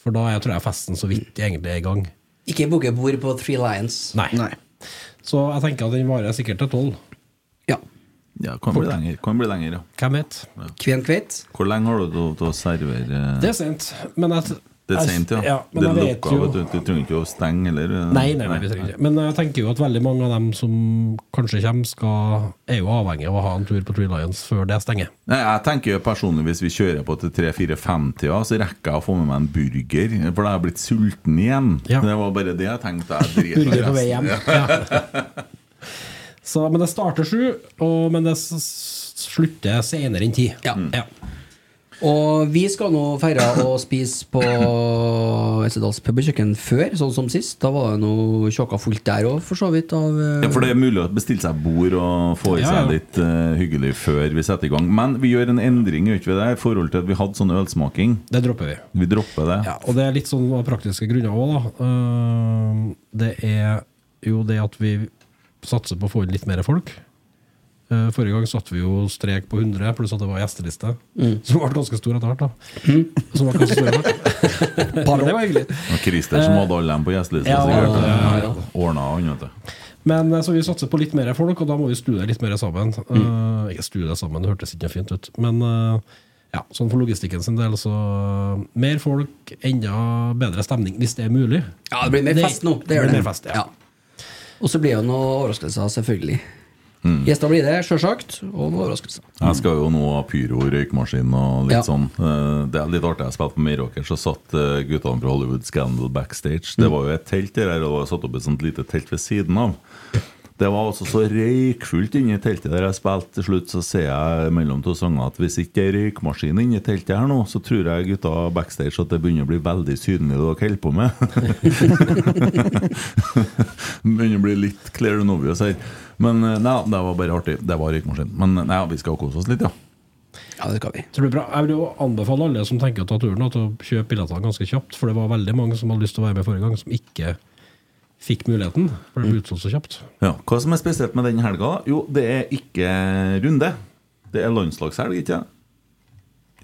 [SPEAKER 6] For da er, tror jeg festen så vidt egentlig er i gang
[SPEAKER 3] Ikke booke bord på Three Lions.
[SPEAKER 6] Nei. Så jeg tenker at den varer sikkert til 12
[SPEAKER 3] Ja.
[SPEAKER 2] Ja, kan bli lenger, kan bli lenger ja.
[SPEAKER 6] Hvem vet?
[SPEAKER 3] Kven kveit.
[SPEAKER 2] Hvor lenge har du til å- til å servere eh,
[SPEAKER 6] Det er sent Men jeg,
[SPEAKER 2] Det er sent, ja.
[SPEAKER 6] ja
[SPEAKER 2] det er
[SPEAKER 6] men jeg vet
[SPEAKER 2] lukka,
[SPEAKER 6] jo
[SPEAKER 2] vet du. Du trenger ikke å stenge heller.
[SPEAKER 6] Nei, nei, nei, vi trenger ikke. Men jeg tenker jo at veldig mange av dem som kanskje kommer, skal, er jo avhengig av å ha en tur på Tree Lions før det stenger.
[SPEAKER 2] Nei, jeg tenker jo personlig Hvis vi kjører på til 3-4-5-tida, så rekker jeg å få med meg en burger. For da har jeg blitt sulten igjen.
[SPEAKER 6] Ja.
[SPEAKER 2] Det var bare det jeg tenkte. Jeg driter i
[SPEAKER 6] Burger på vei
[SPEAKER 2] resten.
[SPEAKER 6] hjem. Ja. *laughs* Så, men det starter sju, og, men det s- s- slutter senere enn ti.
[SPEAKER 3] Ja.
[SPEAKER 6] Ja.
[SPEAKER 3] Og vi skal nå feire og spise på Essedals pub og kjøkken før, sånn som sist. Da var det noe tjåka fullt der òg, for så vidt. Av, eh,
[SPEAKER 2] Ja, for det er mulig å bestille seg bord og få i
[SPEAKER 6] Ja,
[SPEAKER 2] seg
[SPEAKER 6] ja.
[SPEAKER 2] litt eh, hyggelig før vi setter i gang. Men vi gjør en endring gjør ikke vi det, i forhold til at vi hadde sånn ølsmaking.
[SPEAKER 6] Det dropper vi.
[SPEAKER 2] Vi dropper det.
[SPEAKER 6] Ja, og det er litt sånn av praktiske grunner òg, da. Ehm, Det er jo det at vi satser på å få inn litt mer folk. Eh, Forrige gang satte vi jo strek på 100, pluss at det var gjesteliste. Som ble ganske stor etter hvert, da. Som ble ganske stor etter hvert. Men det var hyggelig.
[SPEAKER 2] Og Christer som hadde alle dem på gjestelista,
[SPEAKER 6] Eh, Ja,
[SPEAKER 2] sikkert.
[SPEAKER 6] ja, ja, ja.
[SPEAKER 2] Ordna han, vet du.
[SPEAKER 6] Men eh, så vi satser på litt mer folk, og da må vi studere litt mer sammen. Eh, ikke studere sammen, det hørtes ikke fint ut. Men eh, ja, sånn for logistikken sin del, så eh, mer folk, enda bedre stemning, hvis det er mulig.
[SPEAKER 3] ja, det blir mer
[SPEAKER 6] Det-
[SPEAKER 3] fest nå. Det gjør det.
[SPEAKER 6] det blir mer fest, ja.
[SPEAKER 3] Og så blir det jo noen overraskelser, selvfølgelig.
[SPEAKER 6] Mm.
[SPEAKER 3] Gjester blir det, sjølsagt. Og noen overraskelser.
[SPEAKER 2] Jeg skal jo nå ha pyro, røykmaskin og litt
[SPEAKER 3] Ja.
[SPEAKER 2] sånn. Eh, Det er litt artig. Jeg spilte på Meråker, så satt eh, guttene fra Hollywood Scandal backstage. Det var jo et telt der, og det var satt opp et sånt lite telt ved siden av. Det var altså så røykfullt inni teltet der jeg spilte. Til slutt så ser jeg mellom to sanger at hvis ikke det er røykmaskin inni teltet her nå, så tror jeg gutta backstage at det begynner å bli veldig synlig det dere holder på med. *laughs* begynner å bli litt clear and obvious her. Men eh, nei, det var bare artig. Det var røykmaskin. Men eh, nei, vi skal kose oss litt, ja.
[SPEAKER 3] Ja, det skal vi.
[SPEAKER 6] Så det blir bra. Jeg vil jo anbefale alle som tenker å ta turen, at å kjøpe billettene ganske kjapt. For det var veldig mange som hadde lyst til å være med forrige gang, som ikke fikk muligheten. For det ble utsolgt så kjapt.
[SPEAKER 2] Ja, Hva som er spesielt med den helga? da? Jo, det er ikke runde. Det er landslagshelg, ikke sant?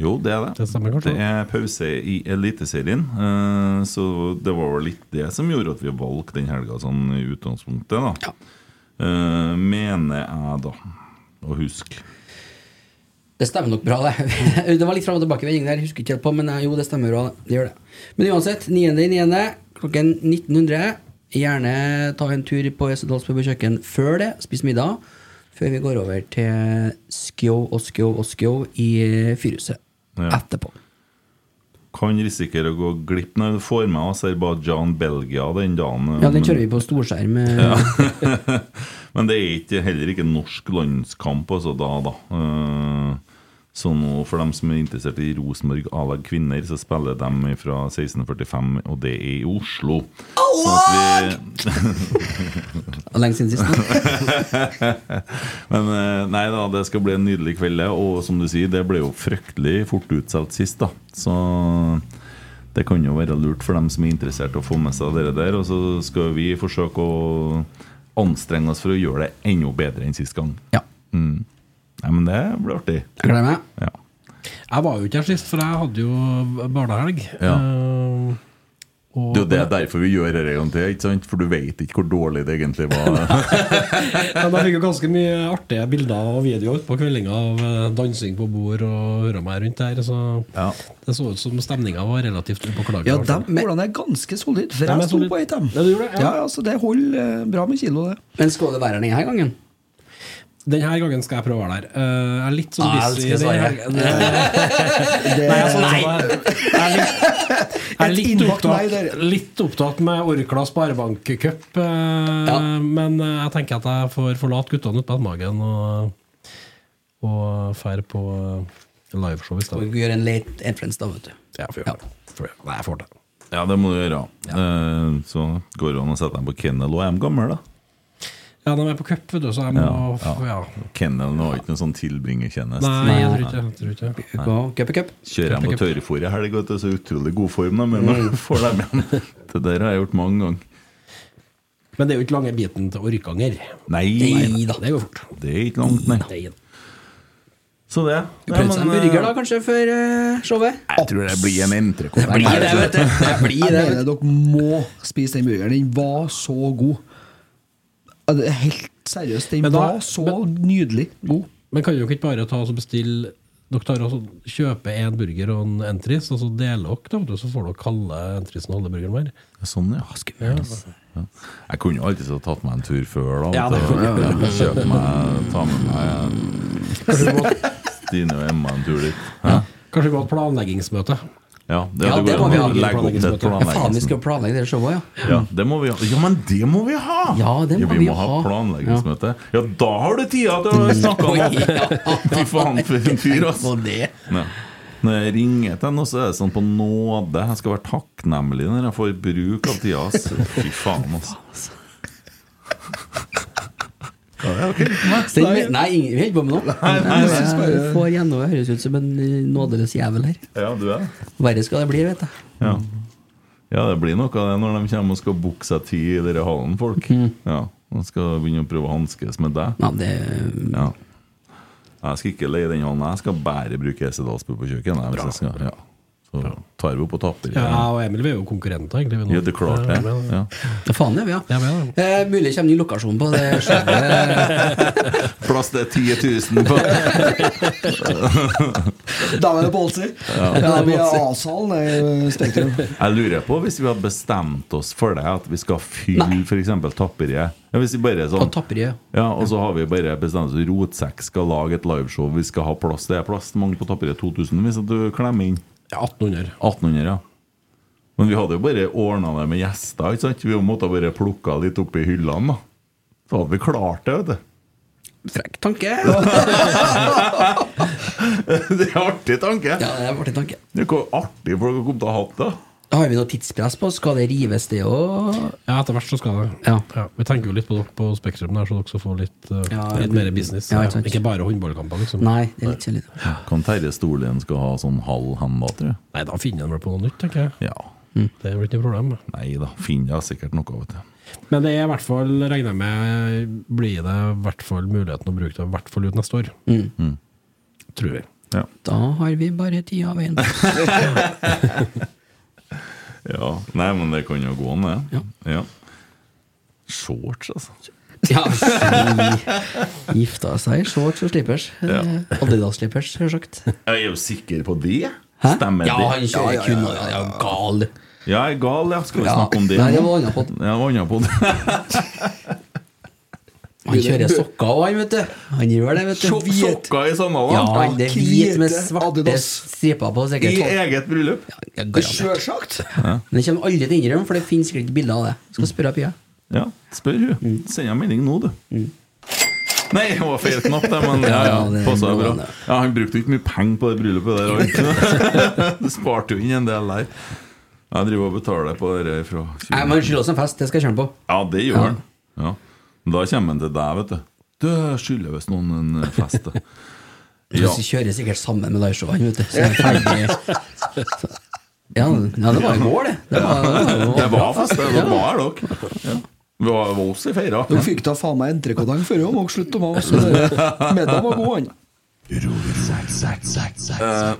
[SPEAKER 2] Jo, det er det.
[SPEAKER 6] Det stemmer kanskje,
[SPEAKER 2] Det er pause i Eliteserien. eh, Så det var vel litt det som gjorde at vi valgte den helga sånn i utgangspunktet, da.
[SPEAKER 3] Ja.
[SPEAKER 2] Eh, Mener jeg, da. Å huske.
[SPEAKER 3] Det stemmer nok bra, det. *laughs* det var litt fram og tilbake. vending der, jeg husker ikke helt på, men eh, jo, det stemmer bra. det gjør det. Men uansett, 9.9. klokken 1900. Gjerne ta en tur på Gjessedals pub og kjøkken før det. Spis middag. Før vi går over til Skjå og Skjå og Skjå i eh, Fyrhuset
[SPEAKER 2] Ja.
[SPEAKER 3] etterpå.
[SPEAKER 2] Kan risikere å gå glipp når du får med Aserbajdsjan-Belgia den dagen. eh,
[SPEAKER 3] Ja, den kjører vi på storskjerm. eh, Ja.
[SPEAKER 2] Men det er ikke, heller ikke norsk landskamp altså, da, da. Eh, Så nå, for dem som er interessert i Rosenborg A-lag kvinner, så spiller de fra 1645, og det er i Oslo. Sånn at vi,
[SPEAKER 3] *laughs* Lenge siden sist.
[SPEAKER 6] *laughs*
[SPEAKER 3] nå.
[SPEAKER 2] *laughs* men eh, nei da, det skal bli en nydelig kveld, det. Og som du sier, det ble jo fryktelig fort utsolgt sist, da. Så det kan jo være lurt for dem som er interessert, å få med seg det der. Og så skal vi forsøke å anstrenge oss for å gjøre det enda bedre enn sist gang.
[SPEAKER 3] Ja,
[SPEAKER 2] Nei, men det blir artig.
[SPEAKER 3] jeg gleder meg.
[SPEAKER 2] Ja.
[SPEAKER 6] Jeg var jo ikke her sist, for jeg hadde jo barnehelg.
[SPEAKER 2] Ja.
[SPEAKER 6] Eh, og-
[SPEAKER 2] Det er jo det er derfor vi gjør dette en gang til, ikke sant? for du vet ikke hvor dårlig det egentlig
[SPEAKER 6] *laughs*
[SPEAKER 2] var.
[SPEAKER 6] Men jeg fikk jo ganske mye artige bilder og videoer på kveldinga av eh, dansing på bord og høra meg rundt der. Så det så ut som stemninga var relativt upåklagelig.
[SPEAKER 5] Ja,
[SPEAKER 6] i hvert fall.
[SPEAKER 5] dem målene er ganske solide, for
[SPEAKER 6] Dem er
[SPEAKER 5] jeg sto
[SPEAKER 6] solid.
[SPEAKER 5] på et dem.
[SPEAKER 6] Ja, du gjorde det, ja.
[SPEAKER 5] Ja, altså, det holder eh, bra med kilo, det.
[SPEAKER 3] Men skal det være den her gangen?
[SPEAKER 6] Denne gangen skal jeg prøve å være der. Eh, jeg er litt sånn
[SPEAKER 3] Ah,
[SPEAKER 6] busy.
[SPEAKER 3] jeg elsker Eh,
[SPEAKER 6] denne
[SPEAKER 3] Sverre.
[SPEAKER 6] helgen. Nei, jeg er sånn-
[SPEAKER 5] *laughs*
[SPEAKER 6] jeg er litt- jeg er
[SPEAKER 5] Et
[SPEAKER 6] litt
[SPEAKER 5] innbakt nei
[SPEAKER 6] opptatt,
[SPEAKER 5] der.
[SPEAKER 6] litt opptatt med Orkla Sparebankcup, eh,
[SPEAKER 3] Ja.
[SPEAKER 6] men eh, jeg tenker at jeg får forlate guttene ute på Edmagen og, og drar på eh, liveshow i
[SPEAKER 3] Skal
[SPEAKER 6] stedet.
[SPEAKER 3] vi gjøre en late entrance, da, vet du.
[SPEAKER 6] Ja, får gjøre det. Får gjøre det. Nei, jeg får det.
[SPEAKER 11] Ja, det må du gjøre. Eh, Så går det an å sette dem på kennel. Og jeg er gammel, da.
[SPEAKER 6] Ja, de er på cup, vet du, så jeg må
[SPEAKER 11] Ja,
[SPEAKER 6] f- ja.
[SPEAKER 2] Kennelen var ikke noen sånn tilbringertjeneste.
[SPEAKER 6] Nei, jeg tror ikke, jeg tror ikke. det.
[SPEAKER 3] Cup, cup, cup.
[SPEAKER 2] Kjører jeg på tørrfôr i helg, vet du, så utrolig god form de er
[SPEAKER 6] Mm.
[SPEAKER 2] med. Får dem igjen. *laughs* Det der har jeg gjort mange ganger.
[SPEAKER 6] Men det er jo ikke lange biten til Orkanger.
[SPEAKER 2] Nei,
[SPEAKER 3] Nei da.
[SPEAKER 6] Det går fort.
[SPEAKER 2] det er ikke langt, nei.
[SPEAKER 6] Nei da.
[SPEAKER 2] Så det. eh,
[SPEAKER 3] Du prøvde seg en burger, da, kanskje, før eh, showet?
[SPEAKER 2] Jeg tror det blir en entrecôte.
[SPEAKER 3] Bli det, vet du. Det
[SPEAKER 5] Jeg
[SPEAKER 3] blir
[SPEAKER 5] mener
[SPEAKER 3] det.
[SPEAKER 5] dere må spise den burgeren. Den var så god. Ja, det er Helt seriøst, den
[SPEAKER 6] Men da-
[SPEAKER 5] var så nydelig god.
[SPEAKER 6] Men kan dere ikke bare ta og bestille Dere tar også kjøper en burger og en entris, og så deler dere, da, vet du, så får dere kalle entrisen og halve burgeren hver.
[SPEAKER 2] Sånn, ja. Ja. Jeg kunne jo alltid så tatt meg en tur før, da.
[SPEAKER 6] Ja,
[SPEAKER 2] vet
[SPEAKER 6] det
[SPEAKER 2] du. Kjøpe meg, ta med meg Stine og Emma en tur dit. Ja,
[SPEAKER 6] Kanskje vi må ha et planleggingsmøte.
[SPEAKER 2] ja det,
[SPEAKER 3] Ja,
[SPEAKER 2] det
[SPEAKER 3] det
[SPEAKER 2] går
[SPEAKER 3] må
[SPEAKER 2] an
[SPEAKER 3] vi
[SPEAKER 2] å
[SPEAKER 3] ha.
[SPEAKER 2] legge opp til et
[SPEAKER 3] Ja, faen, vi
[SPEAKER 2] planleggingsmøte.
[SPEAKER 3] skal planlegge det showet, ja.
[SPEAKER 2] Ja, det må vi ha. Ja, men det må vi ha!
[SPEAKER 3] Ja, det må
[SPEAKER 2] vi,
[SPEAKER 3] vi
[SPEAKER 2] må ha,
[SPEAKER 3] ha.
[SPEAKER 2] planleggingsmøte. Ja. da har du tida til å snakke
[SPEAKER 3] *laughs*
[SPEAKER 2] om det! Fy faen, for en fyr, altså.
[SPEAKER 3] det.
[SPEAKER 2] Ja. Når jeg ringer til henne, så er det sånn på nåde. Jeg skal være takknemlig når jeg får bruk av tida. *laughs* Altså. Fy faen, altså. Ja, det er ok.
[SPEAKER 3] Send me- Nei, ingen- vi holder på med noe. Jeg får gjennom, jeg høres ut som en eh, nådeløs jævel her.
[SPEAKER 2] Ja, du er det.
[SPEAKER 3] Verre skal det bli, vet jeg.
[SPEAKER 2] Ja. ja, det blir noe av det når de kommer og skal booke seg tid i dere hallen, folk.
[SPEAKER 6] Mhm.
[SPEAKER 2] Ja, De skal begynne å prøve å hanskes med deg.
[SPEAKER 3] Ja, det,
[SPEAKER 2] Ja. Jeg skal ikke leie den hallen, jeg skal bare bruke Esedalsbu på kjøkkenet. Hvis jeg skal. Ja. Så tar vi opp og tapper.
[SPEAKER 6] Ja, og Emil, vi er jo konkurrenter, egentlig. vi nå.
[SPEAKER 2] Ja, det er klart det.
[SPEAKER 6] Ja,
[SPEAKER 2] Ja.
[SPEAKER 3] ja, faen det er vi, ja.
[SPEAKER 6] Ja, men, ja.
[SPEAKER 3] Eh, mulig kommer ny lokasjon på det eh, showet.
[SPEAKER 2] Plass til 10 000 på
[SPEAKER 5] Da er det bolser. Ja, vi er A-salen i Spektrum.
[SPEAKER 2] Jeg lurer på hvis vi hadde bestemt oss for det, at vi skal fylle
[SPEAKER 3] Nei.
[SPEAKER 2] f.eks. tapperiet. Ja, hvis vi bare er sånn
[SPEAKER 3] På Tapperiet.
[SPEAKER 2] Ja, og så har vi bare bestemt oss Rotsekk skal lage et liveshow. Vi skal ha plass. Det er plass til mange på Tapperiet 2000 hvis at du klemmer inn
[SPEAKER 6] 1800.
[SPEAKER 2] 1800. ja Men vi hadde jo bare ordna det med gjester. ikke sant? Vi måtte bare plukka litt opp i hyllene. da Så hadde vi klart det, vet du. *laughs*
[SPEAKER 3] Frekk tanke.
[SPEAKER 2] Det er artig tanke.
[SPEAKER 3] Ja, det var en tanke.
[SPEAKER 2] Det er Hvor artig folk har kommet til å ha det.
[SPEAKER 3] Har vi noe tidspress på? Skal det rives, det òg?
[SPEAKER 6] Ja, etter hvert så skal det.
[SPEAKER 3] Ja.
[SPEAKER 6] vi tenker jo litt på dere på Spektrum, der, så dere skal få litt, eh,
[SPEAKER 3] Ja,
[SPEAKER 6] litt mer business.
[SPEAKER 3] ja,
[SPEAKER 6] Ja,
[SPEAKER 3] ikke sant.
[SPEAKER 6] ikke bare håndballkamper, liksom.
[SPEAKER 3] Nei, det er litt kjedelig. da.
[SPEAKER 2] Kan Terje Storlien skal ha sånn halv handa, tror jeg?
[SPEAKER 6] Nei, da finner de vel på noe nytt, tenker jeg.
[SPEAKER 2] Ja.
[SPEAKER 6] Det blir ikke noe problem.
[SPEAKER 2] Nei da, finner jeg sikkert noe, vet du.
[SPEAKER 6] Men det er i hvert fall, regner jeg med, blir det i hvert fall muligheten å bruke det i hvert fall ut neste år. Tror vi.
[SPEAKER 2] Ja.
[SPEAKER 3] Da har vi bare tida av veien.
[SPEAKER 2] Nei, men det kan jo gå an, det.
[SPEAKER 3] Ja.
[SPEAKER 2] Ja. Shorts, altså.
[SPEAKER 3] *laughs* Ja, vi gifta seg i shorts og slippers.
[SPEAKER 2] Ja.
[SPEAKER 3] Eh, Adidas-slippers, selvsagt.
[SPEAKER 2] Jeg er jo sikker på det.
[SPEAKER 3] Hæ?
[SPEAKER 2] Stemmer
[SPEAKER 3] ja, han
[SPEAKER 2] det?
[SPEAKER 3] kjører kun ja, ja, gal.
[SPEAKER 2] Ja, jeg er gal, ja. Skal vi
[SPEAKER 3] Ja.
[SPEAKER 2] snakke om det?
[SPEAKER 3] Nei, det
[SPEAKER 2] nå?
[SPEAKER 3] var annet på den.
[SPEAKER 2] Ja, det var annet *laughs* på den.
[SPEAKER 3] Han kjører sokker òg, han, vet du. Han gjør det, vet du.
[SPEAKER 2] Sjokk- Sjokka i
[SPEAKER 3] Ja,
[SPEAKER 2] sandalene?
[SPEAKER 3] han er hvit med
[SPEAKER 5] Hvite
[SPEAKER 3] svarte
[SPEAKER 5] Adidas.
[SPEAKER 3] striper på,
[SPEAKER 2] I
[SPEAKER 3] sikkert.
[SPEAKER 2] eget bryllup?
[SPEAKER 3] Ja, garantert.
[SPEAKER 5] Sjølsagt.
[SPEAKER 3] Men det kommer aldri til å innrømme, for det finnes sikkert ikke bilder av det. Skal spørre Pia.
[SPEAKER 2] Ja, spør
[SPEAKER 3] Mm.
[SPEAKER 2] hun. Send henne melding nå, du. Nei, det var feil knapp, det, men ja, ja,
[SPEAKER 3] *laughs* Ja, det
[SPEAKER 2] passa
[SPEAKER 3] går
[SPEAKER 2] bra.
[SPEAKER 3] an, det.
[SPEAKER 2] Ja, Han brukte jo ikke mye penger på det bryllupet der. og- *laughs* Du sparte jo inn en del der. Jeg driver og betaler på det der fra 2019.
[SPEAKER 3] Nei, men skyld oss en fest, det skal jeg kjøre på.
[SPEAKER 2] Ja, det gjør han. Ja. Men Da kommer han til deg, vet du. Du jeg skylder visst noen en eh,
[SPEAKER 3] *laughs*
[SPEAKER 2] fest. da.
[SPEAKER 3] Ja.
[SPEAKER 2] Ja.
[SPEAKER 3] kjører sikkert sammen med liveshowene, vet du. Så er jeg ferdig. *laughs* Så- Ja, ja, det var i går, det. Det var, det var,
[SPEAKER 2] Det var fest, det var her, dere. Ja. Vi var var oss i feira.
[SPEAKER 5] Dere fikk da faen meg entrecôtene før òg, må dere slutte å mase. Middagen var god, han.
[SPEAKER 2] Eh,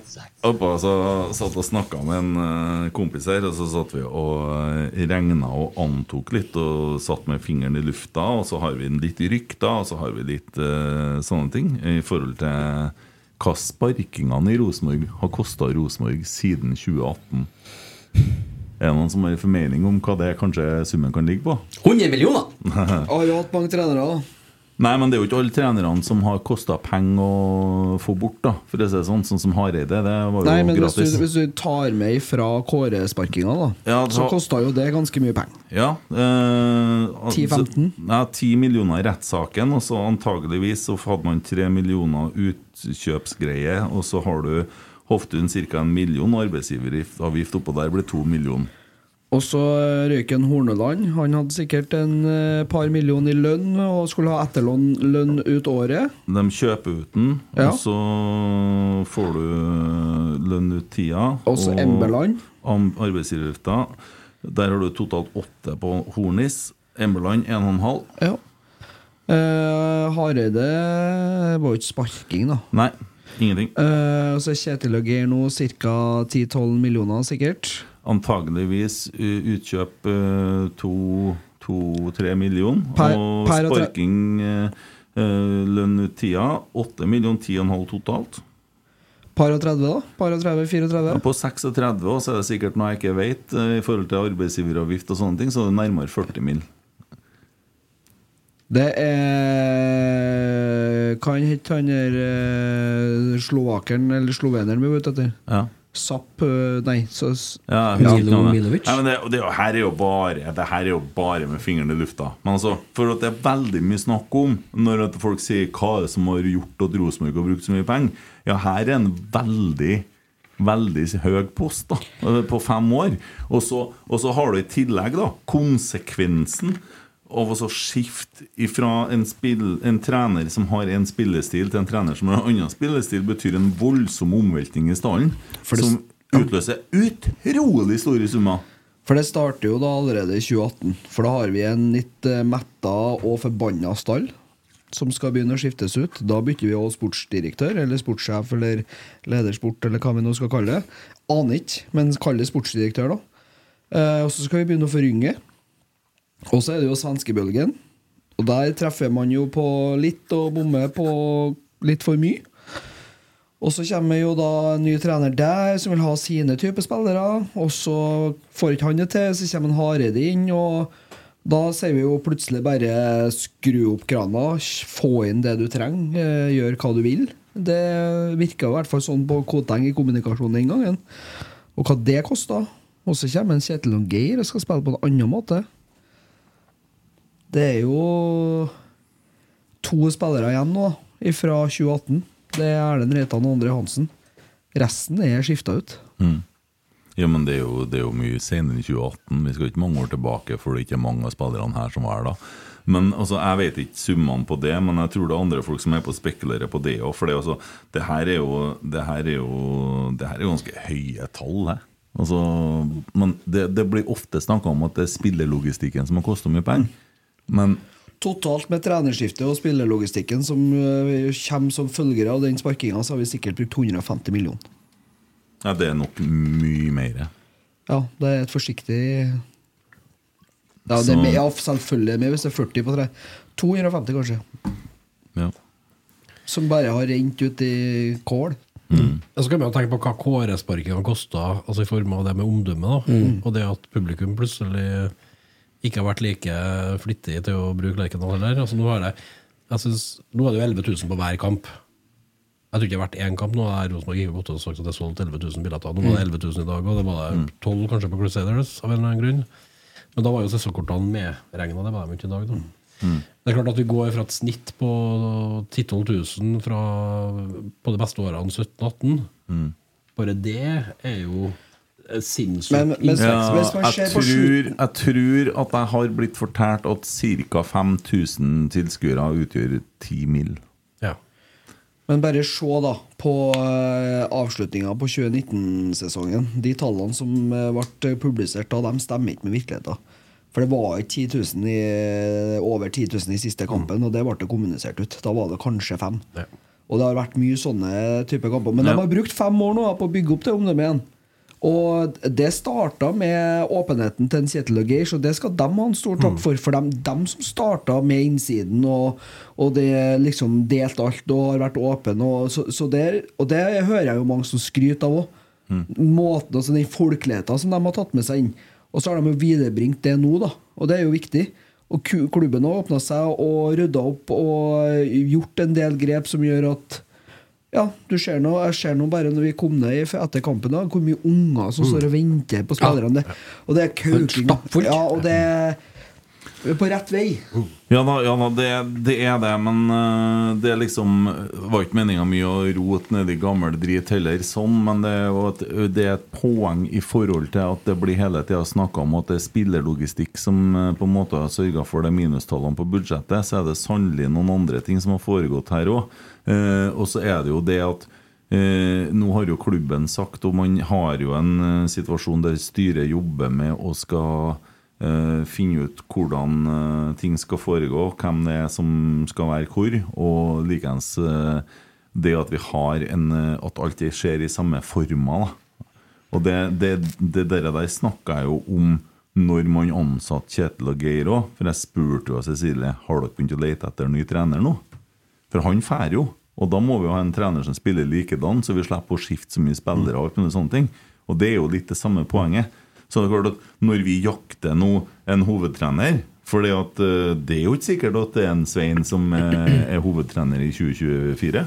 [SPEAKER 2] oppå så satt og snakka med en eh, kompis her, og så satt vi og regna og antok litt og satt med fingeren i lufta, og så har vi litt rykter, og så har vi litt eh, sånne ting i forhold til hva sparkingene i Rosenborg har kosta Rosenborg siden 2018. Er det noen som har formening om hva det kanskje summen kan ligge på?
[SPEAKER 3] 100 millioner!
[SPEAKER 5] Har jo hatt mange trenere. da.
[SPEAKER 2] Nei, men det er jo ikke alle trenerne som har kosta penger å få bort, da. For å si det sånn, sånn som Hareide, det var jo
[SPEAKER 5] Nei, men hvis du,
[SPEAKER 2] gratis.
[SPEAKER 5] hvis du tar med ifra kåresparkinga, da,
[SPEAKER 2] Ja, altså-
[SPEAKER 5] så
[SPEAKER 2] da-
[SPEAKER 5] kosta jo det ganske mye penger.
[SPEAKER 2] Ja. Eh,
[SPEAKER 5] 10-15?
[SPEAKER 2] altså, Nei, 10 millioner i rettssaken, og så antageligvis så hadde man 3 millioner utkjøpsgreie, og så har du Hoftun ca. en million, og arbeidsgiveravgift oppå der blir 2 millioner.
[SPEAKER 5] Og så eh, røyken Horneland. Han hadde sikkert en eh, par million i lønn og skulle ha etterlønn lønn ut året.
[SPEAKER 2] De kjøper ut den,
[SPEAKER 5] Ja.
[SPEAKER 2] og så får du eh, lønn ut tida.
[SPEAKER 5] Også Embeland.
[SPEAKER 2] am- Arbeidsgiveravgifta. Der har du totalt åtte på Hornis. Embeland en og en halv.
[SPEAKER 5] Ja. Eh, Hareide var jo ikke sparking, da.
[SPEAKER 2] Nei, ingenting.
[SPEAKER 5] Eh, og så er Kjetil og Geir nå ca. 10-12 millioner, sikkert.
[SPEAKER 2] Antageligvis uh, utkjøp eh, to, to, tre million.
[SPEAKER 5] Per-
[SPEAKER 2] og
[SPEAKER 5] per og tre-
[SPEAKER 2] sparking eh, eh, lønn ut tida. Åtte million, ti og en halv totalt.
[SPEAKER 5] Par og 30, da? Par og 30, 34?
[SPEAKER 2] På 36 år så er det sikkert noe jeg ikke vet eh, i forhold til arbeidsgiveravgift og sånne ting, så er det nærmere 40 mill.
[SPEAKER 5] Det er Hva han het han der eh, slovakeren eller sloveneren vi var ute etter?
[SPEAKER 2] Ja.
[SPEAKER 5] Zapp eh, Nei, så s-
[SPEAKER 2] Ja, jeg husker
[SPEAKER 3] Milo
[SPEAKER 2] ikke navnet.
[SPEAKER 3] Milovic?
[SPEAKER 2] Nei, men det, det, er jo- her er jo bare Det her er jo bare med fingeren i lufta. Men altså, for at det er veldig mye snakk om når at folk sier hva er det som har gjort at Rosenborg har brukt så mye penger. Ja, her er en veldig Veldig høy post da eh, på fem år. Og så, og så har du i tillegg da konsekvensen av å så skifte fra en, spill, en trener som har en spillestil, til en trener som har en annen spillestil, betyr en voldsom omveltning i stallen. Som utløser utrolig store summer.
[SPEAKER 5] For det starter jo da allerede i 2018. For da har vi en litt eh, metta og forbanna stall som skal begynne å skiftes ut. Da bytter vi også sportsdirektør eller sportssjef eller ledersport eller hva vi nå skal kalle det. Aner ikke, men kall det sportsdirektør, da. Eh, og så skal vi begynne å forynge. Og så er det jo svenskebølgen. Og der treffer man jo på litt og bommer på litt for mye. Og så kommer jo da en ny trener der som vil ha sine typer spillere. Og så får ikke han det til, så kommer en Hareide inn, og da sier vi jo plutselig bare skru opp krana, sj- få inn det du trenger, eh, gjør hva du vil. Det virka i hvert fall sånn på Koteng i kommunikasjonen den gangen. Og hva det kosta. Og så kommer en Kjetil og Geir og skal spille på en annen måte. Det er jo to spillere igjen nå fra 2018. Det er Erlend Reitan og Andre Hansen. Resten er skifta ut.
[SPEAKER 2] Ja, men det er jo, det er jo mye senere enn 2018. Vi skal ikke mange år tilbake, for det er ikke mange av spillerne her som var her da. Men altså, Jeg vet ikke summene på det, men jeg tror det er andre folk som er på å spekulere på det òg. For det, er altså, det, her er jo, det, her er jo, det her er jo ganske høye tall. He. Altså, men det, det blir ofte snakka om at det er spillerlogistikken som har kosta mye penger. Men
[SPEAKER 5] Totalt med trenerskiftet og spillerlogistikken som øh, kommer som følgere av den sparkinga, så har vi sikkert brukt 150 millioner.
[SPEAKER 2] ja, det er nok mye mer.
[SPEAKER 5] Ja, det er et forsiktig ja, det er
[SPEAKER 2] Så-
[SPEAKER 5] med, ja, selvfølgelig er det med hvis det er 40 på tre. 250, kanskje.
[SPEAKER 2] Ja.
[SPEAKER 5] Som bare har rent ut i kål.
[SPEAKER 6] Så kan man jo tenke på hva kåresparkingen kosta, altså i form av det med omdømme, da. og det at publikum plutselig ikke har vært like flittig til å bruke Lerkendal heller. Altså, nå, har det, jeg synes, nå er det jo 11 000 på hver kamp. Jeg tror ikke det har vært én kamp nå. er Rosenborg ikke gått ut og sagt at det er solgt 11 000 billetter. Nå var det 11 000 i dag, og det var det 12 kanskje på Crusaders av en eller annen grunn. Men da var jo sesongkortene medregna, det var de jo ikke i dag. da. Det er klart at vi går fra et snitt på 10 000-12 000 fra, på de beste årene 17-18. Bare det er jo eh,
[SPEAKER 5] Men-
[SPEAKER 6] sinnssykt
[SPEAKER 5] men-
[SPEAKER 6] inntekts-
[SPEAKER 5] Ja, Hvis man ser
[SPEAKER 2] jeg,
[SPEAKER 5] på
[SPEAKER 2] tror, jeg tror at jeg har blitt fortalt at ca. 5000 tilskuere utgjør 10 mill.
[SPEAKER 6] ja.
[SPEAKER 5] Men bare se da på eh, avslutninga på 2019-sesongen. De tallene som eh, ble publisert da, de stemmer ikke med virkeligheten. For det var ikke 10 000 i, over 10 000 i siste kampen, og det ble det kommunisert ut. Da var det kanskje fem.
[SPEAKER 6] Ja.
[SPEAKER 5] Og det har vært mye sånne type kamper. Men de har brukt fem år nå på å bygge opp det omdømmet igjen. Og det starta med åpenheten til en Kjetil og Geir, så det skal de ha en stor takk for. For dem, dem som starta med innsiden og, og det liksom delte alt og har vært åpen. Og, så, så der, og det hører jeg jo mange som skryter av òg. Måten, altså Den folkeligheten som de har tatt med seg inn. Og så har de jo viderebringt det nå, da. Og det er jo viktig. Og ku- klubben har åpna seg og rydda opp og gjort en del grep som gjør at ja, du ser nå, jeg ser nå bare når vi kom ned i- etter kampen, da, hvor mye unger som står og venter på spillerne. Det- Og det er kauking.
[SPEAKER 3] Stappfullt.
[SPEAKER 5] Ja, og det er vi er på rett vei.
[SPEAKER 2] Ja da, ja da det, det er det, men eh, det er liksom var ikke meninga mye å rote nedi gammel drit heller, sånn, men det er jo et, det er et poeng i forhold til at det blir hele tida snakka om at det er spillerlogistikk som eh, på en måte har sørga for de minustallene på budsjettet, så er det sannelig noen andre ting som har foregått her òg. og så er det jo det at Eh, nå har jo klubben sagt, og man har jo en eh, situasjon der styret jobber med og skal eh, finne ut hvordan eh, ting skal foregå, hvem det er som skal være hvor, og likeens eh, det at vi har en eh, At alt det skjer i samme forma. da. Og det, det, det der, der snakka jeg jo om når man ansatte Kjetil og Geir òg, for jeg spurte jo Cecilie har dere begynt å lete etter ny trener nå. For han fær jo. Og da må vi jo ha en trener som spiller likedan, så vi slipper å skifte så mye spillere. Og alt mulig sånne ting Og det er jo litt det samme poenget. Så det er klart at når vi jakter nå en hovedtrener For det er jo ikke sikkert at det er en Svein som eh, er hovedtrener i 2024.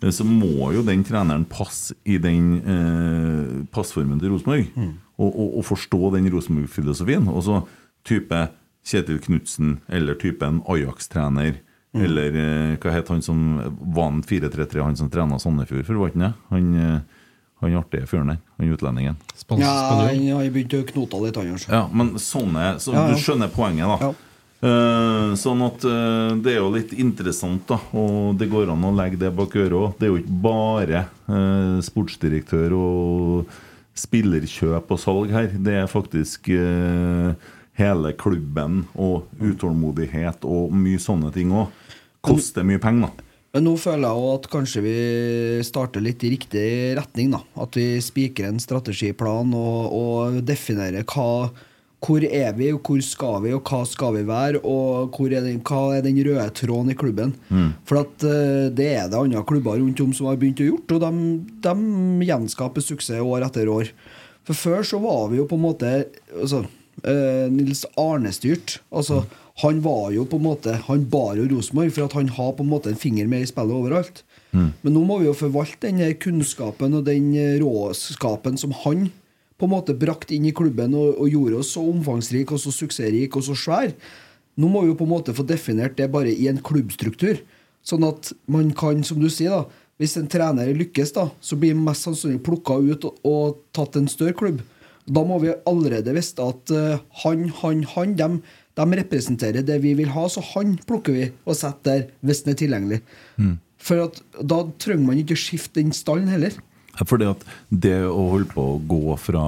[SPEAKER 2] Eh, Så må jo den treneren passe i den eh, passformen til Rosenborg. Og, og, og forstå den Rosenborg-filosofien. Og så type Kjetil Knutsen eller type en Ajax-trener. Eller eh, hva het han som var en 4-3-3, han som trena Sandefjord for, var ikke det? Han, eh, han artige fyren der. Han utlendingen.
[SPEAKER 5] Ja, han har jo begynt å knote litt, han altså. også.
[SPEAKER 2] Ja, men sånne så
[SPEAKER 5] Ja, ja.
[SPEAKER 2] Du skjønner poenget, da.
[SPEAKER 5] Ja.
[SPEAKER 2] Eh, sånn at eh, det er jo litt interessant, da. Og det går an å legge det bak øret òg. Det er jo ikke bare eh, sportsdirektør og spillerkjøp og salg her. Det er faktisk eh, hele klubben og utålmodighet og mye sånne ting òg. Koster mye penger, da.
[SPEAKER 5] Men nå føler jeg jo at kanskje vi starter litt i riktig retning. da At vi spiker en strategiplan og, og definerer hva hvor er vi, og hvor skal vi, og hva skal vi være? Og hvor er den, hva er den røde tråden i klubben? For at eh, det er det andre klubber rundt om som har begynt å gjort, og de, de gjenskaper suksess år etter år. For før så var vi jo på en måte altså, eh, Nils Arne-styrt. Altså, han var jo på en måte Han bar jo Rosenborg, for at han har på en måte en finger med i spillet overalt. Men nå må vi jo forvalte den her kunnskapen og den eh, råskapen som han på en måte brakt inn i klubben og, og gjorde oss så omfangsrik og så suksessrik og så svær. Nå må vi jo på en måte få definert det bare i en klubbstruktur. Sånn at man kan, som du sier, da hvis en trener lykkes, da, så blir han mest sannsynlig plukka ut og, og tatt til en større klubb. Da må vi allerede visste at eh, han, han, han, dem, dem representerer det vi vil ha, så han plukker vi og setter der hvis den er tilgjengelig.
[SPEAKER 2] Mm.
[SPEAKER 5] For at, da trenger man ikke skifte den stallen heller.
[SPEAKER 2] Fordi at det å holde på å gå fra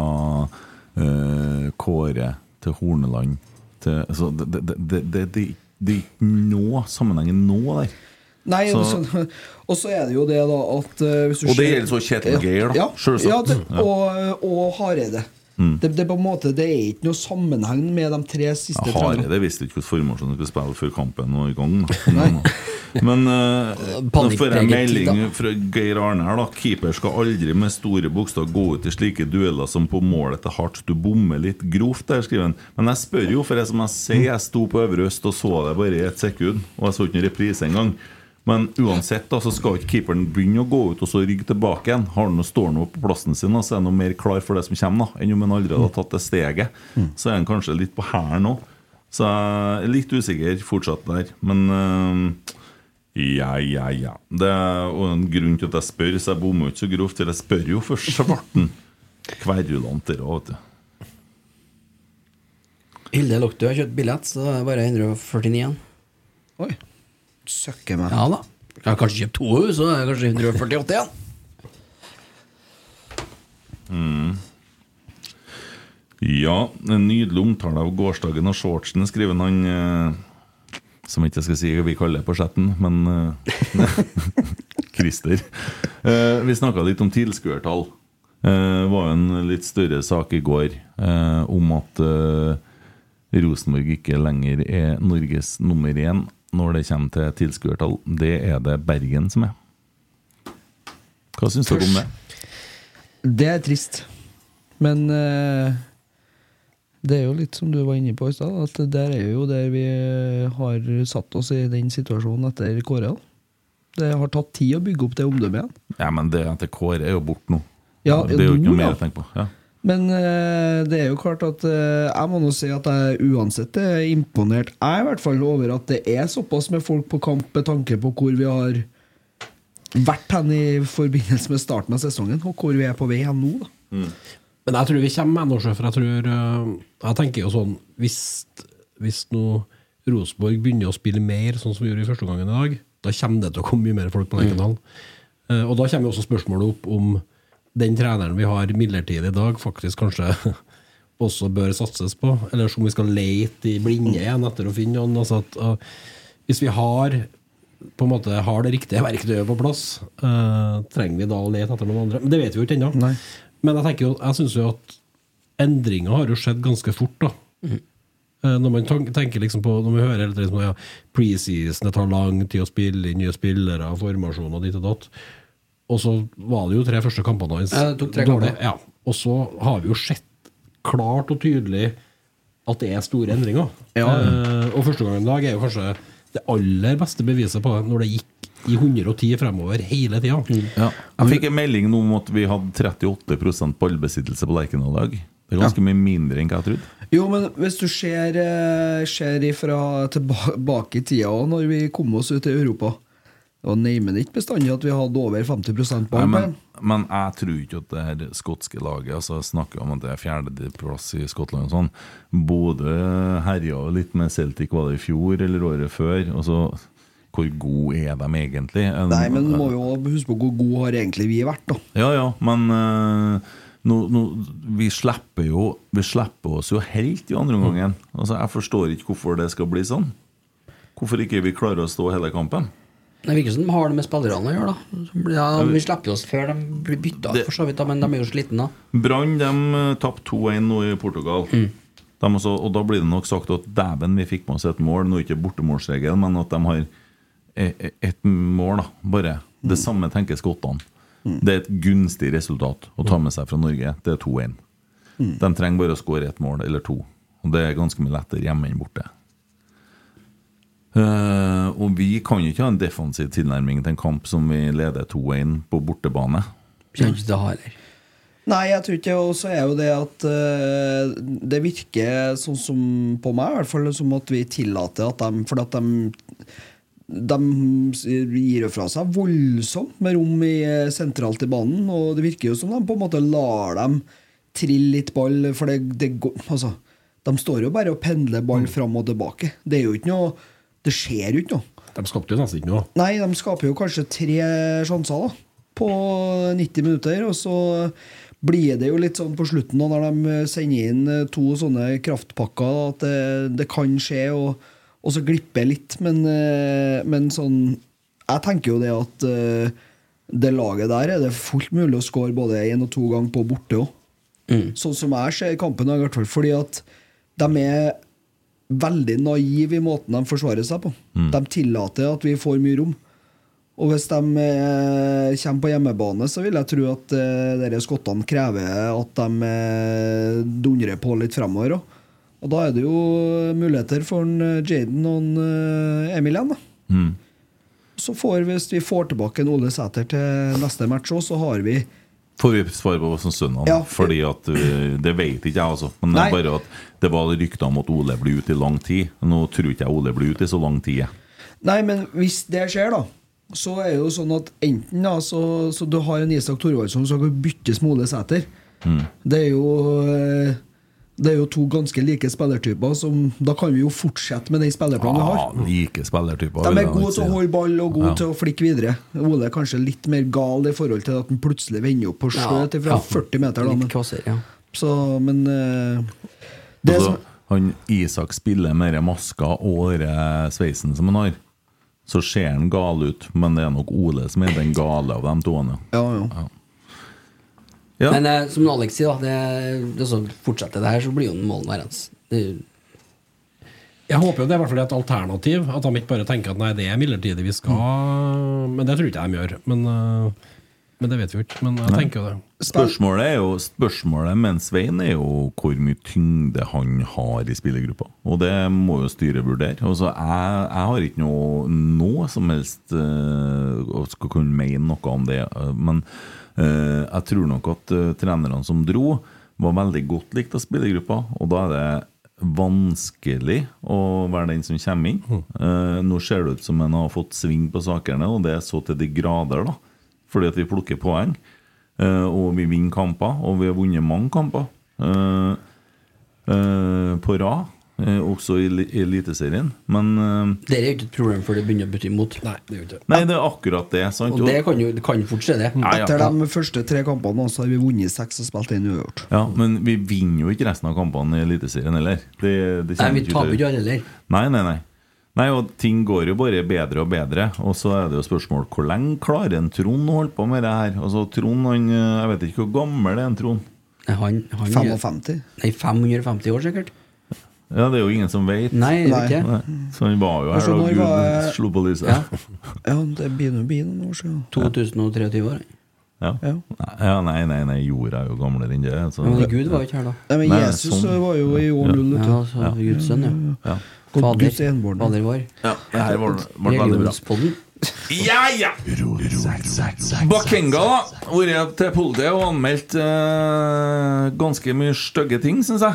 [SPEAKER 2] eh, Kåre til Horneland til, altså, det, det, det, det, det, det, det er ikke noe sammenheng nå der.
[SPEAKER 5] Nei,
[SPEAKER 2] Så-
[SPEAKER 5] og så- *laughs* og så er det jo det, da, at eh, hvis du
[SPEAKER 2] Og det
[SPEAKER 5] ser-
[SPEAKER 2] gjelder så Kjetil Geir, da,
[SPEAKER 5] Ja,
[SPEAKER 2] selvsagt. Mm.
[SPEAKER 5] ja det, og, eh, og Hareide. Det, det, er på en måte, det er ikke noe sammenheng med de tre siste
[SPEAKER 2] Ja,
[SPEAKER 5] trenerne.
[SPEAKER 2] Hareide visste ikke hvilken formasjon de skulle spille før kampen var i gang. da. Men, men eh, nå får jeg
[SPEAKER 3] Panikkpreget
[SPEAKER 2] melding
[SPEAKER 3] tid, da.
[SPEAKER 2] fra Geir Arne her, da. Keeper skal aldri med store bokstav gå ut i slike dueller som på målet til hardt. Du bommer litt grovt der, skriver han. Men jeg spør jo, for jeg, som jeg sier, jeg sto på Øvre Øst og så det bare i ett sekund. Og jeg så ikke noen reprise engang. Men uansett da, så skal ikke keeperen begynne å gå ut og så rygge tilbake igjen. Har han noe, står han nå på plassen sin, da, så er han noe mer klar for det som kommer, da, enn om han allerede har tatt det steget. Så er han kanskje litt på hælen òg. Så jeg er litt usikker fortsatt der. Men eh, ja, ja, ja. Det er jo en grunn til at jeg spør, så jeg bommer jo ikke så grovt. Eller jeg spør jo for svarten. Kverulant dere òg, vet du.
[SPEAKER 3] Hilde Loktu har kjøpt billett, så det er bare 149 igjen.
[SPEAKER 5] Oi. Søkker meg.
[SPEAKER 3] Ja da. Jeg har kanskje kjøpt to hus, så er det kanskje 148 igjen.
[SPEAKER 2] Ja, en nydelig omtale av gårsdagen og shortsen, skriver han. eh, som jeg ikke skal si hva vi kaller på chatten, men eh, *laughs* Christer. Eh, vi snakka litt om tilskuertall. Eh, Det var jo en litt større sak i går eh, om at eh, Rosenborg ikke lenger er Norges nummer én når det kommer til tilskuertall. Det er det Bergen som er. Hva syns dere om det?
[SPEAKER 5] Det er trist. Men eh, det er jo litt som du var inne på i stad, at der er jo der vi eh, har satt oss i den situasjonen etter Kåre. Det har tatt tid å bygge opp det omdømmet igjen.
[SPEAKER 2] Ja, men det at Kåre er jo borte nå.
[SPEAKER 5] Ja,
[SPEAKER 2] det er jo ikke
[SPEAKER 5] nå
[SPEAKER 2] noe mer
[SPEAKER 5] da.
[SPEAKER 2] å tenke på. Ja.
[SPEAKER 5] Men eh, det er jo klart at eh, jeg må nå si at jeg uansett er imponert. Jeg er i hvert fall over at det er såpass med folk på kamp med tanke på hvor vi har vært hen i forbindelse med starten av sesongen, og hvor vi er på vei hen nå. da.
[SPEAKER 6] Men jeg tror vi kommer ennå, sjef, for jeg tror øh, Jeg tenker jo sånn Hvis, hvis nå Rosenborg begynner å spille mer, sånn som vi gjorde i første gangen i dag, da kommer det til å komme mye mer folk på Lerkendal. Eh, Og da kommer jo også spørsmålet opp om den treneren vi har midlertidig i dag, faktisk kanskje *laughs* også bør satses på. Eller som vi skal lete i blinde igjen etter å finne noen. Altså at, øh, hvis vi har på en måte har det riktige verktøyet på plass, øh, trenger vi da å lete etter noen andre? Men det vet vi jo ikke ennå. Men jeg, tenker jo- jeg syns jo at endringer har jo skjedd ganske fort, da.
[SPEAKER 3] Mhm.
[SPEAKER 6] Eh, Når man tan- tenker liksom på Når vi hører hele tiden sånn, ja, preseason, det tar lang tid å spille inn nye spillere, formasjon og ditt og datt. Og så var det jo tre første kampene hans
[SPEAKER 3] Ja, det tok tre
[SPEAKER 6] dårlige.
[SPEAKER 3] kamper.
[SPEAKER 6] Ja. Og så har vi jo sett klart og tydelig at det er store endringer. Eh, og første gangen i dag er jo kanskje det aller beste beviset på det, når det gikk i 110 fremover hele tida.
[SPEAKER 2] Ja. Jeg fikk en melding nå om at vi hadde 38 ballbesittelse på Lerkendal i dag. Det er ganske mye mindre enn hva jeg trodde.
[SPEAKER 5] Jo, men hvis du ser, eh, ser ifra tilbake i tida òg, når vi kom oss ut i Europa Det var neimen ikke bestandig at vi hadde over 50
[SPEAKER 2] Nei,
[SPEAKER 5] ball.
[SPEAKER 2] men,
[SPEAKER 5] men
[SPEAKER 2] men jeg tror ikke at det her skotske laget altså jeg snakker om at det er fjerdeplass i Skottland og sånn. Bodø herja jo litt med Celtic, var det i fjor eller året før? Og så, hvor gode er de egentlig? En-
[SPEAKER 5] Nei, men må vi jo huske på hvor gode har egentlig vi vært, da.
[SPEAKER 2] Ja, ja, men eh, nå, nå, vi, slipper jo, vi slipper oss jo helt i andre omgangen. Altså, jeg forstår ikke hvorfor det skal bli sånn. Hvorfor ikke vi klarer å stå hele kampen.
[SPEAKER 3] Det virker som de har det med spillerne å gjøre. da Så blir- ja, Vi slipper jo oss før de blir bytta ut, for så vidt, da, men de er jo slitne da.
[SPEAKER 2] Brann de eh, tapte 2-1 nå i Portugal. De også, og da blir det nok sagt at dæven, vi fikk med oss et mål. Nå er ikke bortemålsregelen, men at de har e- e- et mål, da. Bare. Det samme tenker skottene. Det er et gunstig resultat å ta med seg fra Norge. Det er 2-1. De trenger bare å skåre ett mål eller to. Og det er ganske mye lettere hjemme enn borte. Eh, og vi kan jo ikke ha en defensiv tilnærming til en kamp som vi leder 2-1 på bortebane.
[SPEAKER 3] Kjenner ikke til det heller.
[SPEAKER 5] Nei, jeg tror ikke det. Og så er jo det at eh, det virker sånn som på meg, i hvert fall, som at vi tillater at de For at de de gir jo fra seg voldsomt med rom i, eh, sentralt i banen, og det virker jo som de på en måte lar dem trille litt ball, for det, det går Altså, de står jo bare og pendler ball fram og tilbake. Det er jo ikke noe Det skjer jo ikke noe.
[SPEAKER 6] De skapte jo nesten ikke noe.
[SPEAKER 5] Nei, de skaper jo kanskje tre sjanser da på 90 minutter. Og så blir det jo litt sånn på slutten, da, når de sender inn eh, to sånne kraftpakker, da, at det, det kan skje, og, og så glipper litt. Men, eh, men sånn Jeg tenker jo det at eh, det laget der er det fullt mulig å score både én og to ganger på borte òg. Sånn som jeg ser kampen, i hvert fall. Fordi at de er veldig naive i måten de forsvarer seg på. De tillater at vi får mye rom. Og hvis de eh, kommer på hjemmebane, så vil jeg tro at eh, dere skottene krever at de eh, dundrer på litt fremover òg. Og da er det jo muligheter for en eh, Jaden og en eh, Emil igjen, da. Så får, hvis vi får tilbake en Ole Sæter til neste match òg, så har vi
[SPEAKER 2] Får vi svar på som søndag?
[SPEAKER 5] Ja.
[SPEAKER 2] Fordi at eh, Det vet ikke jeg, altså. Men det
[SPEAKER 5] Nei.
[SPEAKER 2] er bare at det var rykter om at Ole blir ute i lang tid. Nå tror ikke jeg Ole blir ute i så lang tid. jeg.
[SPEAKER 5] Nei, men hvis det skjer, da, så er det jo sånn at enten da, så, så du har en Isak Thorvaldsson som kan byttes med Ole Sæter.
[SPEAKER 2] Mm.
[SPEAKER 5] Det er jo eh, Det er jo to ganske like spillertyper, som da kan vi jo fortsette med den spillerplanen vi har.
[SPEAKER 2] Ah, like spillertyper.
[SPEAKER 5] De
[SPEAKER 2] vil
[SPEAKER 5] er
[SPEAKER 2] jeg
[SPEAKER 5] gode
[SPEAKER 2] si,
[SPEAKER 5] til å
[SPEAKER 2] da.
[SPEAKER 5] holde ball og gode
[SPEAKER 2] Ja.
[SPEAKER 5] til å flikke videre. Ole er kanskje litt mer gal i forhold til at han plutselig vender opp på
[SPEAKER 3] Ja,
[SPEAKER 5] skjøt fra
[SPEAKER 3] ja.
[SPEAKER 5] 40 meter. Da,
[SPEAKER 3] Litt
[SPEAKER 5] men,
[SPEAKER 3] kvasser, ja.
[SPEAKER 5] så, men eh, det
[SPEAKER 2] Altså,
[SPEAKER 5] som,
[SPEAKER 2] han Isak spiller med den maska og den sveisen som han har, så ser han gal ut, men det er nok Ole som er den gale av de to. han,
[SPEAKER 5] Ja, ja.
[SPEAKER 2] Ja. Ja.
[SPEAKER 3] Men eh, som Alex sier, da, det, det så fortsetter det her, så blir jo målen værende. Det er jo-
[SPEAKER 6] Jeg håper jo det er i hvert fall et alternativ, at de ikke bare tenker at nei, det er midlertidig vi skal Men det tror ikke jeg de gjør. Men, øh, men det vet vi jo ikke. Men sånn jeg
[SPEAKER 2] Nei.
[SPEAKER 6] tenker jo det.
[SPEAKER 2] Spørsmålet er jo Spørsmålet med en Svein er jo hvor mye tyngde han har i spillergruppa. Og det må jo styret vurdere. Altså, jeg, jeg har ikke noe, noe som helst eh, å skal kunne mene noe om det, eh, men eh, jeg tror nok at eh, trenerne som dro, var veldig godt likt av spillergruppa, og da er det vanskelig å være den som kommer inn. Eh, nå ser det ut som en har fått sving på sakene, og det er så til de grader, da. Fordi at vi plukker poeng. Eh, og vi vinner kamper, og vi har vunnet mange kamper eh, eh, på rad. eh, også i li- i Eliteserien. Men eh,
[SPEAKER 3] Det er jo ikke et problem før det begynner å butte imot.
[SPEAKER 6] Nei, det gjør ikke det.
[SPEAKER 2] Nei, det er akkurat det. sant?
[SPEAKER 3] Og det kan jo det kan fort skje, det.
[SPEAKER 2] Ja, ja.
[SPEAKER 5] Etter de første tre kampene så har vi vunnet seks og spilt én uavgjort.
[SPEAKER 2] Ja, Men vi vinner jo ikke resten av kampene i Eliteserien heller. Det, det
[SPEAKER 3] Nei,
[SPEAKER 2] kommer
[SPEAKER 3] vi
[SPEAKER 2] ikke
[SPEAKER 3] taper
[SPEAKER 2] til-
[SPEAKER 3] ikke alle heller.
[SPEAKER 2] Nei, nei, nei. Nei, og Ting går jo bare bedre og bedre. Og så er det jo spørsmål hvor lenge klarer en Trond å holde på med det her? Altså, Trond, han, eh, Jeg vet ikke hvor gammel det er en Trond.
[SPEAKER 3] Nei, han, han
[SPEAKER 5] 55.
[SPEAKER 3] Nei, 550 år, sikkert.
[SPEAKER 2] Ja, Det er jo ingen som vet.
[SPEAKER 3] Nei, det er ikke det.
[SPEAKER 2] Nei, Så han var jo her
[SPEAKER 5] Altså,
[SPEAKER 2] da
[SPEAKER 5] når
[SPEAKER 2] Gud
[SPEAKER 5] var-
[SPEAKER 2] slo på lyset.
[SPEAKER 3] Ja.
[SPEAKER 5] Ja, det begynner å bli noen år siden.
[SPEAKER 3] 2023 år.
[SPEAKER 2] *laughs* Ja.
[SPEAKER 5] Ja.
[SPEAKER 2] ja, nei, nei, nei, jorda er jo gamlere enn det. altså. Så.
[SPEAKER 3] Men Gud var jo ikke her da.
[SPEAKER 5] Nei, men
[SPEAKER 2] Nei,
[SPEAKER 5] Jesus
[SPEAKER 2] sånn.
[SPEAKER 5] var jo i år null, vet
[SPEAKER 3] Ja,
[SPEAKER 5] du.
[SPEAKER 3] så Guds sønn, ja.
[SPEAKER 2] Ja.
[SPEAKER 3] Fader,
[SPEAKER 5] Guds enbårne.
[SPEAKER 3] Fader vår.
[SPEAKER 2] Ja, det her var, var veldig bra.
[SPEAKER 3] Religionspodden.
[SPEAKER 2] Ja, ja! Bakenga da, har vært til politiet og anmeldt eh, ganske mye stygge ting, syns jeg.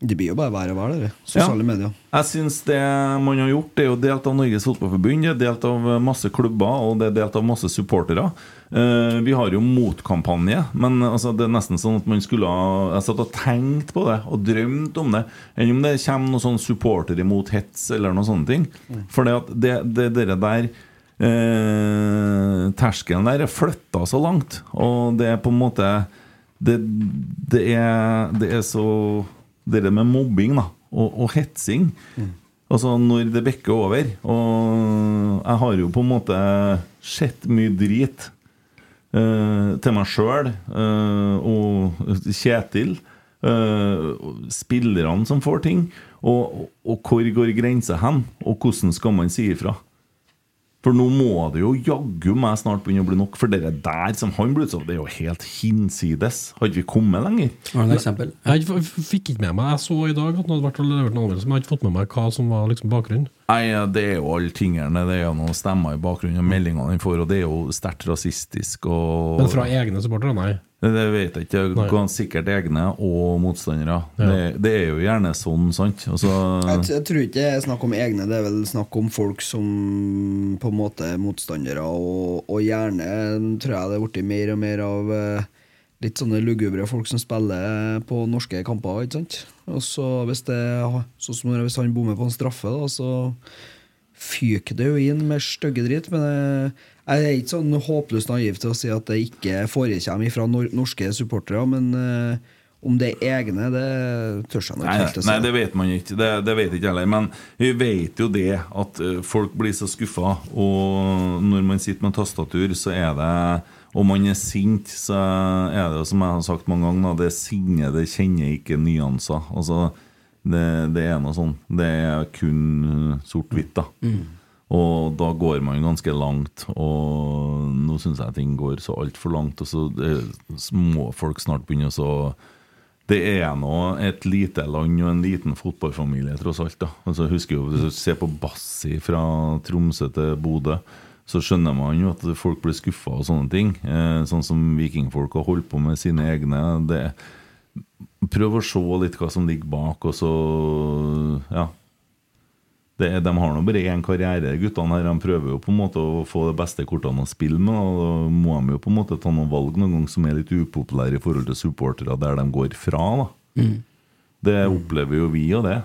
[SPEAKER 5] Det blir jo bare verre og verre, det. Sosiale medier.
[SPEAKER 2] Jeg syns det man har gjort, det er jo delt av Norges Fotballforbund, det er delt av masse klubber og det er delt av masse supportere. Eh, vi har jo motkampanje, men altså, det er nesten sånn at man skulle ha Jeg satt og tenkte på det og drømte om det. Enn om det kommer noen sånn supportere mot hets eller noen sånne ting. For det at det, det, dere der eh, Terskelen der er flytta så langt, og det er på en måte det, det, er, det er så Det der med mobbing da og, og hetsing. Altså når det bekker over. Og jeg har jo på en måte sett mye drit eh, til meg sjøl og Kjetil. eh, og spillerne som får ting. Og, og hvor går grensa hen? Og hvordan skal man si ifra? For nå må det jo jaggu meg snart begynne å bli nok. For det der som han ble utsatt for, det er jo helt hinsides. Har ikke vi kommet lenger?
[SPEAKER 3] Har du noe eksempel?
[SPEAKER 6] Jeg har ikke- f- fikk ikke med meg Jeg så i dag at han hadde vært og levert en anmeldelse, men jeg har ikke fått med meg hva som var liksom bakgrunnen.
[SPEAKER 2] Nei, ja, det er jo alle tingene. Det er jo noen stemmer i bakgrunnen, og meldingene han får, og det er jo sterkt rasistisk og
[SPEAKER 6] Mm. Men fra egne supportere, nei.
[SPEAKER 2] Det vet jeg ikke.
[SPEAKER 6] Nei.
[SPEAKER 2] Gans- Sikkert egne og motstandere.
[SPEAKER 6] Ja.
[SPEAKER 2] Det, det er jo gjerne sånn, sant?
[SPEAKER 5] Jeg,
[SPEAKER 2] Altså,
[SPEAKER 5] t- jeg tror ikke det er snakk om egne, det er vel snakk om folk som på en måte er motstandere, og, og gjerne tror jeg det er blitt mer og mer av eh, litt sånne lugubre folk som spiller på norske kamper, ikke sant? Og så hvis det sånn som hvis han bommer på en straffe, da, så fyker det jo inn med stygge dritt, men jeg, jeg er ikke sånn håpløst naiv til å si at det ikke forekommer fra nor norske supportere, men eh, om det er egne, det tør jeg nok
[SPEAKER 2] Nei,
[SPEAKER 5] helt å si.
[SPEAKER 2] nei, det vet man ikke. Det, det vet jeg ikke heller. Men vi vet jo det at eh, folk blir så skuffa, og når man sitter med tastatur, så er det Og man er sint, så er det jo som jeg har sagt mange ganger, da, det sinnet det kjenner ikke nyanser. Altså, det, det er noe sånn. Det er kun eh, sort-hvitt, da. Og da går man ganske langt, og nå syns jeg ting går så altfor langt. Og så, eh, så må folk snart begynne å så det er nå et lite land og en liten fotballfamilie, tross alt. da. Altså, jeg husker jo, Hvis du ser på Bassi fra Tromsø til Bodø, så skjønner man jo at folk blir skuffa og sånne ting. Eh, sånn som vikingfolk har holdt på med sine egne. Det, prøv å se litt hva som ligger bak, og så Ja. Det, de har nå bare én karriere, guttene her. De prøver jo på en måte å få de beste kortene å spille med. Og da må de jo på en måte ta noen valg noen gang som er litt upopulære i forhold til supportere der de går fra. da. Det opplever jo vi, og det.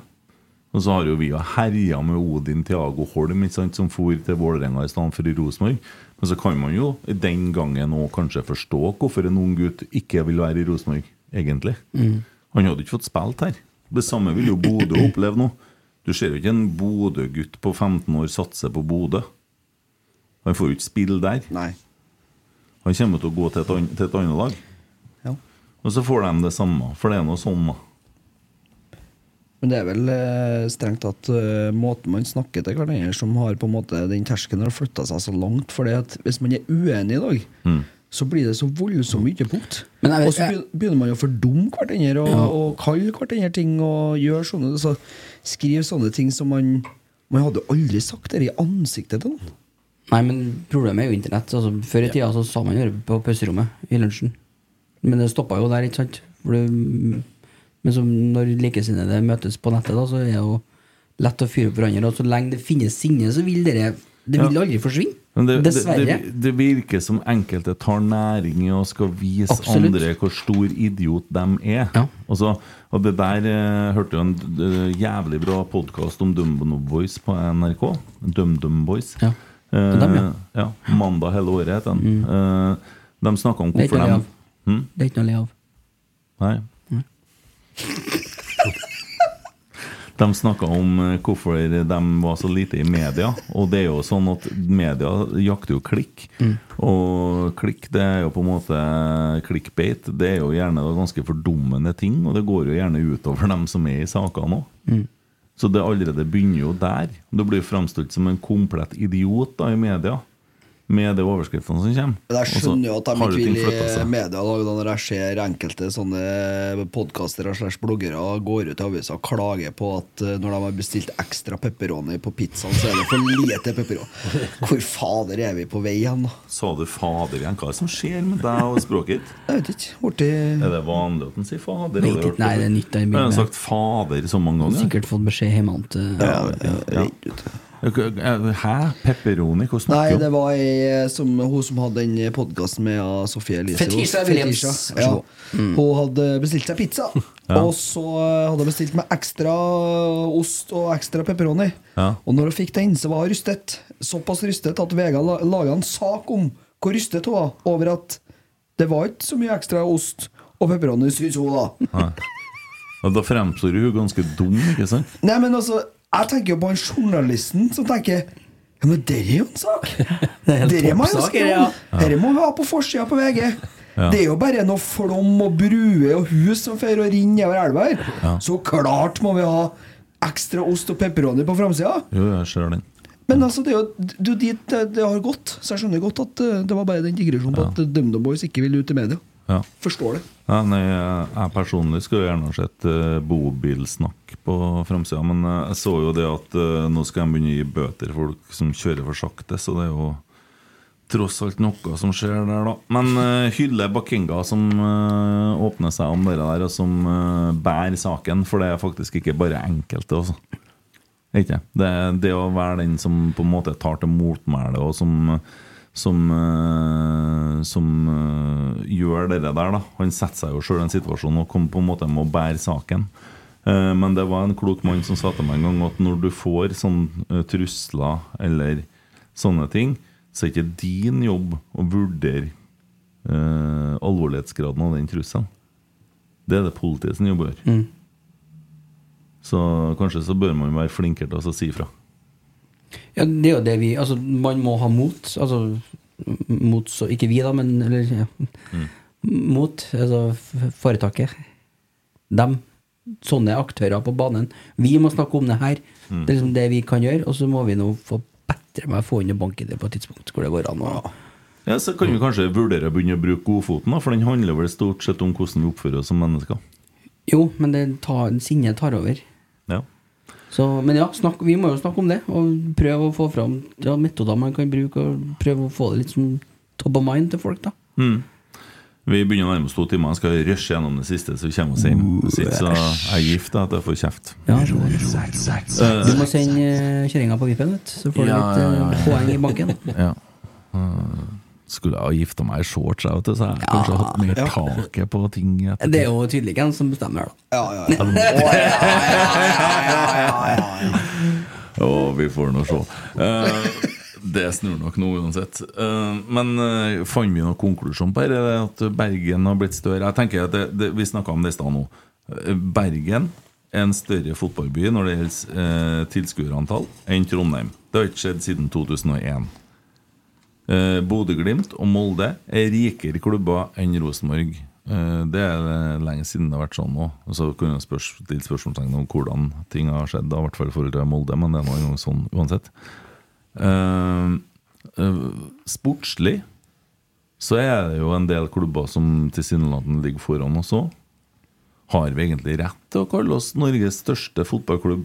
[SPEAKER 2] Og så har jo vi jo herja med Odin Tiago Holm, ikke sant, som for til Vålerenga i stedet for i Rosenborg. Men så kan man jo den gangen òg kanskje forstå hvorfor en ung gutt ikke vil være i Rosenborg, egentlig. Han hadde ikke fått spilt her. Det samme vil jo Bodø oppleve nå. Du ser jo ikke en Bodø-gutt på 15 år satse på Bodø. Han får jo ikke spille der.
[SPEAKER 5] Nei.
[SPEAKER 2] Han kommer til å gå til et, ann- til et annet lag.
[SPEAKER 5] Ja.
[SPEAKER 2] Og så får de det samme, for det er noe sånn, da.
[SPEAKER 5] Men det er vel eh, strengt tatt eh, måten man snakker til hverandre som har på en måte den terskelen har flytta seg så langt. Fordi at hvis man er uenig i dag, så blir det så voldsomt mye punkt.
[SPEAKER 3] Men jeg vet-
[SPEAKER 5] Og så begyn- begynner man å fordumme hverandre og,
[SPEAKER 3] Ja.
[SPEAKER 5] og kalle hverandre ting og gjøre sånne så Skrive sånne ting som man Man hadde aldri sagt det i ansiktet til noen.
[SPEAKER 3] Nei, men problemet er jo internett. Altså, før i tida så sa man jo det på pauserommet i lunsjen. Men det stoppa jo der, ikke sant? For det, men som når likesinnede møtes på nettet, da, så er det jo lett å fyre opp hverandre. Og så lenge det finnes sinne, så vil dere Det vil
[SPEAKER 2] Ja.
[SPEAKER 3] aldri forsvinne.
[SPEAKER 2] Men det,
[SPEAKER 3] Dessverre.
[SPEAKER 2] Det, det, det virker som enkelte tar næring i å skal vise
[SPEAKER 3] Absolutt.
[SPEAKER 2] andre hvor stor idiot de er.
[SPEAKER 3] Ja.
[SPEAKER 2] Og, så, og det der eh, hørte jo en eh, jævlig bra podkast om DumDum Boys på NRK. DumDum Boys.
[SPEAKER 3] Ja.
[SPEAKER 2] Eh,
[SPEAKER 3] dem, ja. Mm.
[SPEAKER 2] ja. Mandag hele året het den. Eh, de snakka om
[SPEAKER 3] Det er
[SPEAKER 2] hvorfor
[SPEAKER 3] ikke noe å le av.
[SPEAKER 2] de Hm?
[SPEAKER 3] Det er ikke noe å le av.
[SPEAKER 2] Nei. *laughs* De snakka om eh, hvorfor de var så lite i media. Og det er jo sånn at media jakter jo klikk. Og klikk det er jo på en måte eh, clickbait. Det er jo gjerne da ganske fordummende ting, og det går jo gjerne utover dem som er i sakene òg. Så det allerede begynner jo der. Du blir framstilt som en komplett idiot da i media. Med de overskriftene som kommer.
[SPEAKER 5] Men Jeg
[SPEAKER 2] Og så
[SPEAKER 5] skjønner jo at de
[SPEAKER 2] har jo
[SPEAKER 5] ikke
[SPEAKER 2] ting altså.
[SPEAKER 5] vil eh,
[SPEAKER 2] flyttet
[SPEAKER 5] i
[SPEAKER 2] seg.
[SPEAKER 5] media i dag, da, når jeg ser enkelte sånne podkastere slash bloggere går ut i avisa og klager på at eh, når de har bestilt ekstra pepperoni på pizzaen, så er det for lite
[SPEAKER 2] *laughs*
[SPEAKER 5] pepperoni. Hvor fader er vi på vei hen, da?
[SPEAKER 2] Sa du 'fader' igjen? Hva er det som skjer med deg og språket ditt?
[SPEAKER 5] Jeg vet ikke. Borti
[SPEAKER 2] Er det vanlig at han sier 'fader'?
[SPEAKER 3] Vet
[SPEAKER 2] Har du
[SPEAKER 3] ikke,
[SPEAKER 2] hørt
[SPEAKER 3] nei, det er nytt, det er mye
[SPEAKER 2] Jeg har
[SPEAKER 3] mer.
[SPEAKER 2] sagt 'fader' så mange ganger.
[SPEAKER 3] Sikkert fått beskjed hjemme om eh, til
[SPEAKER 2] Sånn, Ja. Hæ? Pepperoni? Hva
[SPEAKER 5] Nei,
[SPEAKER 2] snakker du
[SPEAKER 5] det
[SPEAKER 2] om?
[SPEAKER 5] var ei som, hun som hadde den podkasten med ja, Sofie Elise.
[SPEAKER 3] Fetisha Williams. Vær
[SPEAKER 5] Ja.
[SPEAKER 3] så god. Mm.
[SPEAKER 5] Hun hadde bestilt seg
[SPEAKER 2] *laughs*
[SPEAKER 5] pizza, og så hadde hun bestilt med ekstra ost og ekstra pepperoni.
[SPEAKER 2] Ja.
[SPEAKER 5] Og når hun fikk den, så var hun rystet. Såpass rystet at Vega la- laga en sak om hvor rystet hun var over at det var ikke så mye ekstra ost og pepperoni, syns hun da.
[SPEAKER 2] Ja, Da fremstår du jo ganske dum, ikke sant?
[SPEAKER 5] Nei, men altså, jeg tenker jo på han journalisten som tenker ja, men det er jo en sak! Dere må jo
[SPEAKER 3] toppsak,
[SPEAKER 5] skrive om! Dere må vi ha på forsida på VG! Det er jo bare noe flom og bruer og hus som fer og renner over elva her. Så klart må vi ha ekstra ost og pepperoni på framsida!
[SPEAKER 2] Jo, jeg ser den.
[SPEAKER 5] Men altså, det er jo det er jo dit det, det har gått, så jeg skjønner godt at eh, det var bare den digresjonen på at DumDum Boys ikke vil ut i media.
[SPEAKER 2] Ja.
[SPEAKER 5] Forstår det.
[SPEAKER 2] Ja, nei, jeg jeg personlig skulle gjerne ha sett eh, bobilsnakk på framsida, men eh, jeg så jo det at eh, nå skal de begynne å gi bøter for folk som kjører for sakte, så det er jo tross alt noe som skjer der, da. Men eh, hylle Bakenga som eh, åpner seg om det der, og som eh, bærer saken, for det er faktisk ikke bare enkelte, altså. Ikke? Det, det å være den som på en måte tar til motmæle, og som som, eh, som eh, gjør det der, da. Han setter seg jo sjøl i en situasjon og kom på en måte må bære saken. Eh, men det var en klok mann som sa til meg en gang at når du får sånne eh, trusler eller sånne ting, så er ikke din jobb å vurdere eh, alvorlighetsgraden av den trusselen. Det er det politiet sin jobb å gjøre. Så kanskje så bør man være flinkere til å si ifra.
[SPEAKER 3] Ja, det er jo det vi Altså, man må ha mot. Altså, m- mot så Ikke vi, da, men eller, ja. Mot altså, f- foretaket. Dem. Sånne aktører på banen. Vi må snakke om det her. Det er liksom det vi kan gjøre, og så må vi nå få bedre meg få under bank-ID på et tidspunkt hvor det går an å
[SPEAKER 2] Ja, Så kan vi kanskje vurdere å begynne å bruke godfoten, da, for den handler vel stort sett om hvordan vi oppfører oss som mennesker.
[SPEAKER 3] Jo, men det tar, sinnet tar over.
[SPEAKER 2] Ja.
[SPEAKER 3] Så, men ja, snakk, vi må jo snakke om det, og prøve å få fram ja, metoder man kan bruke, og prøve å få det litt sånn top of mind til folk, da.
[SPEAKER 2] Vi begynner å nærme oss to timer. Jeg skal rushe gjennom det siste, så vi kommer oss hjem. Hvis ikke så er jeg gift da, at jeg får kjeft.
[SPEAKER 3] Ja. Du må sende eh, kjerringa på vippen, vet du, så får du
[SPEAKER 2] Ja,
[SPEAKER 3] litt eh,
[SPEAKER 2] ja, ja, ja.
[SPEAKER 3] poeng i banken.
[SPEAKER 2] *laughs* Ja. Mm. Skulle jeg ha gifta meg i shorts, jeg, vet du, så jeg hadde kanskje hatt mer taket på ting. etterpå.
[SPEAKER 3] Det er jo tydelig hvem som bestemmer, da.
[SPEAKER 2] Å, vi får nå se. Eh, det snur nok nå uansett. Eh, men eh, fant vi noen konklusjon på dette? At Bergen har blitt større? Jeg tenker at det, det, Vi snakka om det i stad nå. Eh, Bergen en større fotballby når det gjelder eh, tilskuerantall, enn Trondheim. Det har ikke skjedd siden 2001. Eh, Bodø-Glimt og Molde er rikere klubber enn Rosenborg. Eh, det er eh, lenge siden det har vært sånn nå. Og så kunne jeg spørs- stille spørsmålstegn om hvordan ting har skjedd, da, i hvert fall i forhold til Molde, men det er nå engang sånn uansett. Eh, eh, sportslig så er det jo en del klubber som tilsynelatende ligger foran oss òg. Har vi egentlig rett til å kalle oss Norges største fotballklubb?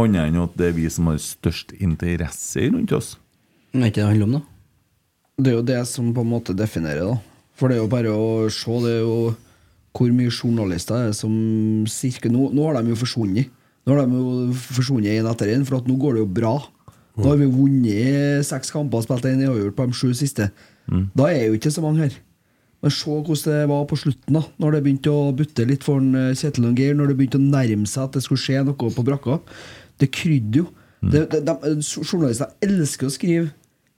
[SPEAKER 2] Annet enn at det er vi som har størst interesse rundt oss.
[SPEAKER 3] Men er ikke det det handler om, da?
[SPEAKER 5] Det er jo det som på en måte definerer, da. For det er jo bare å se det er jo hvor mye journalister er det som sirker nå. Nå har de jo forsvunnet. Nå har de jo forsvunnet en etter en, for at nå går det jo bra. Nå har vi vunnet seks kamper og spilt en uavgjort på de sju siste. Da er jo ikke så mange her. Men se hvordan det var på slutten, da når det begynte å butte litt for en, eh, Kjetil og Geir. Når det begynte å nærme seg at det skulle skje noe på brakka. Det krydde jo.
[SPEAKER 2] Mm.
[SPEAKER 5] Det, det, de, eh, journalister elsker å skrive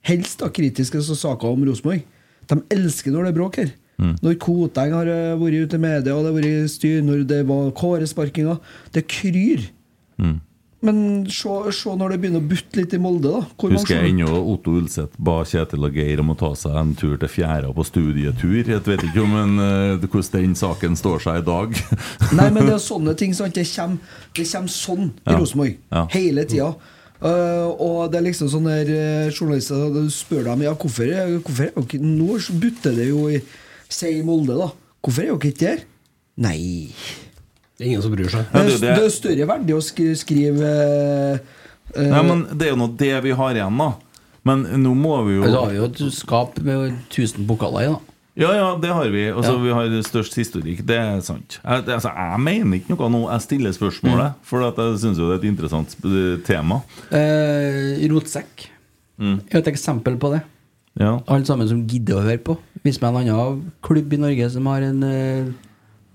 [SPEAKER 5] helst da kritiske så saker om Rosenborg. De elsker når det er bråk her.
[SPEAKER 2] Mm.
[SPEAKER 5] Når Koteng har eh, vært ute i media, og det har vært styr, når det var kåresparkinger Det kryr.
[SPEAKER 2] Mm.
[SPEAKER 5] Men se, se når det begynner å butte litt i Molde, da. Hvor
[SPEAKER 2] Husker jeg
[SPEAKER 5] mange-
[SPEAKER 2] ennå Otto Ulseth ba Kjetil og Geir om å ta seg en tur til fjæra på studietur. Jeg vet ikke om en, eh, hvordan den saken står seg i dag.
[SPEAKER 5] Nei, men det er sånne ting. Sant? Det, kommer, det kommer sånn i
[SPEAKER 2] Ja.
[SPEAKER 5] Rosenborg
[SPEAKER 2] Ja.
[SPEAKER 5] hele tida. Eh, og det er liksom sånn der eh, journalister du spør dem ja, hvorfor, er- hvorfor er dere Nå butter det jo i Si i Molde, da. Hvorfor er dere ikke der? Nei.
[SPEAKER 6] Det er ingen som bryr seg.
[SPEAKER 5] Det
[SPEAKER 2] Ja,
[SPEAKER 5] er,
[SPEAKER 2] det-
[SPEAKER 5] det er større verdi å sk- skrive eh, eh,
[SPEAKER 2] Nei, men Det er jo nå det vi har igjen, da. Men nå må vi jo
[SPEAKER 5] Altså-
[SPEAKER 3] Da har vi jo et skap med 1000 pokaler i, da.
[SPEAKER 2] Ja, ja, det har vi. Altså,
[SPEAKER 3] Ja.
[SPEAKER 2] Vi har størst historikk, det er sant. Jeg, altså, jeg mener ikke noe nå, jeg stiller
[SPEAKER 5] Mm.
[SPEAKER 2] spørsmålet. For at jeg syns jo det er et interessant sp- tema.
[SPEAKER 3] Eh, rotsekk
[SPEAKER 2] Mm.
[SPEAKER 3] er et eksempel på det.
[SPEAKER 2] Ja.
[SPEAKER 3] Alle sammen som gidder å høre på. Hvis man er en annen klubb i Norge som har en eh,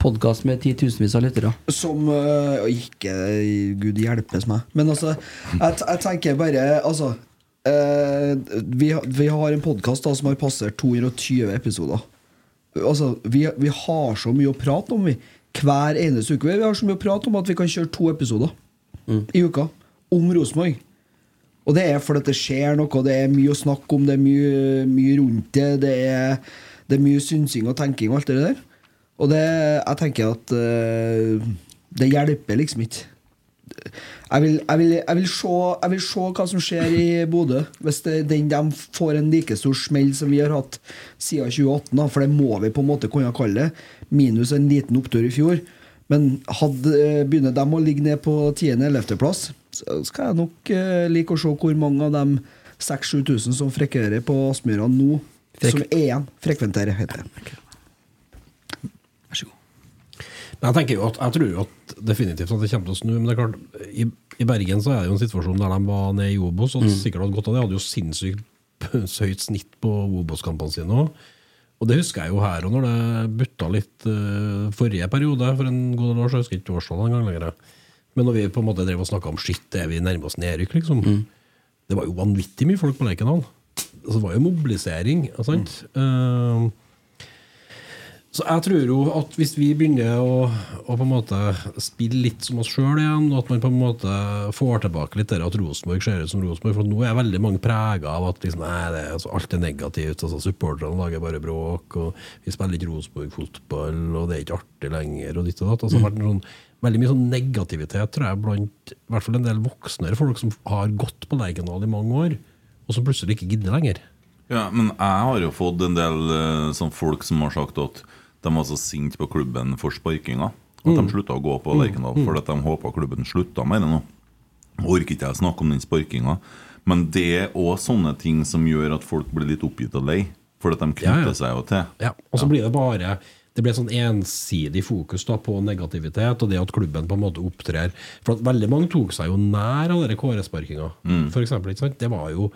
[SPEAKER 3] podkast med titusenvis av lyttere.
[SPEAKER 5] Som øh, Ikke Gud hjelpes meg. Men altså, jeg, t- jeg tenker bare Altså øh, vi, har- vi har en podkast som har passert 220 episoder. Altså, vi, vi har så mye å prate om, vi. Hver eneste uke. Vi har så mye å prate om at vi kan kjøre to episoder i uka om Rosenborg. Og det er fordi det skjer noe, det er mye å snakke om, det er mye, mye rundt det. Det er, det er mye synsing og tenking og alt det der. Og det, jeg tenker at eh, det hjelper liksom ikke. Jeg vil, jeg, vil, jeg, vil se, jeg vil se hva som skjer i Bodø, hvis det, den de får en like stor smell som vi har hatt siden 2018. Da, for det må vi på en måte kunne kalle det, minus en liten opptur i fjor. Men hadde, eh, begynner de å ligge ned på 10.-11.-plass, så skal jeg nok eh, like å se hvor mange av de 6000-7000 som frekventerer på Aspmyra nå, som er igjen frekventerer, heter det.
[SPEAKER 6] Men jeg tenker jo at, jeg tror jo at definitivt at det kommer til å snu. Men det er klart, i, i Bergen så er det jo en situasjon der de var nede i Obos, og sikkert hadde godt av det. Hadde jo sinnssykt *laughs* høyt snitt på Obos-kampene sine òg. Og det husker jeg jo her òg, når det butta litt eh, forrige periode for en god del år siden. Jeg husker ikke årstallet engang lenger. Men når vi på en måte drev og snakka om shit, er vi nærmer oss nedrykk, liksom. Det var jo vanvittig mye folk på Lerkendal. Altså, det var jo mobilisering. ikke Sant? Eh, så jeg tror jo at hvis vi begynner å, å på en måte spille litt som oss sjøl igjen, og at man på en måte får tilbake litt det at Rosenborg ser ut som Rosenborg For nå er veldig mange prega av at liksom, nei, det, er- altså, alt er negativt. Altså, Supporterne lager bare bråk, og vi spiller ikke Rosenborg-fotball, og det er ikke artig lenger, og ditt og datt. Altså, det har vært en sånn, veldig mye sånn negativitet tror jeg, blant i hvert fall en del voksne folk som har gått på Lerkendal i mange år, og som plutselig ikke gidder lenger.
[SPEAKER 2] ja, Men jeg har jo fått en del eh, sånn folk som har sagt at de var så sinte på klubben for sparkinga. At
[SPEAKER 6] Mm.
[SPEAKER 2] de slutta å gå på Lerkendal fordi at de håpa klubben slutta med det nå. Orker ikke jeg snakke om den sparkinga. Men det er òg sånne ting som gjør at folk blir litt oppgitt og lei. For at de
[SPEAKER 6] Ja, ja.
[SPEAKER 2] knytter seg jo til.
[SPEAKER 6] Ja, og så blir det bare Det blir sånn ensidig fokus da på negativitet og det at klubben på en måte opptrer For at veldig mange tok seg jo nær av den kåresparkinga,
[SPEAKER 3] Mm.
[SPEAKER 6] for eksempel, ikke sant? Det var jo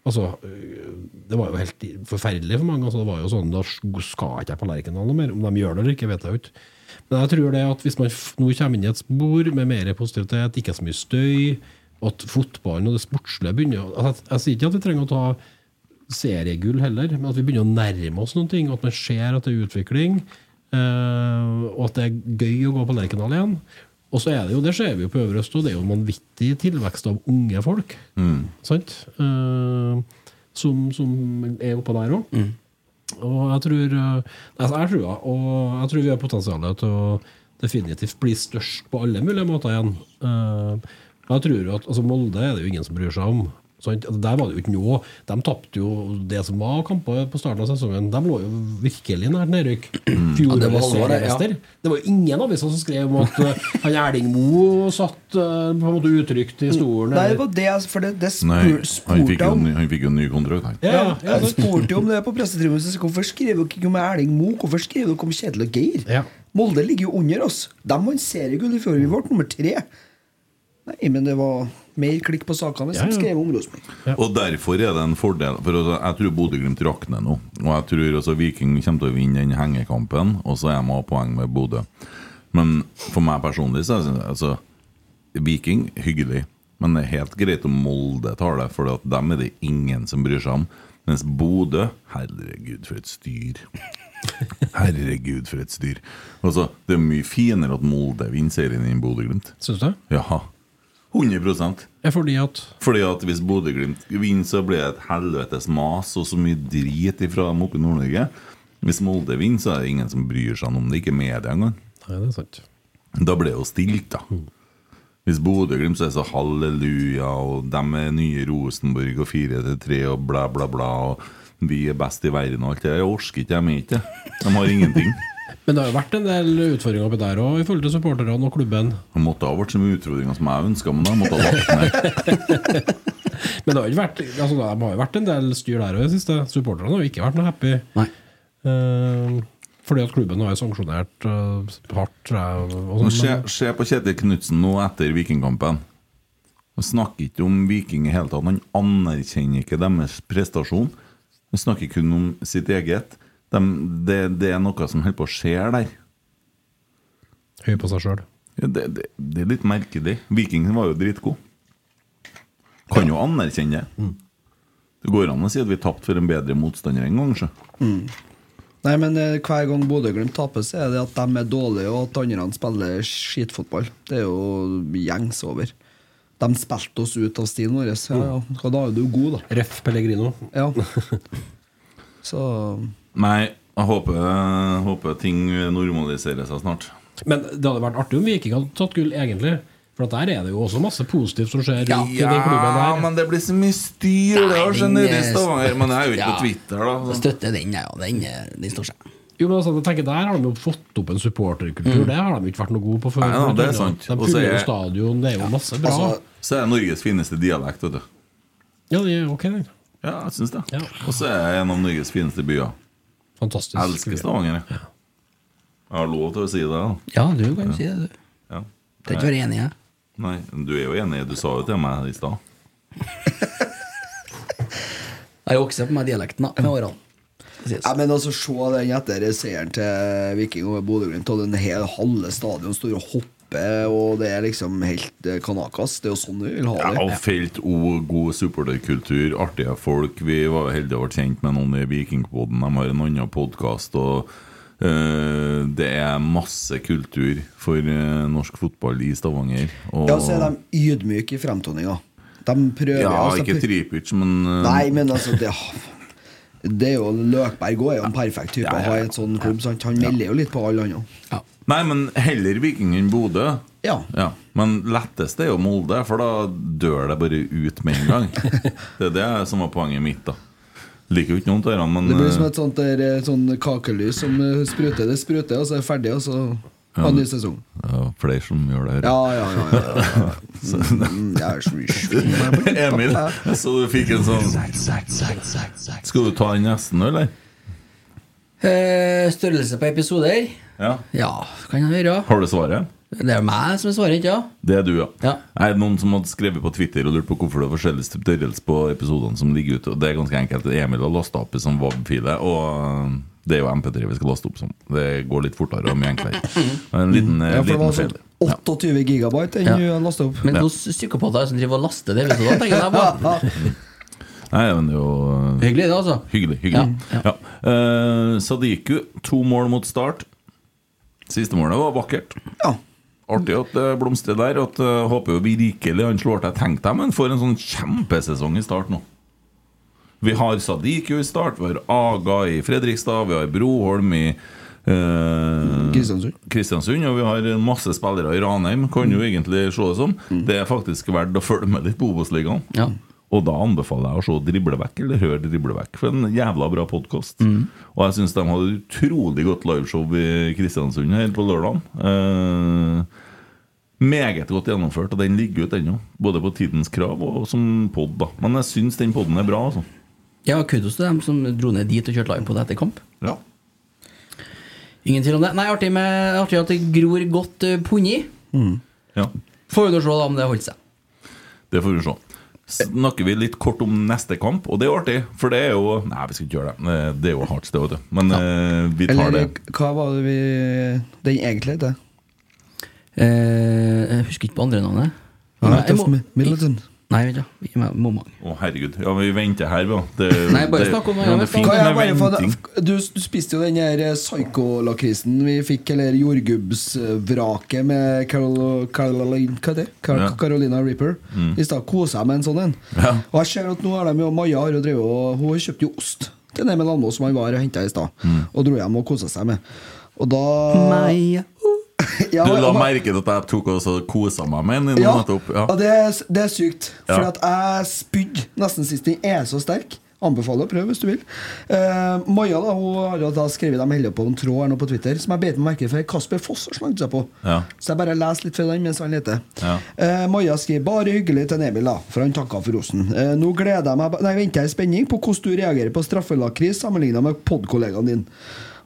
[SPEAKER 6] Altså, øh, det var jo helt forferdelig for mange. Altså, det var jo sånn, Da skal ikke jeg på Lerkendal noe mer. Om de gjør det eller ikke, vet jeg jo ikke. Men jeg tror det at hvis man f- nå kommer inn i et spor med mer positivitet, ikke så mye støy, at fotballen og det sportslige begynner å- altså, Jeg jeg sier ikke at vi trenger å ta seriegull heller, men at vi begynner å nærme oss noen ting, og at man ser at det er utvikling, eh, og at det er gøy å gå på Lerkendal igjen. Og så er det jo, det ser vi jo på Øvre Øst, og det er jo en vanvittig tilvekst av unge folk.
[SPEAKER 2] Mm.
[SPEAKER 6] Sant? Eh, som, som er oppå der òg. Og jeg tror eh, altså jeg tror, og jeg tror vi har potensial til å definitivt bli størst på alle mulige måter igjen. Eh, og jeg tror jo at altså Molde er det jo ingen som bryr seg om. Sant? Altså, Der var det jo ikke noe. De tapte jo det som var kamper på starten av sesongen. De lå jo virkelig nært nedrykk.
[SPEAKER 3] Ja, det var
[SPEAKER 6] Fjorårets
[SPEAKER 3] alvor, det, ja.
[SPEAKER 6] seriemester. Det var jo ingen aviser som skrev om at eh, han Erling Moe satt eh, på en måte utrygt i stolen.
[SPEAKER 5] Nei, det
[SPEAKER 6] eller-
[SPEAKER 5] var det jeg For det, det spur,
[SPEAKER 2] Nei, han fikk
[SPEAKER 5] spurte
[SPEAKER 2] jo,
[SPEAKER 5] jeg om.
[SPEAKER 2] ny- han fikk jo ny kontrakt, han.
[SPEAKER 6] Ja,
[SPEAKER 5] Ja,
[SPEAKER 6] ja,
[SPEAKER 5] jeg spurte
[SPEAKER 6] *laughs*
[SPEAKER 5] jo om det på pressetribunen. så Hvorfor skriver dere ikke om Erling Moe? Hvorfor skriver dere om Kjetil og Geir?
[SPEAKER 6] Ja.
[SPEAKER 5] Molde ligger jo under oss. De vant seriegull i fjor. Vi ble nummer tre. Nei, men det var mer klikk på sakene hvis
[SPEAKER 6] Ja,
[SPEAKER 5] de
[SPEAKER 6] ja.
[SPEAKER 5] skrev om Rosenborg.
[SPEAKER 2] Og derfor er det en fordel. For altså, jeg tror Bodø-Glimt rakner nå. Og jeg tror altså, Viking kommer til å vinne den hengekampen, og så er de av poeng med Bodø. Men for meg personlig så er det sånn, altså, Viking hyggelig. Men det er helt greit om Molde tar det, for at dem er det ingen som bryr seg om. Mens Bodø Herregud, for et
[SPEAKER 6] *laughs*
[SPEAKER 2] styr. Herregud, for et styr. Altså, det er mye finere at Molde vinner serien enn Bodø-Glimt.
[SPEAKER 6] Syns du?
[SPEAKER 2] Jaha. 100
[SPEAKER 6] Ja, fordi at
[SPEAKER 2] fordi at hvis Bodø-Glimt vinner, så blir det et helvetes mas og så mye drit ifra dem oppe i Nord-Norge. Hvis Molde vinner, så er det ingen som bryr seg om det, ikke media engang.
[SPEAKER 6] Nei, det er sant. Mm.
[SPEAKER 2] Da blir det jo stilt, da. Hvis Bodø-Glimt så er det så halleluja, og dem er nye Rosenborg og fire til tre og bla, bla, bla, og vi er best i verden og alt det der. Jeg orker ikke, jeg er ikke. De har ingenting.
[SPEAKER 6] Men det har jo vært en del utfordringer oppi der òg, i forhold til supporterne og klubben.
[SPEAKER 2] Det måtte ha vært så mye utfordringer som jeg ønska, men da måtte jeg ha lagt ned.
[SPEAKER 6] Men det har jo ikke vært, altså, det har jo vært en del styr der òg i det siste. Supporterne har jo ikke vært noe happy.
[SPEAKER 3] Nei.
[SPEAKER 6] Eh, fordi at klubben har jo sanksjonert eh, hardt, tror jeg. Og
[SPEAKER 2] Og
[SPEAKER 6] sånn,
[SPEAKER 2] Se,
[SPEAKER 6] men-
[SPEAKER 2] se på Kjetil Knutsen nå etter Vikingkampen. Han snakker ikke om Viking i hele tatt. Han anerkjenner ikke deres prestasjon. Han snakker kun om sitt eget. Dem- det, det er noe som holder på å skje der.
[SPEAKER 6] høy på seg sjøl.
[SPEAKER 2] Ja, det, det, det er litt merkelig. Vikingen var jo dritgod. Kan jo anerkjenne det. Det går an å si at vi tapte for en bedre motstander en gang. Så.
[SPEAKER 5] Nei, men eh, hver gang Bodø-Glimt taper, så er det at de er dårlige, og at andre spiller skitfotball. Det er jo gjengs over. De spilte oss ut av stilen vår. så Ja, ja. Så Da er du god, da.
[SPEAKER 6] Ref Pellegrino.
[SPEAKER 2] *laughs*
[SPEAKER 5] Ja. Så
[SPEAKER 2] Nei, jeg håper, jeg håper ting normaliserer seg snart.
[SPEAKER 6] Men det hadde vært artig om Viking hadde tatt gull, egentlig. For at der er det jo også masse positivt som skjer rundt i den klubben
[SPEAKER 2] Ja,
[SPEAKER 6] der.
[SPEAKER 2] Ah, men det blir så mye styr. Det har skjedd nede i Stavanger. Men jeg er jo ikke på Twitter, da.
[SPEAKER 3] Jeg
[SPEAKER 2] Så.
[SPEAKER 3] Støtter den, ja. Den, eh, den står seg.
[SPEAKER 6] Jo, men altså, jeg tenker Der har de jo fått opp en supporterkultur. Det har de ikke vært noe gode på før.
[SPEAKER 2] Nei, ja, det er
[SPEAKER 6] De
[SPEAKER 2] sant. Og så
[SPEAKER 6] puller
[SPEAKER 2] er-
[SPEAKER 6] jo stadion, det er jo masse bra.
[SPEAKER 2] Altså, så er det Norges fineste dialekt, vet du.
[SPEAKER 6] ja, det er ok, det.
[SPEAKER 2] Ja, jeg syns det.
[SPEAKER 6] Ja.
[SPEAKER 2] Og så er jeg en av Norges fineste byer.
[SPEAKER 6] Fantastisk.
[SPEAKER 2] Jeg elsker Stavanger. Jeg Jeg har lov til å si det, da.
[SPEAKER 3] Ja, du kan si det, du.
[SPEAKER 2] Ja.
[SPEAKER 3] Trenger ikke være enig, jeg.
[SPEAKER 2] Nei, du er jo enig. Du sa jo til meg i stad.
[SPEAKER 3] Jeg har vokst opp med dialekten da, med årene. Det sies.
[SPEAKER 5] Ja, men altså, Se den etter seieren til Viking over Bodø-Glimt. Og den hele halve stadion står og hopper, og det er liksom helt eh, kanakas. Det er jo sånn vi vil ha
[SPEAKER 2] Ja,
[SPEAKER 5] det.
[SPEAKER 2] og felt O, god supporterkultur, artige folk. Vi var jo heldige og ble kjent med noen i Vikingpodden. De har en annen podkast. Og eh, det er masse kultur for eh, norsk fotball i Stavanger. Og,
[SPEAKER 5] Ja, så er de ydmyke i fremtoninga. De prøver
[SPEAKER 2] ja,
[SPEAKER 5] altså,
[SPEAKER 2] ikke Tripic, men eh,
[SPEAKER 5] Nei, men altså, det det er jo Løkberg òg er jo en perfekt type å ha i et sånn klubb. Sant? Han melder jo litt på alle andre.
[SPEAKER 2] nei, men heller Viking enn Bodø.
[SPEAKER 5] Ja.
[SPEAKER 2] Ja, Men lettest er jo Molde, for da dør det bare ut med en
[SPEAKER 5] *laughs*
[SPEAKER 2] gang. det er det som var poenget mitt, da. Liker jo ikke noen av dem, men
[SPEAKER 5] Det blir som
[SPEAKER 2] eh,
[SPEAKER 5] et sånt der, eh, sånn kakelys som eh, spruter. Det spruter, og så er det ferdig, og så ha ny sesong.
[SPEAKER 2] eh, ja, flere som gjør det her.
[SPEAKER 5] Ja, ja, ja. ja, ja, ja. Mm, jeg er så
[SPEAKER 2] Emil, jeg så du fikk en sånn Skal du ta den nesten, eller?
[SPEAKER 3] Eh, størrelse på episoder?
[SPEAKER 2] Ja.
[SPEAKER 3] Ja, kan jeg gjøre.
[SPEAKER 2] Har du svaret?
[SPEAKER 3] Det er jo meg som er svaret, ikke sant?
[SPEAKER 2] Det er du, ja.
[SPEAKER 3] Ja.
[SPEAKER 2] Er det noen som hadde skrevet på Twitter og lurt på hvorfor det er forskjellig størrelse på episodene som ligger ute? Og det er ganske enkelt. Emil har lasta opp i sånn WAB-file, og øh, det er jo MP3 vi skal laste opp som. Det går litt fortere og mye enklere.
[SPEAKER 5] *laughs*
[SPEAKER 2] En liten,
[SPEAKER 5] Ja, for det
[SPEAKER 2] liten
[SPEAKER 5] var sånn
[SPEAKER 2] feil.
[SPEAKER 5] 28 gigabyte den
[SPEAKER 3] Ja. Mm.
[SPEAKER 5] du lasta opp.
[SPEAKER 3] Men hvilke psykopater er det som driver og laster det? Hvis du da tenker jeg på.
[SPEAKER 2] Nei, men det er jo øh,
[SPEAKER 3] Hyggelig, det, altså.
[SPEAKER 2] Hyggelig. hyggelig
[SPEAKER 3] Ja,
[SPEAKER 2] ja, Eh, Sadiku, to mål mot start. Siste målet var vakkert.
[SPEAKER 5] Ja.
[SPEAKER 2] Artig at det blomstrer der. At, eh, håper jo virkelig han slår til. Tenk deg, men for en sånn kjempesesong i start nå. Vi har Sadiq jo i start, vi har Aga i Fredrikstad, vi har Broholm i eh,
[SPEAKER 5] Kristiansund.
[SPEAKER 2] Kristiansund, og vi har masse spillere i Ranheim, kan jo egentlig se det som. Det er faktisk verdt å følge med litt på Obos-ligaen.
[SPEAKER 3] Ja.
[SPEAKER 2] Og da anbefaler jeg å se Driblevekk, eller hør Driblevekk, for en jævla bra podkast. Og jeg syns de hadde utrolig godt liveshow i Kristiansund her på lørdag. meget godt gjennomført, og den ligger ute ennå. Både på tidens krav og som pod, da. Men jeg syns den poden er bra, altså.
[SPEAKER 3] Ja, kudos til dem som dro ned dit og kjørte live på det etter kamp.
[SPEAKER 2] Ja.
[SPEAKER 3] Ingen tvil om det. Nei, artig, med, artig at det gror godt uh, punni.
[SPEAKER 2] ja.
[SPEAKER 3] Får vi nå se da om det holder seg.
[SPEAKER 2] Det får vi se. Snakker vi litt kort om neste kamp, og det er artig, for det er jo Nei, vi skal ikke gjøre det. Eh, Det er jo hardt, det, vet du. Men eh, vi tar
[SPEAKER 5] Eller
[SPEAKER 2] det.
[SPEAKER 5] hva var det vi Den egentlig heter?
[SPEAKER 3] Eh, jeg husker ikke på andre navnet. Nei, jeg må-
[SPEAKER 5] Middleton.
[SPEAKER 3] Nei, vent da. Ikke meg, Momang.
[SPEAKER 2] Å, herregud. Ja, vi venter her, vi. da. Det-
[SPEAKER 3] Nei, bare
[SPEAKER 2] det-
[SPEAKER 3] snakk om noe
[SPEAKER 2] ja, det.
[SPEAKER 3] annet.
[SPEAKER 2] er fint
[SPEAKER 5] Kan jeg bare
[SPEAKER 2] med
[SPEAKER 5] få
[SPEAKER 2] venting.
[SPEAKER 5] du, du spiste jo den der psykolakrisen vi fikk, eller jordgubbsvraket med Carol, Caroline, hva er det? Car
[SPEAKER 2] Ja. Mm.
[SPEAKER 5] Carolina Reaper. I stad kosa jeg med en sånn en.
[SPEAKER 2] Ja.
[SPEAKER 5] Og jeg ser at nå har de jo Maja har jo drevet og Hun kjøpte jo ost til Emil Almås, som han var og henta i stad,
[SPEAKER 2] Mm.
[SPEAKER 5] og dro hjem og kosa seg med. Og da
[SPEAKER 3] Maja.
[SPEAKER 5] *laughs* Ja,
[SPEAKER 2] Du la
[SPEAKER 5] og-
[SPEAKER 2] merke til at jeg tok og så kosa meg med den
[SPEAKER 5] ja,
[SPEAKER 2] nettopp? Ja.
[SPEAKER 5] og det, er- det er sykt. For
[SPEAKER 2] Ja.
[SPEAKER 5] at jeg spydde nesten sist. Den er så sterk. Anbefaler å prøve hvis du vil. Eh, Maja da, hun har jo da skrevet de holder på en tråd her nå på Twitter som jeg beit meg merke i. Kasper Foss har slangt seg på.
[SPEAKER 2] Ja.
[SPEAKER 5] Så jeg bare leser litt fra den mens han leter.
[SPEAKER 2] Ja.
[SPEAKER 5] Eh, Maja skriver bare hyggelig til Emil, da, for han takka for rosen. Eh, nå gleder jeg meg Nei, venter jeg i spenning på hvordan du reagerer på straffelakris sammenligna med podkollegaen din.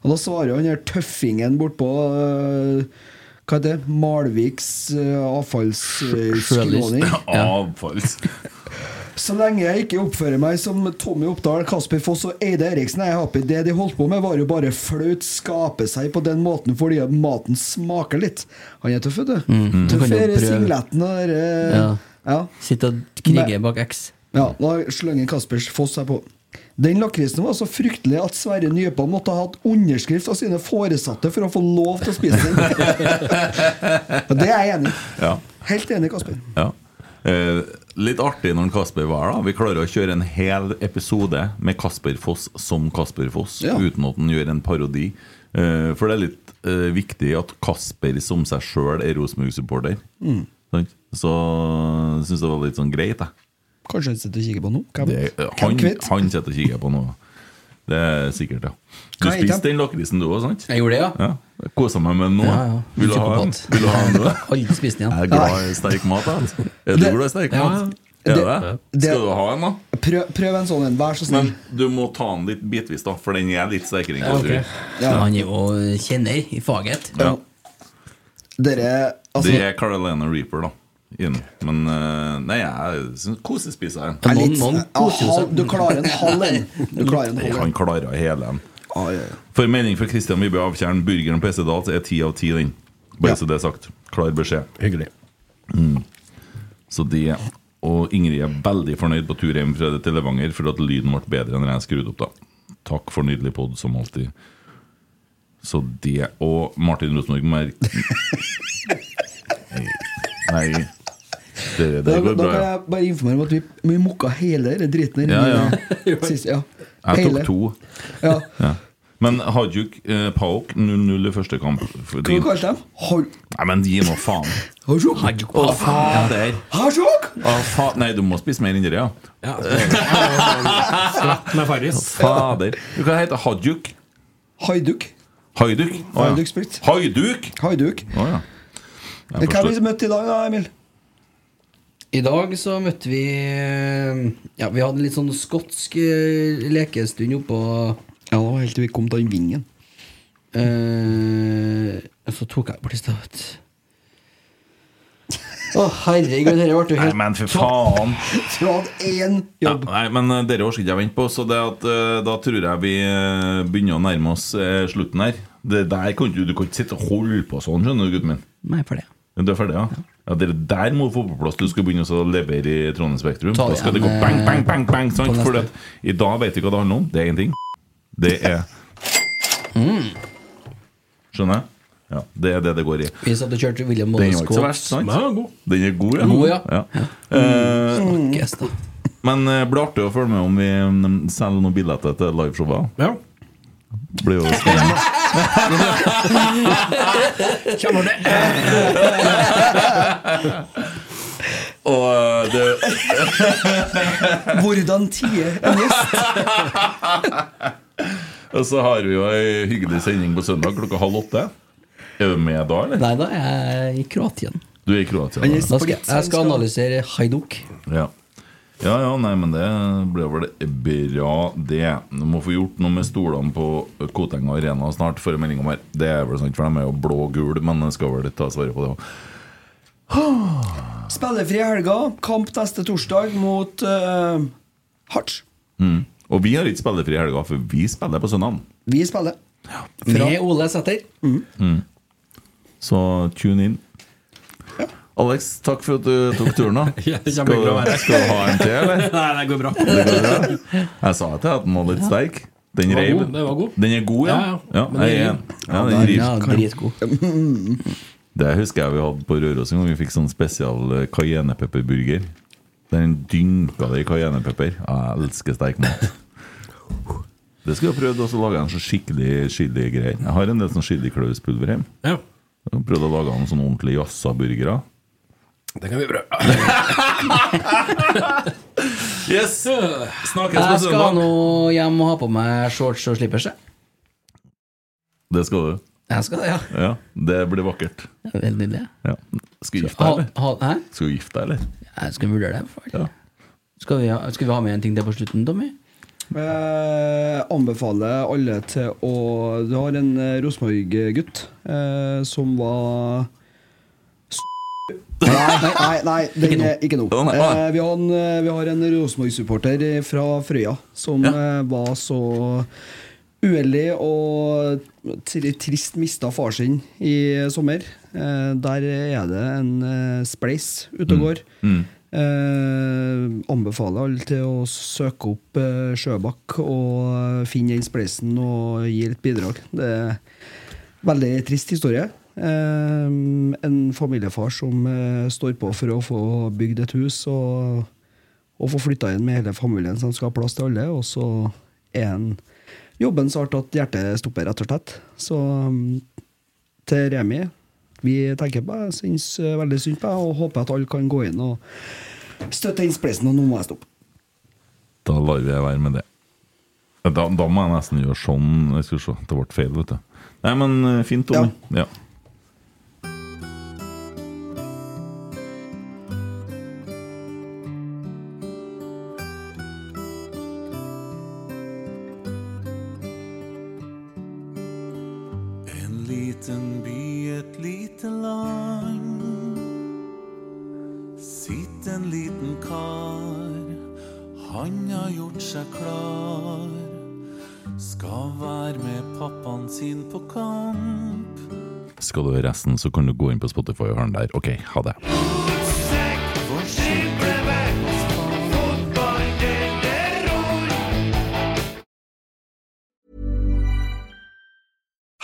[SPEAKER 5] Og da svarer jo han her tøffingen bortpå eh, Hva heter det? Malviks eh,
[SPEAKER 3] Journalist.
[SPEAKER 5] avfallsskråning.
[SPEAKER 2] *laughs* Avfalls.
[SPEAKER 5] Så lenge jeg ikke oppfører meg som Tommy Oppdal, Kasper Foss og Eide Eriksen, er jeg happy. Det de holdt på med, var jo bare flaut skape seg på den måten fordi at maten smaker litt. Han er tøff, vet du.
[SPEAKER 3] Mm. Du
[SPEAKER 5] Tøff
[SPEAKER 3] kan jo
[SPEAKER 5] er
[SPEAKER 3] prøve.
[SPEAKER 5] singleten og der, eh,
[SPEAKER 3] Ja.
[SPEAKER 5] ja.
[SPEAKER 3] Sitter og kriger bak X.
[SPEAKER 5] ja. Da slenger Kasper Foss seg på. Den lakrisen var så fryktelig at Sverre Nypan måtte ha hatt underskrift av sine foresatte for å få lov til å spise den.
[SPEAKER 3] *laughs*
[SPEAKER 5] Og det er jeg enig i.
[SPEAKER 2] Ja.
[SPEAKER 5] Helt enig, Kasper.
[SPEAKER 2] Ja. Eh, litt artig når Kasper var her, da. Vi klarer å kjøre en hel episode med Kasper Foss som Kasper Foss,
[SPEAKER 5] Ja.
[SPEAKER 2] uten at han gjør en parodi. Eh, for det er litt eh, viktig at Kasper som seg sjøl er Rosenborg-supporter.
[SPEAKER 5] Mm.
[SPEAKER 2] Sant? Så syns jeg det var litt sånn greit, jeg.
[SPEAKER 5] Kanskje han sitter og kikker på noe? Hvem-
[SPEAKER 2] Det, er-
[SPEAKER 5] hvem
[SPEAKER 2] han,
[SPEAKER 5] kvitt?
[SPEAKER 2] han sitter og kikker på noe. Det er sikkert, ja. Du
[SPEAKER 5] Hva er
[SPEAKER 2] spiste
[SPEAKER 5] det?
[SPEAKER 2] den lakrisen du òg, sant?
[SPEAKER 3] Jeg gjorde det, ja.
[SPEAKER 2] Ja. Kosa meg med den nå.
[SPEAKER 3] Ja, ja.
[SPEAKER 2] Vil du ha en?
[SPEAKER 3] Psykopat.
[SPEAKER 2] Vil du ha
[SPEAKER 5] *laughs*
[SPEAKER 2] en nå?
[SPEAKER 3] *laughs* Aldri spist den
[SPEAKER 2] Jeg
[SPEAKER 3] igjen.
[SPEAKER 2] er glad i sterk mat. Jeg. altså. Er du
[SPEAKER 5] Det-
[SPEAKER 2] glad i sterk
[SPEAKER 3] Ja.
[SPEAKER 2] mat? Er
[SPEAKER 5] Det-
[SPEAKER 2] det?
[SPEAKER 5] det-
[SPEAKER 2] Skal du ha en, da?
[SPEAKER 5] Prøv, prøv en sånn en, vær så snill.
[SPEAKER 2] Men du må ta den litt bitvis, da, for den er litt sterkere enn kultur.
[SPEAKER 3] Men Han er jo kjenner i faget.
[SPEAKER 2] Ja.
[SPEAKER 5] Dere altså,
[SPEAKER 2] Det er Carolina Reaper, da. Inn. Men eh, nei, jeg syns kosespiser er en.
[SPEAKER 3] Ja,
[SPEAKER 5] er
[SPEAKER 3] Noen,
[SPEAKER 5] litt-
[SPEAKER 3] noen
[SPEAKER 5] Ja,
[SPEAKER 3] koser jo
[SPEAKER 5] halv-
[SPEAKER 3] seg.
[SPEAKER 5] Du klarer en halv en.
[SPEAKER 2] *laughs*
[SPEAKER 5] Du klarer en
[SPEAKER 2] Nei,
[SPEAKER 5] halv en. Ah,
[SPEAKER 2] Han klarer hele den.
[SPEAKER 5] Ja, ja, ja.
[SPEAKER 2] For melding fra Kristian Vibe Avtjern, burgeren på Hessedal så er ti av ti, den. Bare
[SPEAKER 5] Ja.
[SPEAKER 2] så det er sagt. Klar beskjed.
[SPEAKER 12] Hyggelig.
[SPEAKER 2] Så det Og Ingrid er veldig fornøyd på tur hjem fra det til Levanger for at lyden ble bedre enn jeg skrudde opp, da. Takk for nydelig pod, som alltid. Så det Og Martin Rosenborg merk... Nei. nei. Det, det
[SPEAKER 5] Da,
[SPEAKER 2] går
[SPEAKER 5] da
[SPEAKER 2] bra,
[SPEAKER 5] kan
[SPEAKER 2] ja.
[SPEAKER 5] jeg bare informere om at vi, vi mokka hele den driten der.
[SPEAKER 2] Ja, ja. *laughs*
[SPEAKER 5] Sist, ja.
[SPEAKER 2] Jeg tok
[SPEAKER 5] Hele.
[SPEAKER 2] to.
[SPEAKER 5] Ja.
[SPEAKER 2] Ja. Men Hajuk eh, Paok 0-0 i første kamp.
[SPEAKER 5] Hva
[SPEAKER 2] Fordi,
[SPEAKER 5] kalte de dem?
[SPEAKER 2] nei, men gi nå *laughs* faen.
[SPEAKER 5] Harsjok?
[SPEAKER 2] Å, fader!
[SPEAKER 5] Harsjok?
[SPEAKER 2] Å, faen. Nei, du må spise mer enn det, ja.
[SPEAKER 3] *laughs*
[SPEAKER 12] Med Farris.
[SPEAKER 2] Fader. Du kan hete Hajuk.
[SPEAKER 5] Haiduk.
[SPEAKER 2] Hajduk? Å, ja.
[SPEAKER 5] Hajduk spilt.
[SPEAKER 2] Hajduk?
[SPEAKER 5] Haiduk.
[SPEAKER 2] Å ja. Jeg
[SPEAKER 5] Hvem har vi
[SPEAKER 2] forstår.
[SPEAKER 5] møtt i dag, da, Emil?
[SPEAKER 3] I dag så møtte vi Ja, vi hadde en litt sånn skotsk eh, lekestund oppå
[SPEAKER 5] Ja, det var helt til vi kom til den vingen.
[SPEAKER 3] eh, Og så tok jeg bort i stad, vet du. Å, herregud, dette ble jo
[SPEAKER 2] Nei,
[SPEAKER 3] helt
[SPEAKER 2] men for faen!
[SPEAKER 5] Trad én
[SPEAKER 2] Ja,
[SPEAKER 5] jobb.
[SPEAKER 2] nei, men eh, dere orker ikke jeg vente på, så det at, eh, da tror jeg vi eh, begynner å nærme oss eh, slutten her. Det der kan du, du kan ikke sitte og holde på sånn, skjønner du, gutten min.
[SPEAKER 3] Nei, for det.
[SPEAKER 2] Du er ferdig, ja? ja dere der må få på plass. Du skal begynne å levere i Trondheim Spektrum.
[SPEAKER 3] Ta
[SPEAKER 2] Da
[SPEAKER 3] det
[SPEAKER 2] skal det gå
[SPEAKER 3] igjen,
[SPEAKER 2] bang,
[SPEAKER 3] eh,
[SPEAKER 2] bang, bang, bang sant?
[SPEAKER 3] på neste.
[SPEAKER 2] For at, i dag vet vi hva det handler om.
[SPEAKER 3] Mm.
[SPEAKER 2] Det er én ting. Det er Skjønner jeg? Ja, det er det det går i.
[SPEAKER 3] Vi satt og kjørte William
[SPEAKER 2] Den var ikke så
[SPEAKER 3] Mollescope.
[SPEAKER 2] verst, sant?
[SPEAKER 6] Den er god.
[SPEAKER 2] Den er god, ja.
[SPEAKER 3] God, ja. Mm.
[SPEAKER 2] Eh,
[SPEAKER 3] Snakkes, da.
[SPEAKER 2] men eh, blir artig å følge med om vi mm, selger noen billetter til liveshowet.
[SPEAKER 6] Ja.
[SPEAKER 2] Blir jo spennende.
[SPEAKER 3] Kommer det
[SPEAKER 2] *laughs* Og eh, det,
[SPEAKER 5] Hvordan tie en gjest?
[SPEAKER 2] og så har vi jo ei hyggelig sending på søndag klokka halv åtte. Er du med da, eller?
[SPEAKER 3] Nei da, jeg er i Kroatien.
[SPEAKER 2] Du er i Kroatia?
[SPEAKER 5] Han
[SPEAKER 2] da.
[SPEAKER 5] er
[SPEAKER 3] Da skal,
[SPEAKER 5] splitt, så
[SPEAKER 3] jeg skal
[SPEAKER 5] han
[SPEAKER 3] analysere Haiduk.
[SPEAKER 2] Ja. ja, ja, nei, men det blir vel bra, det. Du må få gjort noe med stolene på Kotenga Arena snart, får jeg melding om her. Det er vel sant, for de er jo blå og gule, men jeg skal vel tas vare på det òg.
[SPEAKER 5] Spillefri i helga. Kamp neste torsdag mot uh, Harts.
[SPEAKER 2] Mm. Og vi har ikke spillefri i helga, for vi spiller på søndag.
[SPEAKER 5] Vi spiller.
[SPEAKER 3] Med Ole Sæther.
[SPEAKER 2] Så tune in. Alex, takk for at du tok turen. da
[SPEAKER 6] *laughs* Ja, det er
[SPEAKER 2] Skal,
[SPEAKER 6] kjempehyggelig å være her.
[SPEAKER 2] skal du ha en til, eller?
[SPEAKER 6] *laughs* Nei, det går bra.
[SPEAKER 2] Det går bra. Jeg sa til deg at den var litt sterk. Den
[SPEAKER 6] var
[SPEAKER 2] reiv.
[SPEAKER 6] god, det var god.
[SPEAKER 2] Den er god, ja.
[SPEAKER 6] Ja, ja.
[SPEAKER 2] ja.
[SPEAKER 6] Men
[SPEAKER 2] jeg er
[SPEAKER 6] den-
[SPEAKER 2] enig. ja den river.
[SPEAKER 3] Ja, dritgod.
[SPEAKER 2] Det husker jeg vi hadde på Røros en gang. Vi fikk sånn spesial eh, cayennepepperburger. Den dynka det i cayennepepper. Ja, jeg elsker sterk
[SPEAKER 6] *laughs*
[SPEAKER 2] mat. Det skulle jeg prøvd også å lage en sånn skikkelig chili greier. Jeg har en del sånn chiliklauspulver hjemme.
[SPEAKER 6] Ja.
[SPEAKER 2] Jeg har Prøvd å lage noen sånne ordentlige jazza-burgere.
[SPEAKER 6] Det kan vi prøve.
[SPEAKER 2] *laughs* Yes! Snakkes på
[SPEAKER 3] Jeg skal
[SPEAKER 2] søndag.
[SPEAKER 3] nå hjem og ha på meg shorts og slippers. jeg.
[SPEAKER 2] Det skal du.
[SPEAKER 3] Jeg skal det, ja.
[SPEAKER 2] Ja, det blir vakkert.
[SPEAKER 3] Det er Veldig nydelig.
[SPEAKER 2] Ja. Skal du gifte
[SPEAKER 3] Ha,
[SPEAKER 2] deg, eller?
[SPEAKER 3] ha, hæ?
[SPEAKER 2] Skal du gifte deg, eller?
[SPEAKER 3] Jeg skal vurdere det. for-
[SPEAKER 2] Ja.
[SPEAKER 3] Skal vi, ha, skal vi ha med en ting til på slutten, Tommy?
[SPEAKER 5] Eh, anbefaler alle til å Du har en eh, Rosenborg-gutt eh, som var s- Nei, nei, nei den er ikke nå.
[SPEAKER 2] Å, nei, å, nei.
[SPEAKER 5] Eh, vi, har en, eh, vi har en Rosenborg-supporter fra Frøya som eh, var så uheldig og tri trist mista far sin i sommer. Eh, der er det en eh, spleis ute og går. Eh, anbefaler alle til å søke opp eh, Sjøbakk og eh, finne den spleisen og gi et bidrag. Det er en veldig trist historie. Eh, en familiefar som eh, står på for å få bygd et hus og, og få flytta inn med hele familien, så de skal ha plass til alle. Og så er han jobben så hardt at hjertet stopper, rett og slett. Så mm, til Remi. Vi tenker på det. Syns eh, veldig synd på det og håper at alle kan gå inn og støtte den spleisen. Og nå må jeg stoppe.
[SPEAKER 2] Da lar vi jeg være med det. Da, da må jeg nesten gjøre sånn. Jeg skal se, Det ble feil, vet du. Nei, men eh, fint, Tommy. Ja.
[SPEAKER 1] En liten by, et lite land. Sitt en liten kar, han har gjort seg klar. Skal være med pappaen sin på kamp.
[SPEAKER 2] Skal du høre resten, så kan du gå inn på Spotify og høre den der. Ok, ha det.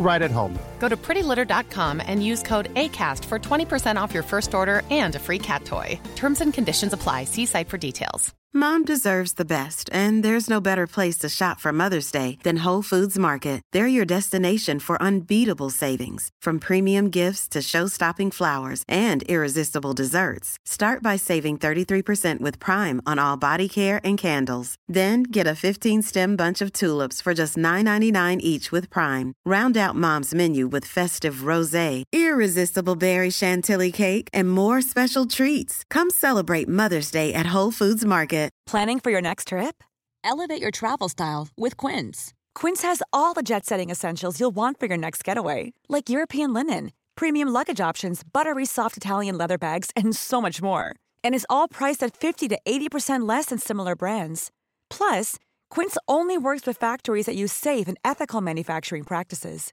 [SPEAKER 13] right at home.
[SPEAKER 14] Go to prettylitter.com and use code ACAST for 20% off your first order and a free cat toy. Terms and conditions apply. See site for details.
[SPEAKER 15] Mom deserves the best, and there's no better place to shop for Mother's Day than Whole Foods Market. They're your destination for unbeatable savings, from premium gifts to show-stopping flowers and irresistible desserts. Start by saving 33% with Prime on all body care and candles. Then get a 15-stem bunch of tulips for just $9.99 each with Prime. Round out Mom's menu with festive rosé, irresistible berry chantilly cake, and more special treats. Come celebrate Mother's Day at Whole Foods Market.
[SPEAKER 16] Planning for your next trip? Elevate your travel style with Quince. Quince has all the jet setting essentials you'll want for your next getaway, like European linen, premium luggage options, buttery soft Italian leather bags, and so much more. And is all priced at 50 to 80% less than similar brands. Plus, Quince only works with factories that use safe and ethical manufacturing practices.